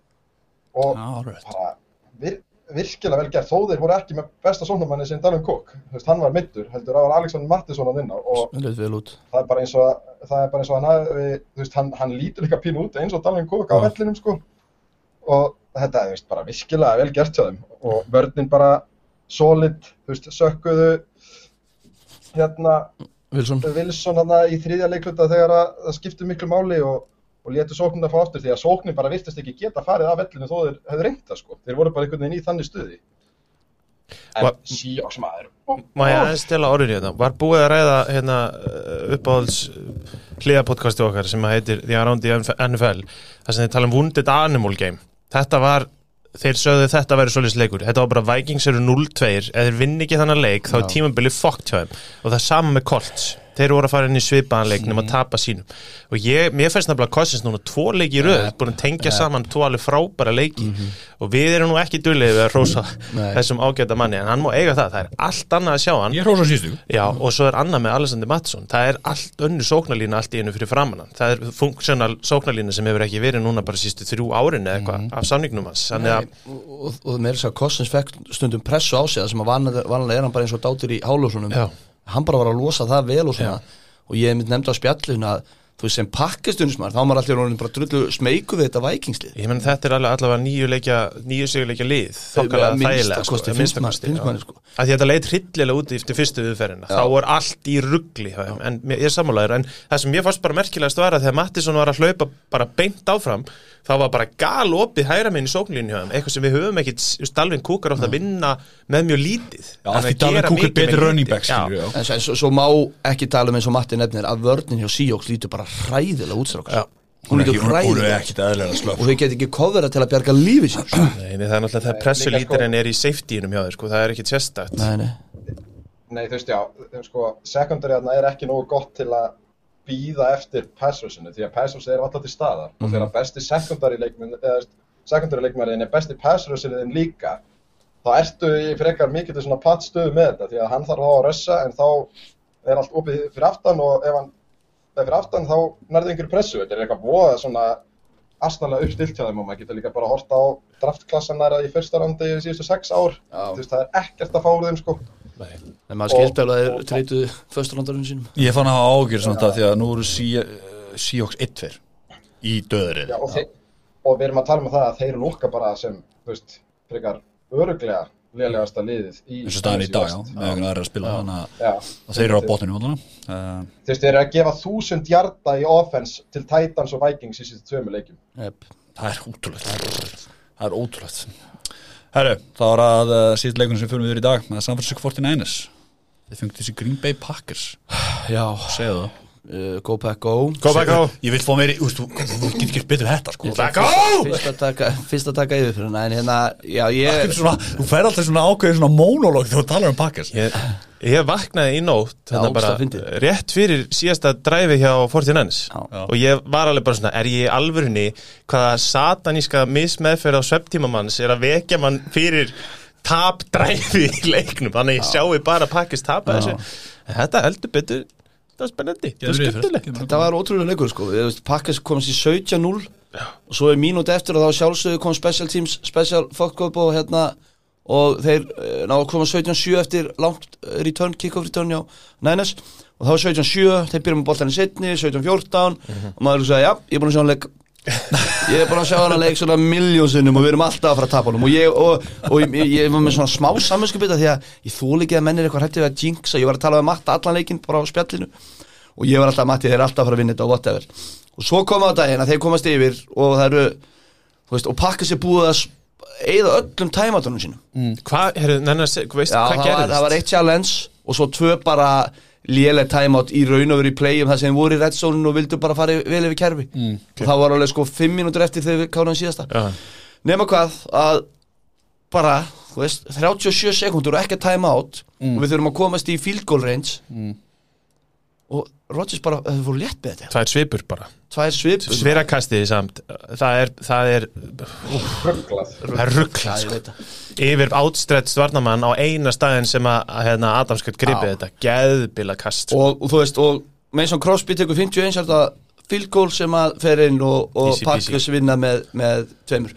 [SPEAKER 3] og
[SPEAKER 1] Alright.
[SPEAKER 3] bara vir, virkilega vel gert, þó þeir voru ekki með besta sóknumanni sem Dalum Cook, þú veist, hann var mittur heldur að var Alexander Mattisson að vinna og
[SPEAKER 2] það? Leit vel út
[SPEAKER 3] það er bara eins og, að- það er bara eins og hann, hafi, þú veist, hann, hann lítur líka pínu út eins og Dalvin Cook á vellinum sko. og þetta er þú veist, bara virkilega vel gert hjá þeim og vörnin bara solid, þú veist, sökkuðu hérna
[SPEAKER 2] Wilson
[SPEAKER 3] Wilson hann í þriðja leikluta þegar að það skipti miklu máli og, og letu sóknina fá aftur því að sóknin bara virtist ekki geta farið af vellinu þó þeir hefðu reynda sko, þeir voru bara einhvern veginn í þannig stuði en
[SPEAKER 4] Va-
[SPEAKER 3] Seahawks maður
[SPEAKER 4] Má ég aðeins stela orðin í þetta Var búið að ræða hérna, uppáhalds uh, hliðapodcasti okkar sem heitir The Around the NFL þar sem þið tala um Wounded Animal Game Þetta var þeir sögðu þetta verið svolítið leikur þetta var bara Vikings eru 0-2 eða þeir vinn ekki þannig leik þá er tímabilið fokkt hjá þeim og það er sama með Colts þeir voru að fara inn í svipaðan leik nema að tapa sínum og ég, mér finnst nefnilega Cousins núna tvo leiki í röð, búin að tengja saman tvo alveg frábæra leiki og við erum nú ekki duðlega við að rosa þessum ágæta manni en hann má eiga það, það er allt annað að sjá hann
[SPEAKER 1] Ég hrósa sístu
[SPEAKER 4] Já, og svo er annað með Alessandi Mattsson það er allt önnur sóknarlína allt í einu fyrir framannan það er funksjónal sóknarlína sem hefur ekki verið núna bara sístu þrjú árin eða eitthvað af samningnum hans þannig að,
[SPEAKER 2] og, og, og meira þess að Kossins fekk stundum pressu á sig það sem að vanlega, vanlega er hann bara eins og dátir í hálósunum
[SPEAKER 4] Já.
[SPEAKER 2] hann bara var að losa það vel og svona og ég mynd nefndi á spjallin að þú veist sem pakkistunismar þá var allir honum bara drullu smeyku við þetta vækingslið
[SPEAKER 4] ég menn þetta er alveg allavega nýju, leikja, nýju sigurleikja lið þokkalega þægilega sko,
[SPEAKER 2] minnsta kosti
[SPEAKER 4] að
[SPEAKER 2] finnst
[SPEAKER 4] minnsta
[SPEAKER 2] maður-
[SPEAKER 4] kosti,
[SPEAKER 2] finnst
[SPEAKER 4] já.
[SPEAKER 2] maður, sko.
[SPEAKER 4] Af því að þetta leit hryllilega út eftir fyrstu viðferðina þá var allt í ruggli en mér- ég er sammálaður en það sem mér fannst bara merkilegast var að þegar Mattisson var að hlaupa bara beint áfram þá var bara gal opið hæra minn í sóknlínu hjá þeim, eitthvað sem við höfum ekkit Dalvin Cook er ofta að vinna með mjög lítið
[SPEAKER 1] Mm. Já,
[SPEAKER 4] En
[SPEAKER 1] af því
[SPEAKER 4] að
[SPEAKER 1] Dalvin
[SPEAKER 4] gera
[SPEAKER 1] Cook er
[SPEAKER 4] mikið með
[SPEAKER 1] betri running
[SPEAKER 4] lítið.
[SPEAKER 1] back, skilur
[SPEAKER 4] Já.
[SPEAKER 1] við, já.
[SPEAKER 2] en svo, svo, svo má ekki tala um eins og Matti nefnir að vörnin hjá Seahawks lítur bara hræðilega útstrákast
[SPEAKER 4] Já.
[SPEAKER 1] er
[SPEAKER 2] hún lítur
[SPEAKER 1] ekki- hún er
[SPEAKER 2] hræðilega
[SPEAKER 1] ekkit aðlega
[SPEAKER 2] og þau get ekki kofverða til að bjarga lífi sér sko.
[SPEAKER 4] Nei, nei, það er náttúrulega það pressu lítir en er í safety-inum hjá þeir sko, það er ekkit sérstakt
[SPEAKER 2] nei, nei.
[SPEAKER 3] Nei, þú veist, já, þú- sko, secondary þarna er ekki nógu gott til að býða eftir passversinu, því að passversi er alltaf til staðar og þegar besti secondary leikmenn, eða þú veist, secondary leikmæriðin er besti passversinu þinn líka, þá ertu í frekar mikið til svona plattstöðu með þetta, því að hann þarf þá að rössa en þá er allt opið fyrir aftan og ef hann er fyrir aftan þá nærðu einhverju pressu, þetta er eitthvað voða svona astanlega uppstilt hjá þeim og maður getur líka bara að horta á draftklassanæra í fyrsta randi í síðustu sex ár,
[SPEAKER 2] Já.
[SPEAKER 3] þú veist, það er ekkert að fá úr þeim sko.
[SPEAKER 2] en maður skilt alveg að þeir treytuðu föstulandarinn sínum
[SPEAKER 1] Ég fann að hafa ágjör samt að því að nú eru Seahawks 1-2 í döðrið
[SPEAKER 3] Já, og, þeir, og við erum að tala um það að þeir lukka bara sem, þú veist, frekar öruglega lélegasta liðið í
[SPEAKER 1] eins og staðan er í dag, já, með einhvern aðra að spila þannig að- að þeir eru á Eh, botninu hóndana
[SPEAKER 3] Þú veist, þeir eru að gefa þúsund hjarta í offense til Titans og Vikings í síðan tveimu leikjum.
[SPEAKER 2] yep.
[SPEAKER 1] Það er ótrúlegt Það er ótrúlegt Herru, það var að uh, síðan leikunum sem fyrir við yfir í dag með San Francisco 49ers Þeir fengt þessi Green Bay Packers
[SPEAKER 2] já,
[SPEAKER 1] Segðu það
[SPEAKER 2] uh, go pack go
[SPEAKER 4] Go back á
[SPEAKER 1] Ég vil fá meiri, úst, þú þú getur ekki betur þetta sko
[SPEAKER 4] Back á
[SPEAKER 2] fyrst að taka, fyrst að taka yfir fyrir hana en hérna, já
[SPEAKER 1] Akkur
[SPEAKER 2] ég
[SPEAKER 1] Svona, þú fær alltaf svona ákveðin svona monolog þegar þú talar um Packers
[SPEAKER 4] Ég, ég vaknaði í nótt
[SPEAKER 2] Já,
[SPEAKER 4] þarna bara
[SPEAKER 2] ógeðslega fyndið.
[SPEAKER 4] rétt fyrir síðasta dræfi hjá 49ers
[SPEAKER 2] Já.
[SPEAKER 4] og ég var alveg bara svona, er ég í alvörunni hvaða sataníska mismeðferð á svepptímamanns er að vekja mann fyrir tap dræfi í leiknum þannig að ég sjái bara pakkist tapa þessu en þetta heldur betur það er spennandi, það er skemmtilegt
[SPEAKER 2] þetta var ótrúlega leikur sko Ég veist, Pakkes komast í 17-0 og svo er mínúti eftir og þá sjálfsögðu kom special teams special fuck up og hérna og þeir eh, ná að koma 17-7 eftir langt eh, return, kick-off return já, nænes og þá er 17-7 þeir byrjum með boltanum setni, 17-14 og maður er að segja, já, ég er búin að sjá hann [LAUGHS] leik ég er búin að sjá hann að leik svona miljónsinnum og við erum alltaf að fara að tapa honum og ég, og, og ég, ég, ég var með svona smá samvinskupita því að ég þóli ekki að menn er eitthvað hrættið við að jinxa, ég var að tala um matta allan leikinn bara á spjallinu og ég var alltaf að matti þeir eru alltaf að fara að vinna þetta og whatever og svo koma á daginn að þeir komast yfir og það eru, þú veist, og pakka sér búið að eða öllum tæmatunum sínum
[SPEAKER 4] Mm. hvað, herru, nennar, veist
[SPEAKER 2] Já, það
[SPEAKER 4] hvað
[SPEAKER 2] var,
[SPEAKER 4] gerðist?
[SPEAKER 2] það var eitt challenge og svo tvö bara léleg timeout í raun og verið í play um það sem þeir voru í redstone og vildu bara fara yfir- vel yfir kerfi
[SPEAKER 4] Mm,
[SPEAKER 2] og það var alveg sko fimm mínútur eftir þegar við káðum síðasta
[SPEAKER 4] Já.
[SPEAKER 2] nema hvað að bara, þú veist, 37 sekundur og ekki timeout
[SPEAKER 4] Mm.
[SPEAKER 2] og við þurfum að komast í field goal range og Rodgers bara, þau voru létt með þetta
[SPEAKER 4] tvær svipur bara,
[SPEAKER 2] tvær svip
[SPEAKER 4] sverakastiði samt það er, það er,
[SPEAKER 3] Rugglað.
[SPEAKER 4] það er
[SPEAKER 2] Já,
[SPEAKER 4] rugglað
[SPEAKER 2] ég veit það.
[SPEAKER 4] yfir áttstrætt stvarnamann á eina staðin sem að að, hérna, Adamskjöld gripið þetta geðbila kast og,
[SPEAKER 2] og, og þú veist, og Mason Crosby tekur 51 er þetta field goal sem að fer inn og, og
[SPEAKER 4] Easy peasy.
[SPEAKER 2] Packers vinna með, með tveimur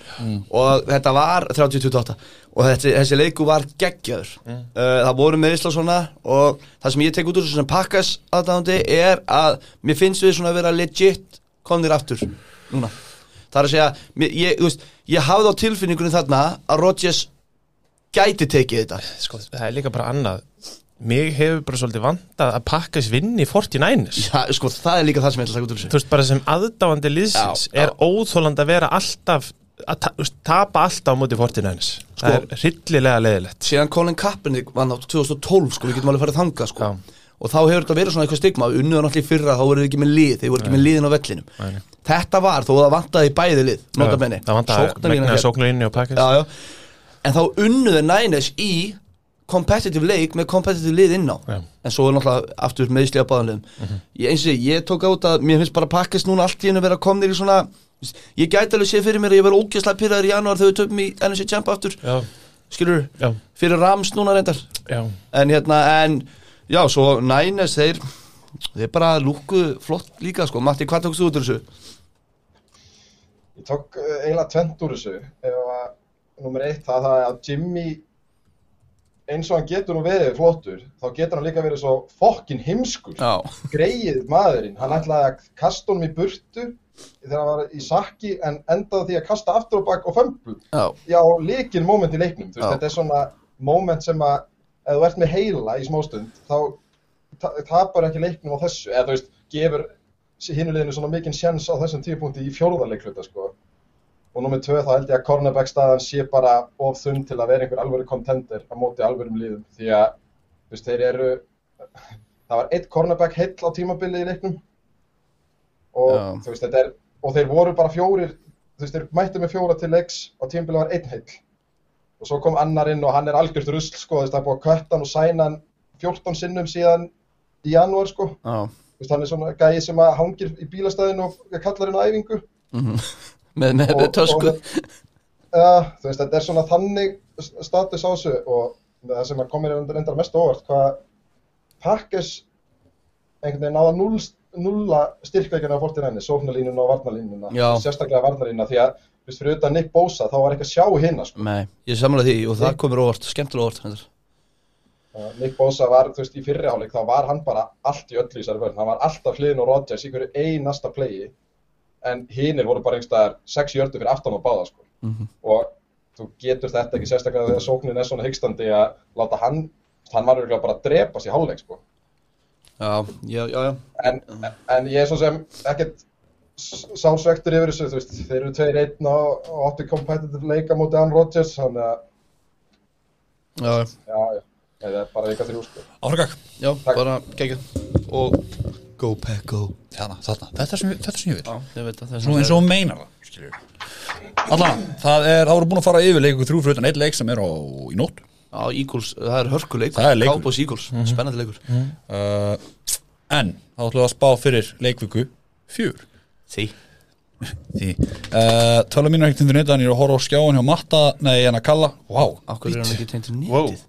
[SPEAKER 2] og þetta var 30-28 og þessi, þessi leiku var geggjaður uh, það voru með Ísla svona og það sem ég tek út úr þessu sem Packers aðdáðandi er að mér finnst við svona að vera legit komnir aftur núna það er að segja, mér, ég, þú veist, ég hafði á tilfinningunum þarna að Rodgers gæti tekið þetta
[SPEAKER 4] sko, það er líka bara annað mig hefur bara svolítið vantað að pakkast vinn í 49ers
[SPEAKER 2] Já, sko, það er líka það sem ég ætla að taka út úr þessu
[SPEAKER 4] þú veist bara sem aðdáandi liðsins
[SPEAKER 2] Já, já.
[SPEAKER 4] er óþóland að vera alltaf að ta þú veist, tapa alltaf á móti 49ers það er hryllilega leðilegt
[SPEAKER 2] síðan Colin Kaepernick vann á 2012 sko, við getum alveg farið þangað sko.
[SPEAKER 4] Já.
[SPEAKER 2] og þá hefur þetta verið svona eitthvað stigma unnuðan allir fyrra þá voru þið ekki með lið, þið voru ekki með liðin á vellinum
[SPEAKER 4] Nei, nei.
[SPEAKER 2] þetta var þó að það vantaði bæði lið notabenni,
[SPEAKER 4] Það vantar
[SPEAKER 2] Sóknarlínan
[SPEAKER 4] megnaði
[SPEAKER 2] hér.
[SPEAKER 4] sóknarlinni og pakkis
[SPEAKER 2] hérna. já, já. en þá unnuðu Niners í competitive leik með competitive lið inná
[SPEAKER 4] Já. Mhm.
[SPEAKER 2] en svo er náttúrulega aftur meðsli að báðanlegum mm ég eins og ég, ég tók át að mér finnst bara pakkast núna allt í hennu vera komnir í svona ég gæti alveg séð fyrir mér að ég verið ógjöslega pyrraður í janúar þegar við töpum í NFC Champ aftur
[SPEAKER 4] Já,
[SPEAKER 2] skilur,
[SPEAKER 4] já,
[SPEAKER 2] fyrir Rams núna reyndar
[SPEAKER 4] já
[SPEAKER 2] en hérna, en já, svo Niners, þeir þeir bara lúku flott líka sko Matti, hvað tókst þú út úr þessu?
[SPEAKER 3] Ég tók uh, eiginlega tvent úr þessu ef að, nummer eitt, það, það er að Jimmy eins og hann getur nú verið flottur, þá getur hann líka verið svo fokkin heimskur
[SPEAKER 2] Já,
[SPEAKER 3] greið maðurinn, hann ætlaði að kasta honum í burtu þegar hann var í sakki en endaði því að kasta aftur og bakk og fömblu
[SPEAKER 2] já,
[SPEAKER 3] já, líkin moment í leiknum þú veist,
[SPEAKER 2] Já.
[SPEAKER 3] þetta er svona moment sem að ef þú ert með heila í smástund þá ta- tapar ekki leiknum á þessu eða þú veist, gefur hinuleginu svona mikinn sjens á þessum tíupunkti í fjórðarleikluta sko og nummið tvö þá held ég að cornerback staðan sé bara of þunn til að vera einhver alvöru contender á móti alvörum liðum því að þú veist, þeir eru það var eitt cornerback heill á tímabilið í leiknum og
[SPEAKER 2] Já.
[SPEAKER 3] þú veist, þetta er og þeir voru bara fjórir þú veist, þeir mættu með fjóra til leiks og tímabilið var einn heill og svo kom annar inn og hann er algjört rusl sko, þú veist, það er búið að kötta hann og sæna hann 14 sinnum síðan í janúar sko,
[SPEAKER 2] já
[SPEAKER 3] þú veist, hann er svona gæi sem að hangir í bílastæðinu og kallar hann á æfingu
[SPEAKER 2] með, með, með
[SPEAKER 3] Og-
[SPEAKER 2] tösku
[SPEAKER 3] og- Já, þú veist, þetta er svona þannig st- status á þessu og það sem að komir reyndar reyndar mest á óvart hvað Pakkes einhvern veginn náða núll, nulla styrkveikina á fórtir henni, sóknarlínuna og varnarlínuna
[SPEAKER 2] Já.
[SPEAKER 3] og sérstaklega varnarlínuna því að, þú veist, fyrir utan Nick Bosa þá var ekki að sjá hinna, sko.
[SPEAKER 2] Nei, ég samla því og það komur óvart, skemmtilega óvart hendur.
[SPEAKER 3] Uh, Nick Bosa var, þú veist, í fyrirháleik þá var hann bara allt í öllu í sér vörn hann var alltaf hliðin og Rodgers í hverju einasta playi en hinir voru bara einhverstaðar 6 jördu fyrir aftan og báða sko. og þú getur þetta ekki sérstaklega þegar sóknin er svona hyggstandi að láta hann, hann var örugglega bara að drepast í háleik sko.
[SPEAKER 2] Já, já, já, já
[SPEAKER 3] en, en ég er svo sem ekkert sálsvektur yfir þessu, þú veist, þeir eru 2-1 og og áttu competitive leika mútið Ann Rodgers, þannig að
[SPEAKER 2] Já,
[SPEAKER 3] já, já, eða bara vika þrjú sko.
[SPEAKER 1] Áframgag
[SPEAKER 2] já,
[SPEAKER 3] Takk.
[SPEAKER 2] bara geggjum og go pack go
[SPEAKER 1] Þarna, þarna, þetta er sem, ég- þetta er sem ég vil
[SPEAKER 2] Já, ég veit að það er
[SPEAKER 1] Nú eins og hún meinar það, skiljum Allan, það er, það voru búin að fara yfir leikur þrjú frutan eitt leik sem er á, í nótt
[SPEAKER 2] Já, Eagles, það er Mhm. hörkuleikur
[SPEAKER 1] Það er leikur.
[SPEAKER 2] Cowboys Eagles, spennandi leikur
[SPEAKER 1] uh, En, þá ætlum við að spá fyrir leikviku fjör
[SPEAKER 2] Því
[SPEAKER 1] Því, uh, tölum mínu ekkert undir neitt Þannig er að horfa á skjáin hjá Matta, nei, en að kalla Vá,
[SPEAKER 2] Akkur er hann ekki tegnt til
[SPEAKER 4] Wow.
[SPEAKER 2] nýttið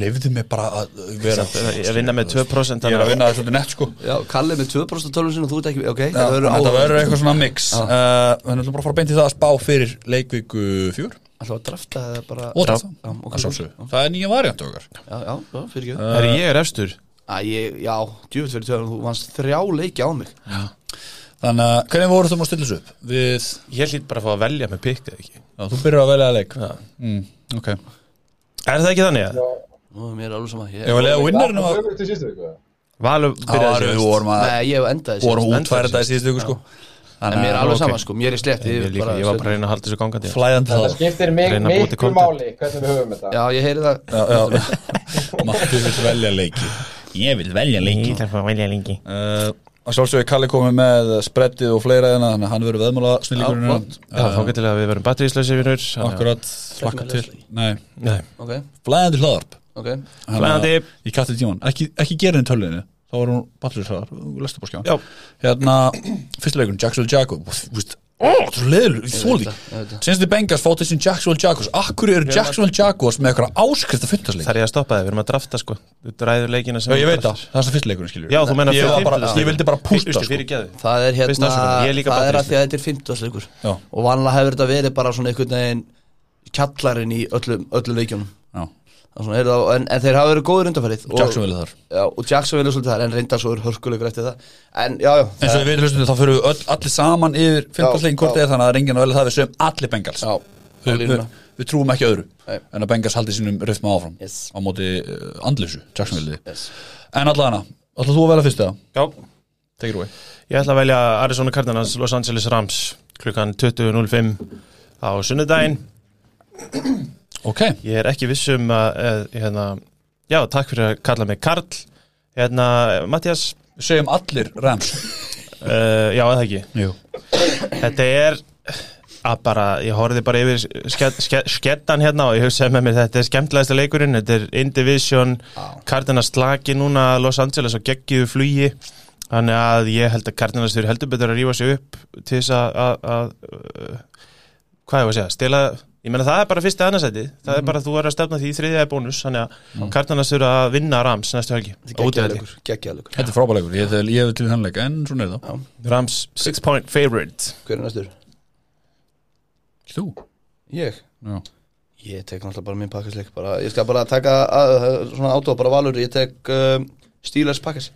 [SPEAKER 1] lefðu mig bara að vera
[SPEAKER 4] Ég er að vinna með 2%
[SPEAKER 1] Ég er að vinna þessu undir nett, sko
[SPEAKER 2] Já, Kalle með 2% tölvun sinni og þú ert ekki Ok,
[SPEAKER 1] Já,
[SPEAKER 2] það verður
[SPEAKER 1] Þetta
[SPEAKER 2] áhugavert.
[SPEAKER 1] verður eitthvað svona mix uh, En við ætlum bara að fara beint í það að spá fyrir leikviku fjör
[SPEAKER 2] Ætlum við að drafta eða bara
[SPEAKER 1] Og það,
[SPEAKER 2] Já, ok.
[SPEAKER 1] að sjálfsögðu. það er nýja variant okkar
[SPEAKER 2] Já, já, já, fyrir ekki
[SPEAKER 4] Það er ég er efstur
[SPEAKER 2] Æ, ég, já, djúvitt fyrir tjóðan, þú vannst þrjá leiki á mig
[SPEAKER 1] Þannig að hvernig voru þú um að stilla þessu upp? Við,
[SPEAKER 4] Ég hlýtt bara að fá að velja með pikk eða ekki
[SPEAKER 1] já, þú byrjar að velja að leik mm, Ok Ég
[SPEAKER 4] Er það ekki þannig að?
[SPEAKER 2] Nú er mér alveg sama ég,
[SPEAKER 1] var að lega
[SPEAKER 3] Það
[SPEAKER 1] vinnarinn
[SPEAKER 3] var
[SPEAKER 1] að
[SPEAKER 3] öfugt í sístu viku, eða?
[SPEAKER 4] Valur
[SPEAKER 1] Það
[SPEAKER 4] byrjaði
[SPEAKER 1] var
[SPEAKER 4] sem
[SPEAKER 1] við
[SPEAKER 4] efst.
[SPEAKER 1] vorum að
[SPEAKER 2] Nei, ég hef endaði
[SPEAKER 1] vorum að
[SPEAKER 4] stendur
[SPEAKER 1] útfæra þetta í
[SPEAKER 4] sem-
[SPEAKER 1] síðustu viku sko
[SPEAKER 2] En mér er
[SPEAKER 1] Ah,
[SPEAKER 2] alveg
[SPEAKER 1] ok.
[SPEAKER 2] sama, sko, mér er slétt
[SPEAKER 4] Ég líka, ég var bara að reyna að halda þessu gangandi
[SPEAKER 1] Flæðandi
[SPEAKER 3] Það
[SPEAKER 1] það
[SPEAKER 3] skiptir mig
[SPEAKER 4] Reyna að búa til
[SPEAKER 3] miklu
[SPEAKER 4] content.
[SPEAKER 3] máli hvernig við höfum þetta.
[SPEAKER 2] Já, ég heyri það
[SPEAKER 1] Já, já [LAUGHS] Matti vil velja leiki Ég vil velja leiki
[SPEAKER 2] Mm.
[SPEAKER 4] þarf að velja lengi
[SPEAKER 1] Uh, Að sjálfsögðu Kalli komið með spreddið og fleira hérna Þannig að hann verður hérna. veðmála
[SPEAKER 2] Já,
[SPEAKER 1] snillíkurinn
[SPEAKER 2] flott.
[SPEAKER 4] Já, þá getur við að við verum batteríslösi vinnur
[SPEAKER 1] Akkurat, slakka
[SPEAKER 2] Þetta
[SPEAKER 1] til
[SPEAKER 2] er með
[SPEAKER 1] Nei,
[SPEAKER 4] Nei,
[SPEAKER 2] Ok,
[SPEAKER 1] flæðandi hlaðarp
[SPEAKER 2] ok
[SPEAKER 1] Þannig
[SPEAKER 4] Flæðandi.
[SPEAKER 1] að- Ég kætti tíman, ekki, ekki gera henni tölunni Þá var hún batterisraðar, lestu bara skjá
[SPEAKER 4] Já.
[SPEAKER 1] Hérna, fyrsta leikurinn, Jacksonville Jaguars Þú veist, ó, þú leður,
[SPEAKER 2] veit
[SPEAKER 1] þóli
[SPEAKER 2] það, ég veit það.
[SPEAKER 1] Senst þið Bengals fótt þessin Jacksonville Jaguars Akkur eru Jacksonville Jaguars með eitthvað áskrift að fundast leik
[SPEAKER 4] þarf ég að stoppa þig, við erum að drafta sko Þú dræður leikina sem
[SPEAKER 1] Já, ég
[SPEAKER 4] þú
[SPEAKER 1] veit það,
[SPEAKER 4] draftar.
[SPEAKER 1] það er það fyrsta leikurinn skiljur
[SPEAKER 4] Já, þú meina
[SPEAKER 1] Ég,
[SPEAKER 4] fyrir
[SPEAKER 1] var bara,
[SPEAKER 4] fimmtudags-
[SPEAKER 1] ég vildi bara pústa
[SPEAKER 4] Ustu,
[SPEAKER 1] sko.
[SPEAKER 4] fyrir geðu
[SPEAKER 2] Það er hérna,
[SPEAKER 4] Fyrsta ásökun, ég er líka
[SPEAKER 2] það er að því
[SPEAKER 4] batteríslösi
[SPEAKER 2] að þetta er 50 leikur
[SPEAKER 1] Já.
[SPEAKER 2] Og vanlega hefur þetta verið bara svona einhvern veginn Kjallarinn í öllum, öllum leikjunum
[SPEAKER 1] Já,
[SPEAKER 2] Það er svona, heyrðu það, en, en þeir hafa verið góður undanfærið
[SPEAKER 1] Jacksonville er þar
[SPEAKER 2] Já, og Jacksonville er svolítið þar En reyndar svo er hörkuleikur eftir það En já, já,
[SPEAKER 1] En
[SPEAKER 2] það-
[SPEAKER 1] svo við hlustum þá fyrir við öll, allir saman yfir fimmtastleikin hvort
[SPEAKER 2] já.
[SPEAKER 1] eða þannig að það er enginn að velja það við sögum allir Bengals
[SPEAKER 2] Já, á
[SPEAKER 1] við, við,
[SPEAKER 2] línuna.
[SPEAKER 1] við trúum ekki öðru
[SPEAKER 2] Nei.
[SPEAKER 1] en að Bengals haldi sínum rifma áfram
[SPEAKER 2] Yes.
[SPEAKER 1] á móti uh, andlissu, Jacksonville
[SPEAKER 2] Yes.
[SPEAKER 1] En allavega, allar þú að velja fyrst eða?
[SPEAKER 4] Já,
[SPEAKER 1] Take it away
[SPEAKER 4] Ég ætla að velja Arizona Cardinals Los Angeles Rams klukkan 20.05 á sunnudaginn
[SPEAKER 1] Ok,
[SPEAKER 4] eh, Ég er ekki viss um að, að hérna, já, takk fyrir að kalla mig Karl hérna, Mattias
[SPEAKER 1] Segjum allir Rams
[SPEAKER 4] uh, já, eða ekki
[SPEAKER 1] Jú
[SPEAKER 4] Þetta er að bara, ég horfði bara yfir skett, skett, skettan hérna og ég hugsaði með mér þetta er skemmtilegasta leikurinn, þetta er Indivision Cardinals slaki núna að Los Angeles og geggiðu flugi þannig að ég held að Cardinals þurfi heldur betur að rífa sig upp til þess að- að að, uh, hvað ég var að segja, stela ég meina það er bara fyrsta annarsæti, það
[SPEAKER 2] Mhm.
[SPEAKER 4] er bara að þú er að stefna því þriðja er bónus, þannig að Cardinals þurfi að vinna Rams næstu helgi Útivelli.
[SPEAKER 2] Gekkjaðalegur, gekkjaðalegur
[SPEAKER 1] Þetta er frábæleikur, ég, ég, ég hef til þannleika en svona er það
[SPEAKER 4] Rams 6 point favorite
[SPEAKER 2] Hver er næstur?
[SPEAKER 1] Ekki Þú?
[SPEAKER 2] Ég?
[SPEAKER 1] Já
[SPEAKER 2] Ég tek náttúrulega bara minn pakkasleik bara, Ég skal bara taka að, svona átóð bara valur Ég tek um, Steelers pakkas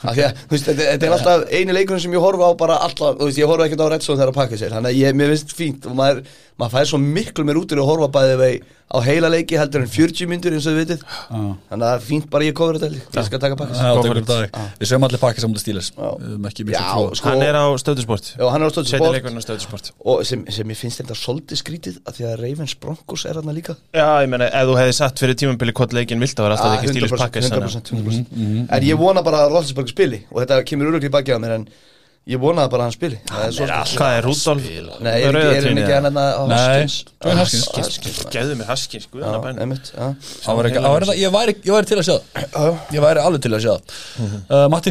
[SPEAKER 2] Því að, þú veist, þetta, þetta er alltaf eini leikurinn sem ég horfa á bara alltaf, þú veist, ég horfa ekkert á Red Zone þegar að pakka sér, þannig að ég, mér finnst fínt og maður, maður fær svo miklu mér út í að horfa bæði vei á heila leiki heldur en 40 myndur eins og þið vitið, þannig að það er fínt bara ég kofur þetta heldur, ég skal taka pakka sér.
[SPEAKER 1] Það tekur dag Við segjum allir pakka saman til stílis
[SPEAKER 2] Ah. Já.
[SPEAKER 1] Ekki
[SPEAKER 2] Já,
[SPEAKER 1] mikla trú
[SPEAKER 2] sko,
[SPEAKER 4] hann er á stöðusport
[SPEAKER 2] Já, hann er á stöðu
[SPEAKER 4] setja
[SPEAKER 2] sport
[SPEAKER 4] leikurinn á stöðusport
[SPEAKER 2] og sem, sem ég finnst þetta svolítið skrítið að því að Ravens Broncos er hann líka
[SPEAKER 4] Já, ég meina, ef þú hefði satt fyrir tímambili hvort leikin vilt, þá var alltaf
[SPEAKER 2] Ah,
[SPEAKER 4] ekki stílus pakkis
[SPEAKER 2] 100%, 100%. En ég vona bara að Roethlisberg spili og þetta kemur öruglega í baki á mér en ég vona bara að hann spili
[SPEAKER 1] Ah,
[SPEAKER 2] Það er svo-
[SPEAKER 4] Hvað er Rúdolf?
[SPEAKER 2] Nei, er ekki- er hann ekki hérna- Ah, hann að
[SPEAKER 1] Nei,
[SPEAKER 2] Hoskins
[SPEAKER 1] Dwayne Haskins.
[SPEAKER 4] Gæðu mér sko, hérna haskins,
[SPEAKER 2] Já,
[SPEAKER 4] guðan að bænum
[SPEAKER 2] Ah, einmitt, já.
[SPEAKER 1] Það var ekki- það var eitthvað- Ég væri- ég væri til að sjá það Ég væri alveg til að sjá
[SPEAKER 2] Mhm.
[SPEAKER 1] það Uh, Matti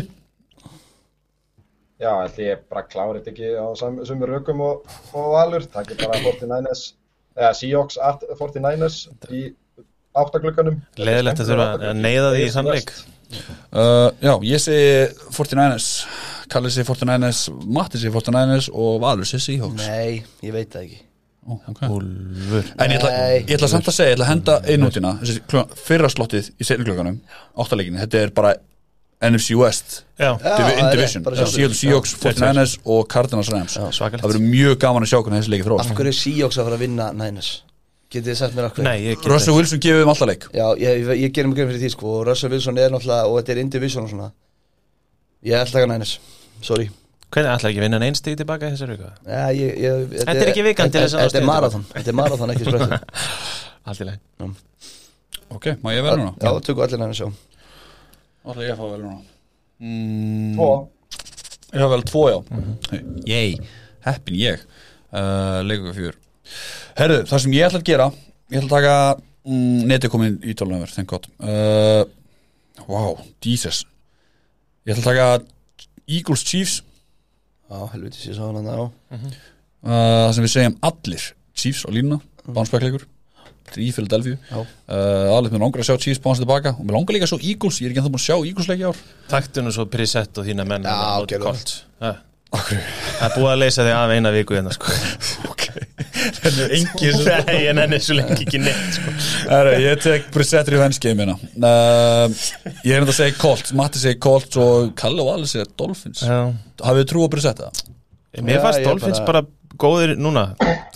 [SPEAKER 3] Já, ætli ég bara klári þetta ekki á sam- sömu rökum og, og valur. Takk ég bara 49ers, eða Seahawks at 49ers í áttaglökanum.
[SPEAKER 4] Leðilegt að þurfa að neyða því í þann leik
[SPEAKER 1] Uh, já, ég segi 49ers Kallið segi 49ers, Matti segi 49ers og Valur segi Seahawks
[SPEAKER 2] Nei, ég veit það ekki
[SPEAKER 1] Ó, ok. En ég ætla,
[SPEAKER 2] Nei.
[SPEAKER 1] ég ætla samt að segja, ég ætla að henda einnútina Fyrra slottið í setjuglöganum Áttalegin, þetta er bara NFC West
[SPEAKER 4] Já,
[SPEAKER 1] Divi-
[SPEAKER 2] það er
[SPEAKER 1] Division,
[SPEAKER 2] bara
[SPEAKER 1] Já,
[SPEAKER 2] sjálfsagt.
[SPEAKER 1] Seahawks, 49ers og Cardinals Rams
[SPEAKER 4] svakalegt.
[SPEAKER 1] Það verður mjög gaman að sjá hvernig þessi leiki
[SPEAKER 2] Af
[SPEAKER 1] þróast
[SPEAKER 2] hverju er Seahawks að fara að vinna Niners? Getið þið sagt mér af hverju?
[SPEAKER 4] nei, ég get
[SPEAKER 1] Russell Wilson gefið um alltaf leik
[SPEAKER 2] Já, ég, ég, ég gerum grein fyrir því sko og Russell Wilson er náttúrulega og þetta er indivision og svona Ég ætla ekki að Niners, sorry
[SPEAKER 4] Hvernig ætla ekki að vinna einn stíg tilbaka í þessari vika?
[SPEAKER 2] ja, ég, ég,
[SPEAKER 4] Þetta er ekki vikan til þess að ná
[SPEAKER 2] Þetta
[SPEAKER 4] stigum.
[SPEAKER 2] er marathon, þetta er marathon, ekki
[SPEAKER 4] [LAUGHS]
[SPEAKER 2] sprettur
[SPEAKER 4] Allt í leið
[SPEAKER 1] Ok, má ég vera núna?
[SPEAKER 2] Já, tökum allir Niners, já
[SPEAKER 1] Alltaf ég að fá vel núna
[SPEAKER 3] Og
[SPEAKER 1] Já, vel tvo, já Yey, Mhm. heppin ég uh, Leikur fjör Herðu, það sem ég ætla að gera Ég ætla að taka mm, Neti komin í tólunumver, þenn gott uh, Wow, Jesus Ég ætla að taka Eagles Chiefs
[SPEAKER 2] Já, helviti, ég sá hann að já
[SPEAKER 1] uh, Það sem við segjum allir Chiefs á línuna, bánspekleikur Í Philadelphia
[SPEAKER 2] Já.
[SPEAKER 1] uh, Alveg mér langar að sjá Chiefs bánsa tilbaka Og mér langar líka að sjá Eagles, ég er ekki ennþá búin að sjá Eagles leik í ár
[SPEAKER 4] Taktu nú svo prisett og þína menn
[SPEAKER 2] Já,
[SPEAKER 4] hérna, og
[SPEAKER 2] gerðu það.
[SPEAKER 4] Colt. Já. Það er búið að leysa þig af eina viku hérna sko
[SPEAKER 1] Ok, það er engin
[SPEAKER 4] Nei, en enn er svo lengi ekki neitt sko
[SPEAKER 1] Herra, ég tek Brissett Revenge game hérna uh, Ég er enda að segja Colts, Matti segir Colts og Kalle og Alice segir Dolphins
[SPEAKER 4] Já.
[SPEAKER 1] Hafið þið trú á Brissett það?
[SPEAKER 4] Mér
[SPEAKER 2] Já,
[SPEAKER 4] fannst
[SPEAKER 2] ég
[SPEAKER 4] Dolphins bara
[SPEAKER 2] bara-
[SPEAKER 4] góðir núna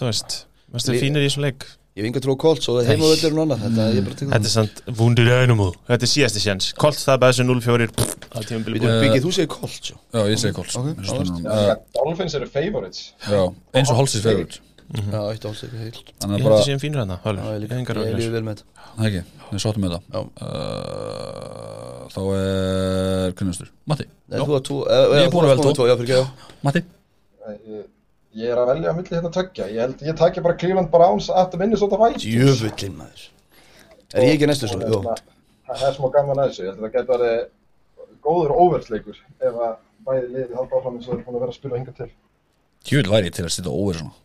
[SPEAKER 4] Þú veist, varstu
[SPEAKER 2] Lí-
[SPEAKER 4] fínir í þessum leik
[SPEAKER 2] Ég hef enga trú á Colts og heimavöldur og annað Þetta ég bara tekur
[SPEAKER 4] Þetta er sant Wounded Animal Mm. Þetta er síðasti sjans Kolt það bara þessu 0-4 pff, á tímabili
[SPEAKER 2] Við
[SPEAKER 4] búið.
[SPEAKER 2] erum byggið, þú segir Colts já.
[SPEAKER 1] Já, ég segi Colts
[SPEAKER 2] Ok,
[SPEAKER 1] Eins og stundum.
[SPEAKER 4] Mm.
[SPEAKER 3] líka Dolphins eru favorites.
[SPEAKER 1] eh, Já, eins og Holsey's favorite
[SPEAKER 2] Já, eitt áls ekki heilt
[SPEAKER 1] Þannig að
[SPEAKER 4] Mhm. Ég held að
[SPEAKER 1] bara,
[SPEAKER 4] séum fínur hérna
[SPEAKER 2] Já, ég
[SPEAKER 4] Hálfur,
[SPEAKER 2] líka,
[SPEAKER 4] engar
[SPEAKER 2] ég
[SPEAKER 4] ágjör
[SPEAKER 2] lífi vel með þetta
[SPEAKER 1] það ekki, við sáttum með
[SPEAKER 2] Já.
[SPEAKER 1] það uh, Þá er Kvinnastur, Matti
[SPEAKER 2] Nei,
[SPEAKER 1] Já.
[SPEAKER 2] þú var tvo eh,
[SPEAKER 1] Ég er búin að
[SPEAKER 2] eh, þú
[SPEAKER 1] velja
[SPEAKER 2] varst
[SPEAKER 1] tvo.
[SPEAKER 2] tvo, Já, fyrir ekki
[SPEAKER 1] Matti,
[SPEAKER 3] Ég, ég er að velja að milli hérna tökja. Ég held, ég takja bara Cleveland Browns at Minnesota Vikings.
[SPEAKER 2] Jöfullin maður Er ég ekki næstu
[SPEAKER 3] Og
[SPEAKER 2] svo? Jó
[SPEAKER 3] hérna, Það er smá gaman að þessu. Ég held að það geti verið góður óversleikur ef að bæði liðið halda áfram eins og þeir eru búin að vera að spila hinga til.
[SPEAKER 1] tjúl væri ég til að sitja óver svona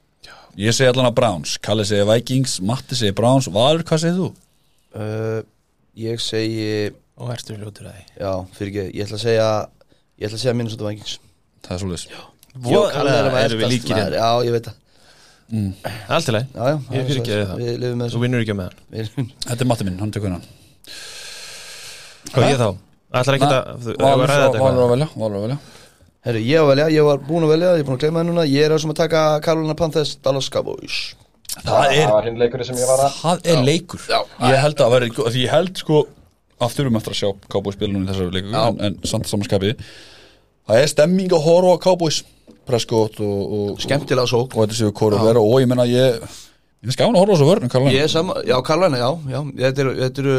[SPEAKER 1] Ég segi allan að Browns, Kalle segir Vikings, Matti segir Browns Valur, hvað segir þú?
[SPEAKER 2] Eh, Ég segi
[SPEAKER 4] Og ertu ljótur að
[SPEAKER 2] Já, fyrir ekki, ég ætla að segja Ég ætla að segja Minnesota Vikings
[SPEAKER 1] Það er svolítið
[SPEAKER 4] því Voðalega erum við líkir
[SPEAKER 2] hérna
[SPEAKER 4] hérna
[SPEAKER 2] Já, ég veit það
[SPEAKER 4] Allt í lagi
[SPEAKER 2] Já, já
[SPEAKER 4] Ég
[SPEAKER 2] er
[SPEAKER 4] fyrirgefi
[SPEAKER 2] svoleiðis.
[SPEAKER 4] það.
[SPEAKER 2] Við lifum með
[SPEAKER 4] Þú vinnur ekki með hann
[SPEAKER 2] þessu Við-
[SPEAKER 1] Þetta er Matti minn, hann tekur hennan
[SPEAKER 4] Og ég þá Ætlar ekki að Þú hefur
[SPEAKER 1] Valur
[SPEAKER 4] að ræða þetta
[SPEAKER 1] Valur
[SPEAKER 4] eitthvað
[SPEAKER 1] að velja, Valur að velja
[SPEAKER 2] Herru, ég á að velja, ég var búin að velja, ég er búin að gleyma það núna Ég er að sem að taka Carolina Panthers Dallas Cowboys
[SPEAKER 1] Það er
[SPEAKER 3] Það var hinn leikurinn sem ég var að
[SPEAKER 1] Það er leikur Ég held að verði, því ég held sko aftur um eftir að sjá Cowboys spila núna í þessari leiku en, en samt samanskapi það er stemming að horfa á Cowboys Prescott og, og, og,
[SPEAKER 2] Skemmtilega sók
[SPEAKER 1] og þetta séu Kóru vera og ég menna ég ég finnst gaman að horfa á þessu vörn
[SPEAKER 2] Ég er sama, já Karlana, já, já þetta eru, þetta eru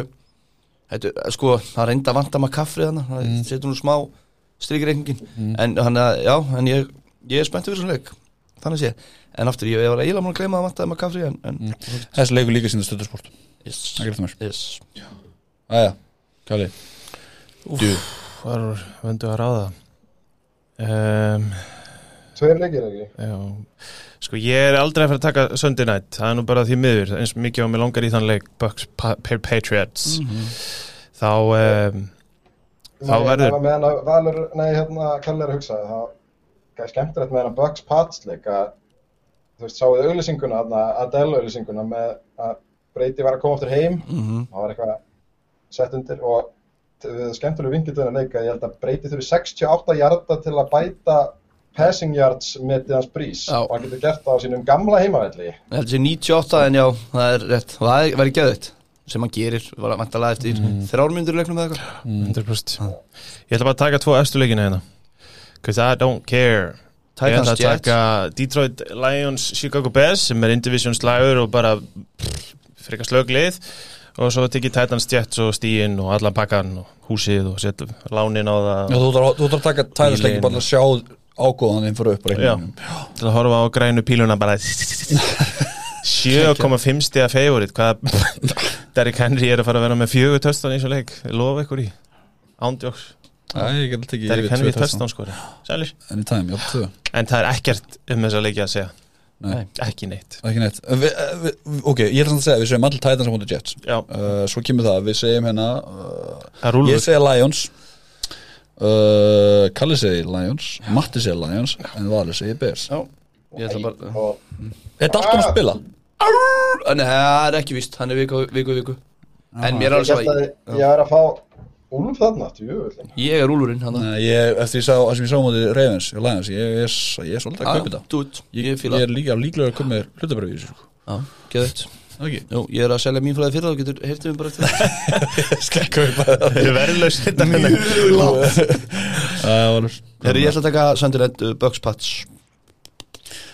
[SPEAKER 2] þetta, sko, það reynda að vanta maður kaffrið hann það mm. setur nú smá strikreikningin en hann, að- já, en ég, ég er spenntið fyrir svona leik þannig sé, en aftur ég, ég var eiginlega múin að gleyma að vanta maður kaffrið en, en
[SPEAKER 1] Þessi leikur líka sinni stöðusport
[SPEAKER 2] yes,
[SPEAKER 1] Það gerði mér
[SPEAKER 2] yes.
[SPEAKER 1] Æja, Kali Djú,
[SPEAKER 4] Hvar vendu að ráða? Um,
[SPEAKER 3] Tveir leikir er ekki
[SPEAKER 4] já. Sko ég er aldrei að fara að taka Sunday Night, það er nú bara því miður eins og mikið á mig langar í þann leik Bucks pa Pa- Patriots
[SPEAKER 2] Mhm.
[SPEAKER 4] þá um, Þá
[SPEAKER 3] Nei,
[SPEAKER 4] verður-
[SPEAKER 3] það var meðan að Valur, nei hérna Kalli er að hugsa það Það er skemmtilegt meðan að Bucks Pats leik að Þú veist, sáuðu auðlýsinguna þarna, Adele auðlýsinguna með að Brady var að koma aftur heim
[SPEAKER 2] Mm. Mhm.
[SPEAKER 3] Það var eitthvað sett undir og t- skemmtileg vinkill þennan leik að ég held að Brady þurfi 68 hjarta til að bæta passing yards metið hans brís
[SPEAKER 2] Já.
[SPEAKER 3] og hann getur gert það á sínum gamla heimavelli
[SPEAKER 2] Ég held að sé 98 en já, það er rétt og það verður geðut sem hann gerir, var að vantala eftir mm. þrjármyndur leiknum eða eitthvað
[SPEAKER 4] 100% Ah. Ég ætla bara að taka tvo efstu leikina hérna Cause I don't care Ég ætla
[SPEAKER 2] Titans
[SPEAKER 4] að taka
[SPEAKER 2] Jets,
[SPEAKER 4] Detroit Lions Chicago Bears sem er indivision slagur og bara frekar slöglið og svo tekið Titans Jets og stíin og allan pakkan og húsið og setjum lánin á það
[SPEAKER 1] Já, þú þarf þú þarf að taka tæðast
[SPEAKER 4] Bílinn.
[SPEAKER 1] ekki bara að sjá ágóðan þinn fyrir upp
[SPEAKER 4] Já, til að horfa á grænu píluna
[SPEAKER 2] [LAUGHS]
[SPEAKER 4] bara 7,5 stiga favorit hvað [LAUGHS] Derrick Henry er að fara að vera með fjögur töstan í svo leik, Ég lofa ykkur í ándjóks,
[SPEAKER 1] Æ, ég get ekki
[SPEAKER 4] Derrick Henry töstan skori Sælir
[SPEAKER 1] Enni tæm, já, tvö
[SPEAKER 4] En það er ekkert um þessa leiki að segja
[SPEAKER 1] Nei.
[SPEAKER 4] Ekki neitt
[SPEAKER 1] Ekki neitt vi, vi, Ok, ég er samt að segja, við segjum allir Titans á móti Jets
[SPEAKER 4] Já,
[SPEAKER 1] uh, Svo kemur það, við segjum hérna uh,
[SPEAKER 4] það rúlur
[SPEAKER 1] Ég segja Lions uh, Kalli segi Lions Matti segi Lions En Valur segi Bears
[SPEAKER 2] já, ég ætla bara
[SPEAKER 3] og
[SPEAKER 1] Þetta alltaf að spila
[SPEAKER 2] Nei, það er ekki víst, hann er viku, viku, viku En mér er
[SPEAKER 3] ég
[SPEAKER 2] alveg
[SPEAKER 3] held að
[SPEAKER 2] svo
[SPEAKER 3] ég er að fá Úlf þarna, djúvöldin
[SPEAKER 2] Ég er úlurinn hann
[SPEAKER 1] Nei, ég, Eftir ég sá, það sem ég sá á móti Ravens og Lions, ég, ég, er- ég er svolítið að kaupa þetta
[SPEAKER 2] Dút,
[SPEAKER 1] Ah, Ég,
[SPEAKER 2] Ah, ég fíla
[SPEAKER 1] ég er líka líklega að koma með hlutabröfi í þessu sko.
[SPEAKER 2] Geðut
[SPEAKER 1] okay.
[SPEAKER 2] Jú, ég er að selja mín fræði fyrir það, þú getur heyrtið mér bara eftir
[SPEAKER 1] [LAUGHS]
[SPEAKER 2] það
[SPEAKER 1] Skal kaupa það
[SPEAKER 4] Þau eru
[SPEAKER 1] [LAUGHS]
[SPEAKER 4] verðlaus þetta
[SPEAKER 1] hérna.
[SPEAKER 2] Mjög látt
[SPEAKER 1] Það var-
[SPEAKER 2] [LAUGHS] Herri, ég ætla að taka Söndilend uh, Bucks Pats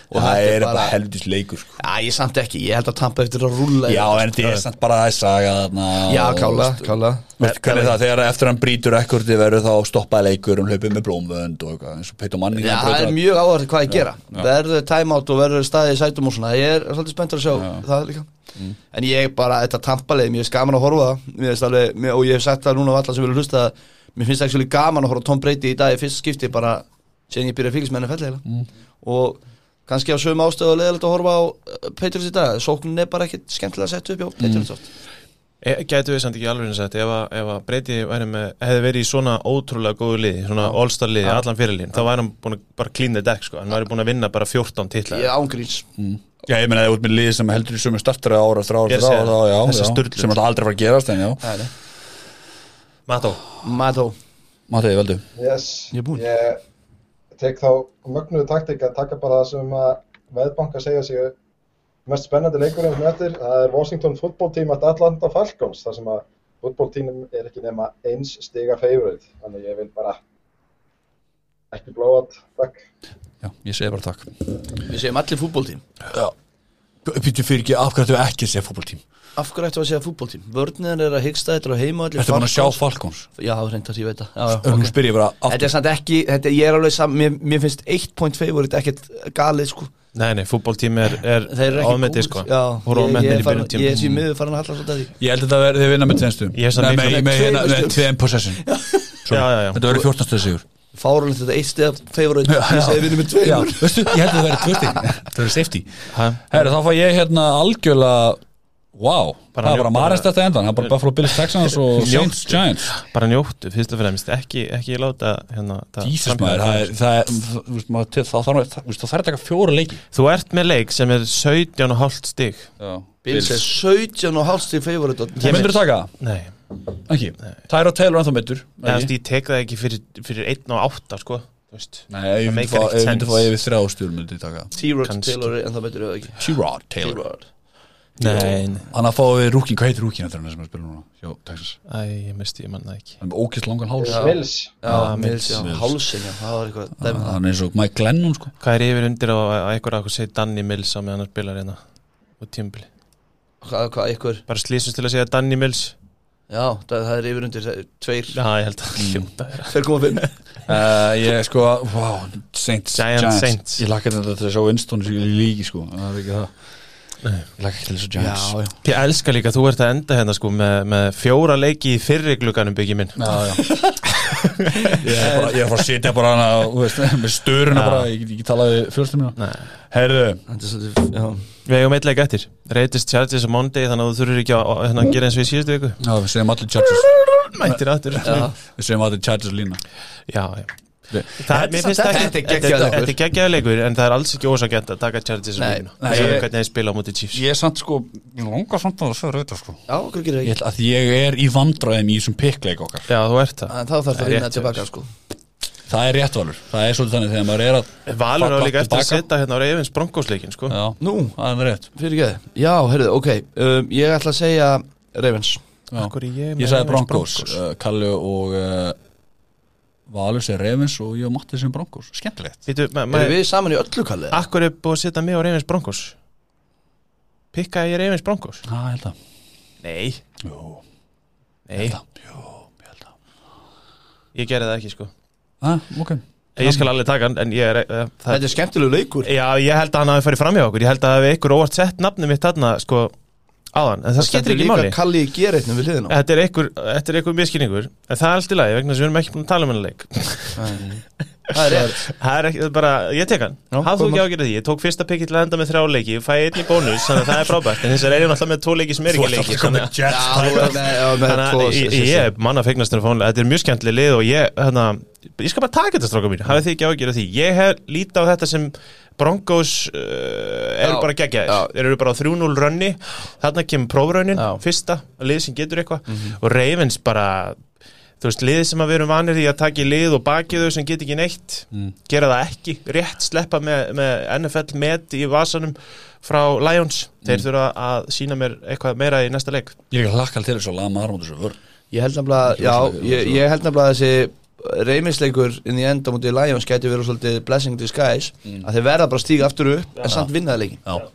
[SPEAKER 2] Og
[SPEAKER 1] Það
[SPEAKER 2] þetta
[SPEAKER 1] er bara helvítið leikur sko.
[SPEAKER 2] Já, ég samt ekki, ég held að tampa eftir að rúlla
[SPEAKER 1] Já, en þetta er samt bara þess að saga
[SPEAKER 2] Já, kála, kála
[SPEAKER 1] Hvernig það, þegar eftir hann brýtur ekkurti verður þá stoppaði leikur um hlaupið með blómvönd og eitthvað, eins og Peitur Manning
[SPEAKER 2] Já,
[SPEAKER 1] hann
[SPEAKER 2] það
[SPEAKER 1] brautar-
[SPEAKER 2] er mjög áhverð hvað ég gera Verður timeout og verður staðið í sætum og svona Ég er svolítið spenntur að sjá það líka
[SPEAKER 1] Mm.
[SPEAKER 2] En ég bara, þetta tampalið, mér er gaman að horfa á það. Mér finnst alveg, mér, og ég hef sagt það núna á alla sem vilja hlusta að Mér finnst ekki gaman að horfa á Tom Brady í dag í fyrst skipti bara Sen ég byrja að fylgjast með henni fellið mm. Og kannski á sömu ástöðu og leðilegt að horfa á uh, Patriots í dag Sóknin er bara ekkit skemmtilega að setja upp
[SPEAKER 1] Mm.
[SPEAKER 2] hjá Patriots oft
[SPEAKER 4] Gætu við samt ekki alveg eins að þetta ef að- ef að Breiti hefði verið í svona ótrúlega góðu liði, svona all-star liði allan fyrirlín, þá væri hann búin að bara klína dekk sko, hann væri búin að vinna bara 14 titla
[SPEAKER 2] Ég ángríns
[SPEAKER 1] Já, ég meina það er út með lið sem heldur í sömu startara ára þrá ára
[SPEAKER 4] Ég
[SPEAKER 1] þrá
[SPEAKER 4] segi
[SPEAKER 1] ára
[SPEAKER 4] það.
[SPEAKER 1] já,
[SPEAKER 4] Þessi
[SPEAKER 1] já,
[SPEAKER 4] sturlun.
[SPEAKER 1] sem alltaf aldrei var að gerast en já,
[SPEAKER 4] Mató,
[SPEAKER 2] Mató
[SPEAKER 1] Matiði veldu
[SPEAKER 3] yes,
[SPEAKER 2] Ég er búinn.
[SPEAKER 3] ég tek þá mögnuðu taktik að taka bara það sem að veðbanka segja sig mest spennandi leikurinn sem eftir það er Washington football team at Atlanta Falcons þar sem að football team er ekki nema eins stiga favorite þannig ég vil bara ekki blow out takk
[SPEAKER 1] Já, ég segi bara takk
[SPEAKER 2] Við segjum allir fútbóltím
[SPEAKER 1] Býttu fyrir ekki, af hverju þú ekki segja fótboltím
[SPEAKER 2] Af hverju ættu að segja fútbóltím? Vörnir er að hyggsta þetta á heima
[SPEAKER 1] Ertu búin að sjá Falcons?
[SPEAKER 2] Já, reyndar, ég veit það Já, já,
[SPEAKER 1] Okay.
[SPEAKER 2] ok.
[SPEAKER 1] Nú spyr ég bara af-
[SPEAKER 2] Þetta er samt ekki, þetta, ég er alveg saman mér, mér finnst 1 point favorite ekkert galið sko
[SPEAKER 4] nei nei, fútbóltími er,
[SPEAKER 2] Þeir
[SPEAKER 4] er
[SPEAKER 2] eru ekki
[SPEAKER 4] ofmetið
[SPEAKER 2] góðir.
[SPEAKER 4] sko
[SPEAKER 2] Já, ég,
[SPEAKER 4] voru
[SPEAKER 2] ég,
[SPEAKER 4] ofmetið
[SPEAKER 2] er
[SPEAKER 4] í
[SPEAKER 2] farin-
[SPEAKER 4] byrjum
[SPEAKER 2] Ég er
[SPEAKER 4] tíma
[SPEAKER 2] því miður farin að halla alltaf því
[SPEAKER 1] Ég held að það verði þið vinna með tvenstu
[SPEAKER 4] Ég er samt
[SPEAKER 1] Nei,
[SPEAKER 4] líka-
[SPEAKER 1] með, með, hérna, með
[SPEAKER 2] Tveimur
[SPEAKER 1] tveim possession
[SPEAKER 4] Já, já, já,
[SPEAKER 1] Þetta verður 14 stöð sigur
[SPEAKER 2] Fárunlega þetta eitt stið favorite Ég segi vinnum með
[SPEAKER 1] Já,
[SPEAKER 2] tveimur
[SPEAKER 1] veistu, ég held að það verði tvö stík Það verður safety
[SPEAKER 4] Ha?
[SPEAKER 1] Herru, þá fá ég hérna algjörlega Wow, það
[SPEAKER 4] Bara
[SPEAKER 1] var
[SPEAKER 4] njóta-
[SPEAKER 1] bara Maris þetta endan Það er bara Buffalo Bills Texans og Saints
[SPEAKER 4] Njóttu.
[SPEAKER 1] Giants
[SPEAKER 4] bara njóttu fyrst og fremst, ekki, ekki láta hérna, það-
[SPEAKER 1] Jesus maður, það er Það er, þú veist, maður til- þá þarf það- þú veist, þá þarf að taka fjóra leiki
[SPEAKER 4] Þú ert með leik sem er 17,5 stig
[SPEAKER 2] Bills er 17 og hálfstíð favorite og
[SPEAKER 1] Það myndur að taka það?
[SPEAKER 4] Nei,
[SPEAKER 1] Ekki, Tyra Taylor ennþá myndur
[SPEAKER 4] eða þú veist, ég tek það ekki fyrir, fyrir 1 og 8 sko, þú veist
[SPEAKER 1] Nei, ef ég
[SPEAKER 4] Það
[SPEAKER 1] myndi
[SPEAKER 4] meikar
[SPEAKER 1] fá- ef
[SPEAKER 4] ekkert
[SPEAKER 1] ég myndi fá
[SPEAKER 4] sens.
[SPEAKER 1] yfir þrjá stjórn myndi ég taka það.
[SPEAKER 2] T-Rod
[SPEAKER 4] Kannski.
[SPEAKER 2] Taylor er ennþá betur eða ekki
[SPEAKER 1] Tyrod Taylor
[SPEAKER 2] T-Rod
[SPEAKER 4] Nei, nei.
[SPEAKER 1] Þannig að fáum við rúkin, hvað heitir rúkin eftir hann sem er að spila núna? Jó, Texas
[SPEAKER 4] Æ, ég misti, ég manna ekki
[SPEAKER 1] Hann er með ókist langan háls
[SPEAKER 3] Mills
[SPEAKER 2] Já,
[SPEAKER 4] Ah,
[SPEAKER 2] Mills,
[SPEAKER 4] Mills,
[SPEAKER 2] já,
[SPEAKER 1] Mills.
[SPEAKER 2] hálsin, já, það var eitthvað dæmi um það.
[SPEAKER 1] Hann er eins og Mike Glennon sko
[SPEAKER 4] Hvað er yfir undir á að eitthvað að segja Danny Mills á meðan hann spilar hérna og tímbili
[SPEAKER 2] Hvað, hvað, ykkur
[SPEAKER 4] Bara slýsust til að segja Danny Mills
[SPEAKER 2] Já, það, það er yfir undir það er tveir,
[SPEAKER 4] Já, ég held að hljóta
[SPEAKER 2] 2,5
[SPEAKER 4] vera
[SPEAKER 1] [LAUGHS] Uh, ég sko, wow, Saints,
[SPEAKER 4] Giants,
[SPEAKER 1] Giants.
[SPEAKER 4] Saints.
[SPEAKER 1] Ég lakka þetta til að sjá Winston í líki sko, það er ekki það Ég lakka ekki til þessu Giants
[SPEAKER 2] Já, já.
[SPEAKER 4] Ég elska líka, þú ert að enda hérna sko með, með fjóra leiki í fyrri glugganum byggi minn
[SPEAKER 1] Já, já. [LAUGHS] ég, er bara, ég er bara að sitja bara hana, þú veist, með störuna bara, ég get ekki talað við fjölstum mína
[SPEAKER 4] Nei.
[SPEAKER 1] Herðu,
[SPEAKER 2] Þetta er svolítið, já
[SPEAKER 4] Við eigum eitt leik eftir Reytist Chargers á Monday þannig að þú þurfir ekki að hérna, gera eins og í síðustu viku
[SPEAKER 1] já, við segjum allir Chargers
[SPEAKER 4] Mættir aftur Já,
[SPEAKER 1] Við segjum allir Chargers lína
[SPEAKER 4] já
[SPEAKER 1] Við-
[SPEAKER 4] Það, mér finnst ekki-
[SPEAKER 2] Þetta er geggjaður
[SPEAKER 4] þetta er
[SPEAKER 2] leikur.
[SPEAKER 4] þetta er geggjaður leikur en það er alls ekki ósakent að taka Chargers
[SPEAKER 2] Nei.
[SPEAKER 4] og
[SPEAKER 1] Nei,
[SPEAKER 4] vinna Sjáum
[SPEAKER 1] ég-
[SPEAKER 4] hvernig þeir spila á móti Chiefs
[SPEAKER 1] Ég er samt sko, ég langar samt að það sér auðvitað sko
[SPEAKER 2] Já, hvað
[SPEAKER 1] Ég
[SPEAKER 2] gerir það ekki?
[SPEAKER 1] ætla að ég er í vandræðum í þessum pikkleik okkar
[SPEAKER 4] Já, þú ert það
[SPEAKER 2] En Þá þarf það að
[SPEAKER 4] Það er
[SPEAKER 2] vinna
[SPEAKER 4] rétt hjá
[SPEAKER 2] tilbaka, sko
[SPEAKER 1] Það er rétt valur, það er svolítið þannig þegar maður er að
[SPEAKER 4] Valur á
[SPEAKER 1] Falla
[SPEAKER 4] líka eftir að
[SPEAKER 1] tilbaka.
[SPEAKER 4] setja hérna á Ravens Broncos leikin sko.
[SPEAKER 1] Já,
[SPEAKER 2] Nú,
[SPEAKER 1] það er rétt
[SPEAKER 2] fyrir ekki Já, heyrðu, ok um, Ég ætla að segja Ravens
[SPEAKER 1] Já.
[SPEAKER 4] Af hverju ég er
[SPEAKER 1] Ég
[SPEAKER 4] með
[SPEAKER 1] sagði
[SPEAKER 4] Ravens
[SPEAKER 1] Broncos, Uh, Kalli og uh, Valur segir Ravens og ég og Matti sem Broncos Skemmtilegt
[SPEAKER 4] Býtu, ma- ma-
[SPEAKER 2] Erum við saman í öllu kallið?
[SPEAKER 4] Akkur er búið að setja mig á Ravens Broncos Pikkaði ég Ravens Broncos?
[SPEAKER 1] Já, ég held að
[SPEAKER 4] Nei,
[SPEAKER 1] Jú,
[SPEAKER 4] nei,
[SPEAKER 1] það Jú, ég held að
[SPEAKER 4] ég gerði það ekki sko
[SPEAKER 1] ah, Ok
[SPEAKER 4] Ég skal alveg taka hann, en ég er uh, það,
[SPEAKER 2] Þetta er skemmtilegu leikur
[SPEAKER 4] Já, ég held að hann hafi farið fram hjá okkur Ég held að það hafi ykkur óvart sett nafnum mitt þarna sko áðan, en það,
[SPEAKER 2] stendur
[SPEAKER 4] það skiptir ekki
[SPEAKER 2] líka
[SPEAKER 4] máli
[SPEAKER 2] Kalli í gereitnum við hliðina á.
[SPEAKER 4] Þetta er einhver, þetta er einhver miskinningur En það er allt í lagi vegna þess að við erum ekki búin að tala um hennar leik
[SPEAKER 2] [LAUGHS]
[SPEAKER 4] [LAUGHS]
[SPEAKER 2] Það er rétt
[SPEAKER 4] Það er ekki, það er bara, ég tek hann
[SPEAKER 2] Já,
[SPEAKER 4] Hafðu þú
[SPEAKER 2] koma.
[SPEAKER 4] ekki ágjörði því, ég tók fyrsta pikki til að enda með þrjá leiki Fæ einni bónus, þannig að það er frábært En þess að erum alltaf með tvo leiki sem er ekki leiki Þannig að-
[SPEAKER 2] Já, þú er með- já, með
[SPEAKER 4] þannig
[SPEAKER 2] tvo-
[SPEAKER 4] að ég- ég er manna fegnastur fónulega Þetta er mjög skemmtileg lið og ég, hérna Ég skal bara taka þetta stráka mín, hafið þið ekki ágjörði því Ég hef lítið á þetta sem Broncos uh, eru
[SPEAKER 2] Já,
[SPEAKER 4] bara geggjaðir Þeir eru bara á 3-0 rönni Þarna kemur prófraunin,
[SPEAKER 2] Já. Mhm.
[SPEAKER 4] fyrsta Lið sem getur eitthvað Og Ravens bara þú veist, liðið sem að við erum vanir í að taka í lið og baki þau sem get ekki neitt
[SPEAKER 2] Mm.
[SPEAKER 4] gera það ekki, rétt sleppa með, með NFL met í vasanum frá Lions,
[SPEAKER 2] Mm.
[SPEAKER 4] þeir þurfa að sína mér eitthvað meira í næsta leik
[SPEAKER 1] Ég er ekki hlakkal til þess að lama armóti svo vörn
[SPEAKER 2] Ég held nefnilega, já, ég, ég held nefnilega að þessi reymisleikur inn í enda mútið Lions gæti verið svolítið blessing in disguise að þeir verða bara að stíga aftur upp en samt vinnaði leikin
[SPEAKER 1] Já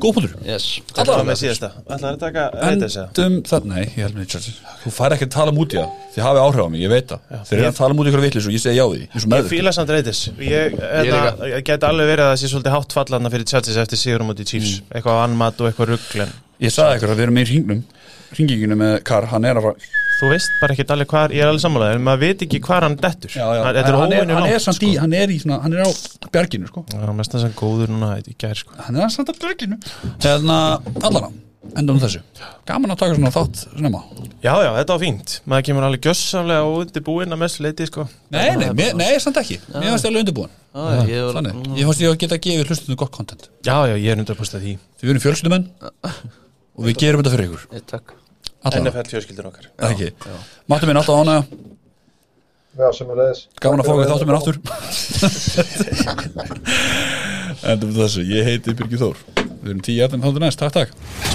[SPEAKER 1] Góð punktur
[SPEAKER 2] yes.
[SPEAKER 4] Það er með síðasta, ætlar að taka reytis eða?
[SPEAKER 1] Endum það, nei, ég held mér Chargers Þú fær ekki að tala múti það, þið hafið áhrif á mig, ég veit það Þeir eru að tala um múti ykkur vitlis og ég segi já við því, eins og
[SPEAKER 4] Ég
[SPEAKER 1] meður
[SPEAKER 4] fíla samt reytis Ég, hérna, ég get alveg verið að það sé svolítið hátt fallana fyrir Chargers eftir sigurum út í Chiefs eitthvað anmat og eitthvað rugglen
[SPEAKER 1] Ég sagði ykkur að við erum með í hringnum Hringinginu með Kar, hann er að fara
[SPEAKER 4] Þú veist bara ekkert alveg hvar, ég er alveg sammálaður en maður veit ekki hvar hann dettur Þetta er
[SPEAKER 1] hann, er,
[SPEAKER 4] óvinni
[SPEAKER 1] hann er
[SPEAKER 4] langt sko.
[SPEAKER 1] samt í, hann er í svona, hann er á bjarginu sko
[SPEAKER 4] Já, mest þess að góður núna í gær sko
[SPEAKER 1] hann er samt að bjarginu hérna, allana, endan þessu gaman að taka svona þátt snemma
[SPEAKER 4] Já, já, þetta var fínt. Maður kemur alveg gjössamlega óundi búinn að mestu leiti, sko.
[SPEAKER 1] nei, nei, mér, nei, samt ekki, mér fannst ég alveg undirbúin
[SPEAKER 2] ah, ég, var-
[SPEAKER 1] þannig, ég fannst ég að geta að gefa hlustunum gott content
[SPEAKER 4] Já, já, ég er 100% því.
[SPEAKER 1] því við erum fjölskyldumenn og við gerum þetta fyrir ykkur
[SPEAKER 2] Ég, takk
[SPEAKER 1] allana,
[SPEAKER 4] NFL fjölskyldur okkar.
[SPEAKER 1] ekki, matur minn alltaf ánægja
[SPEAKER 3] Já, sem er leiðis
[SPEAKER 1] gaman að fá ekki þáttum minn aftur endur þessu, ég heiti Birgir Þór við erum tíu jættin þáttur næst, takk, takk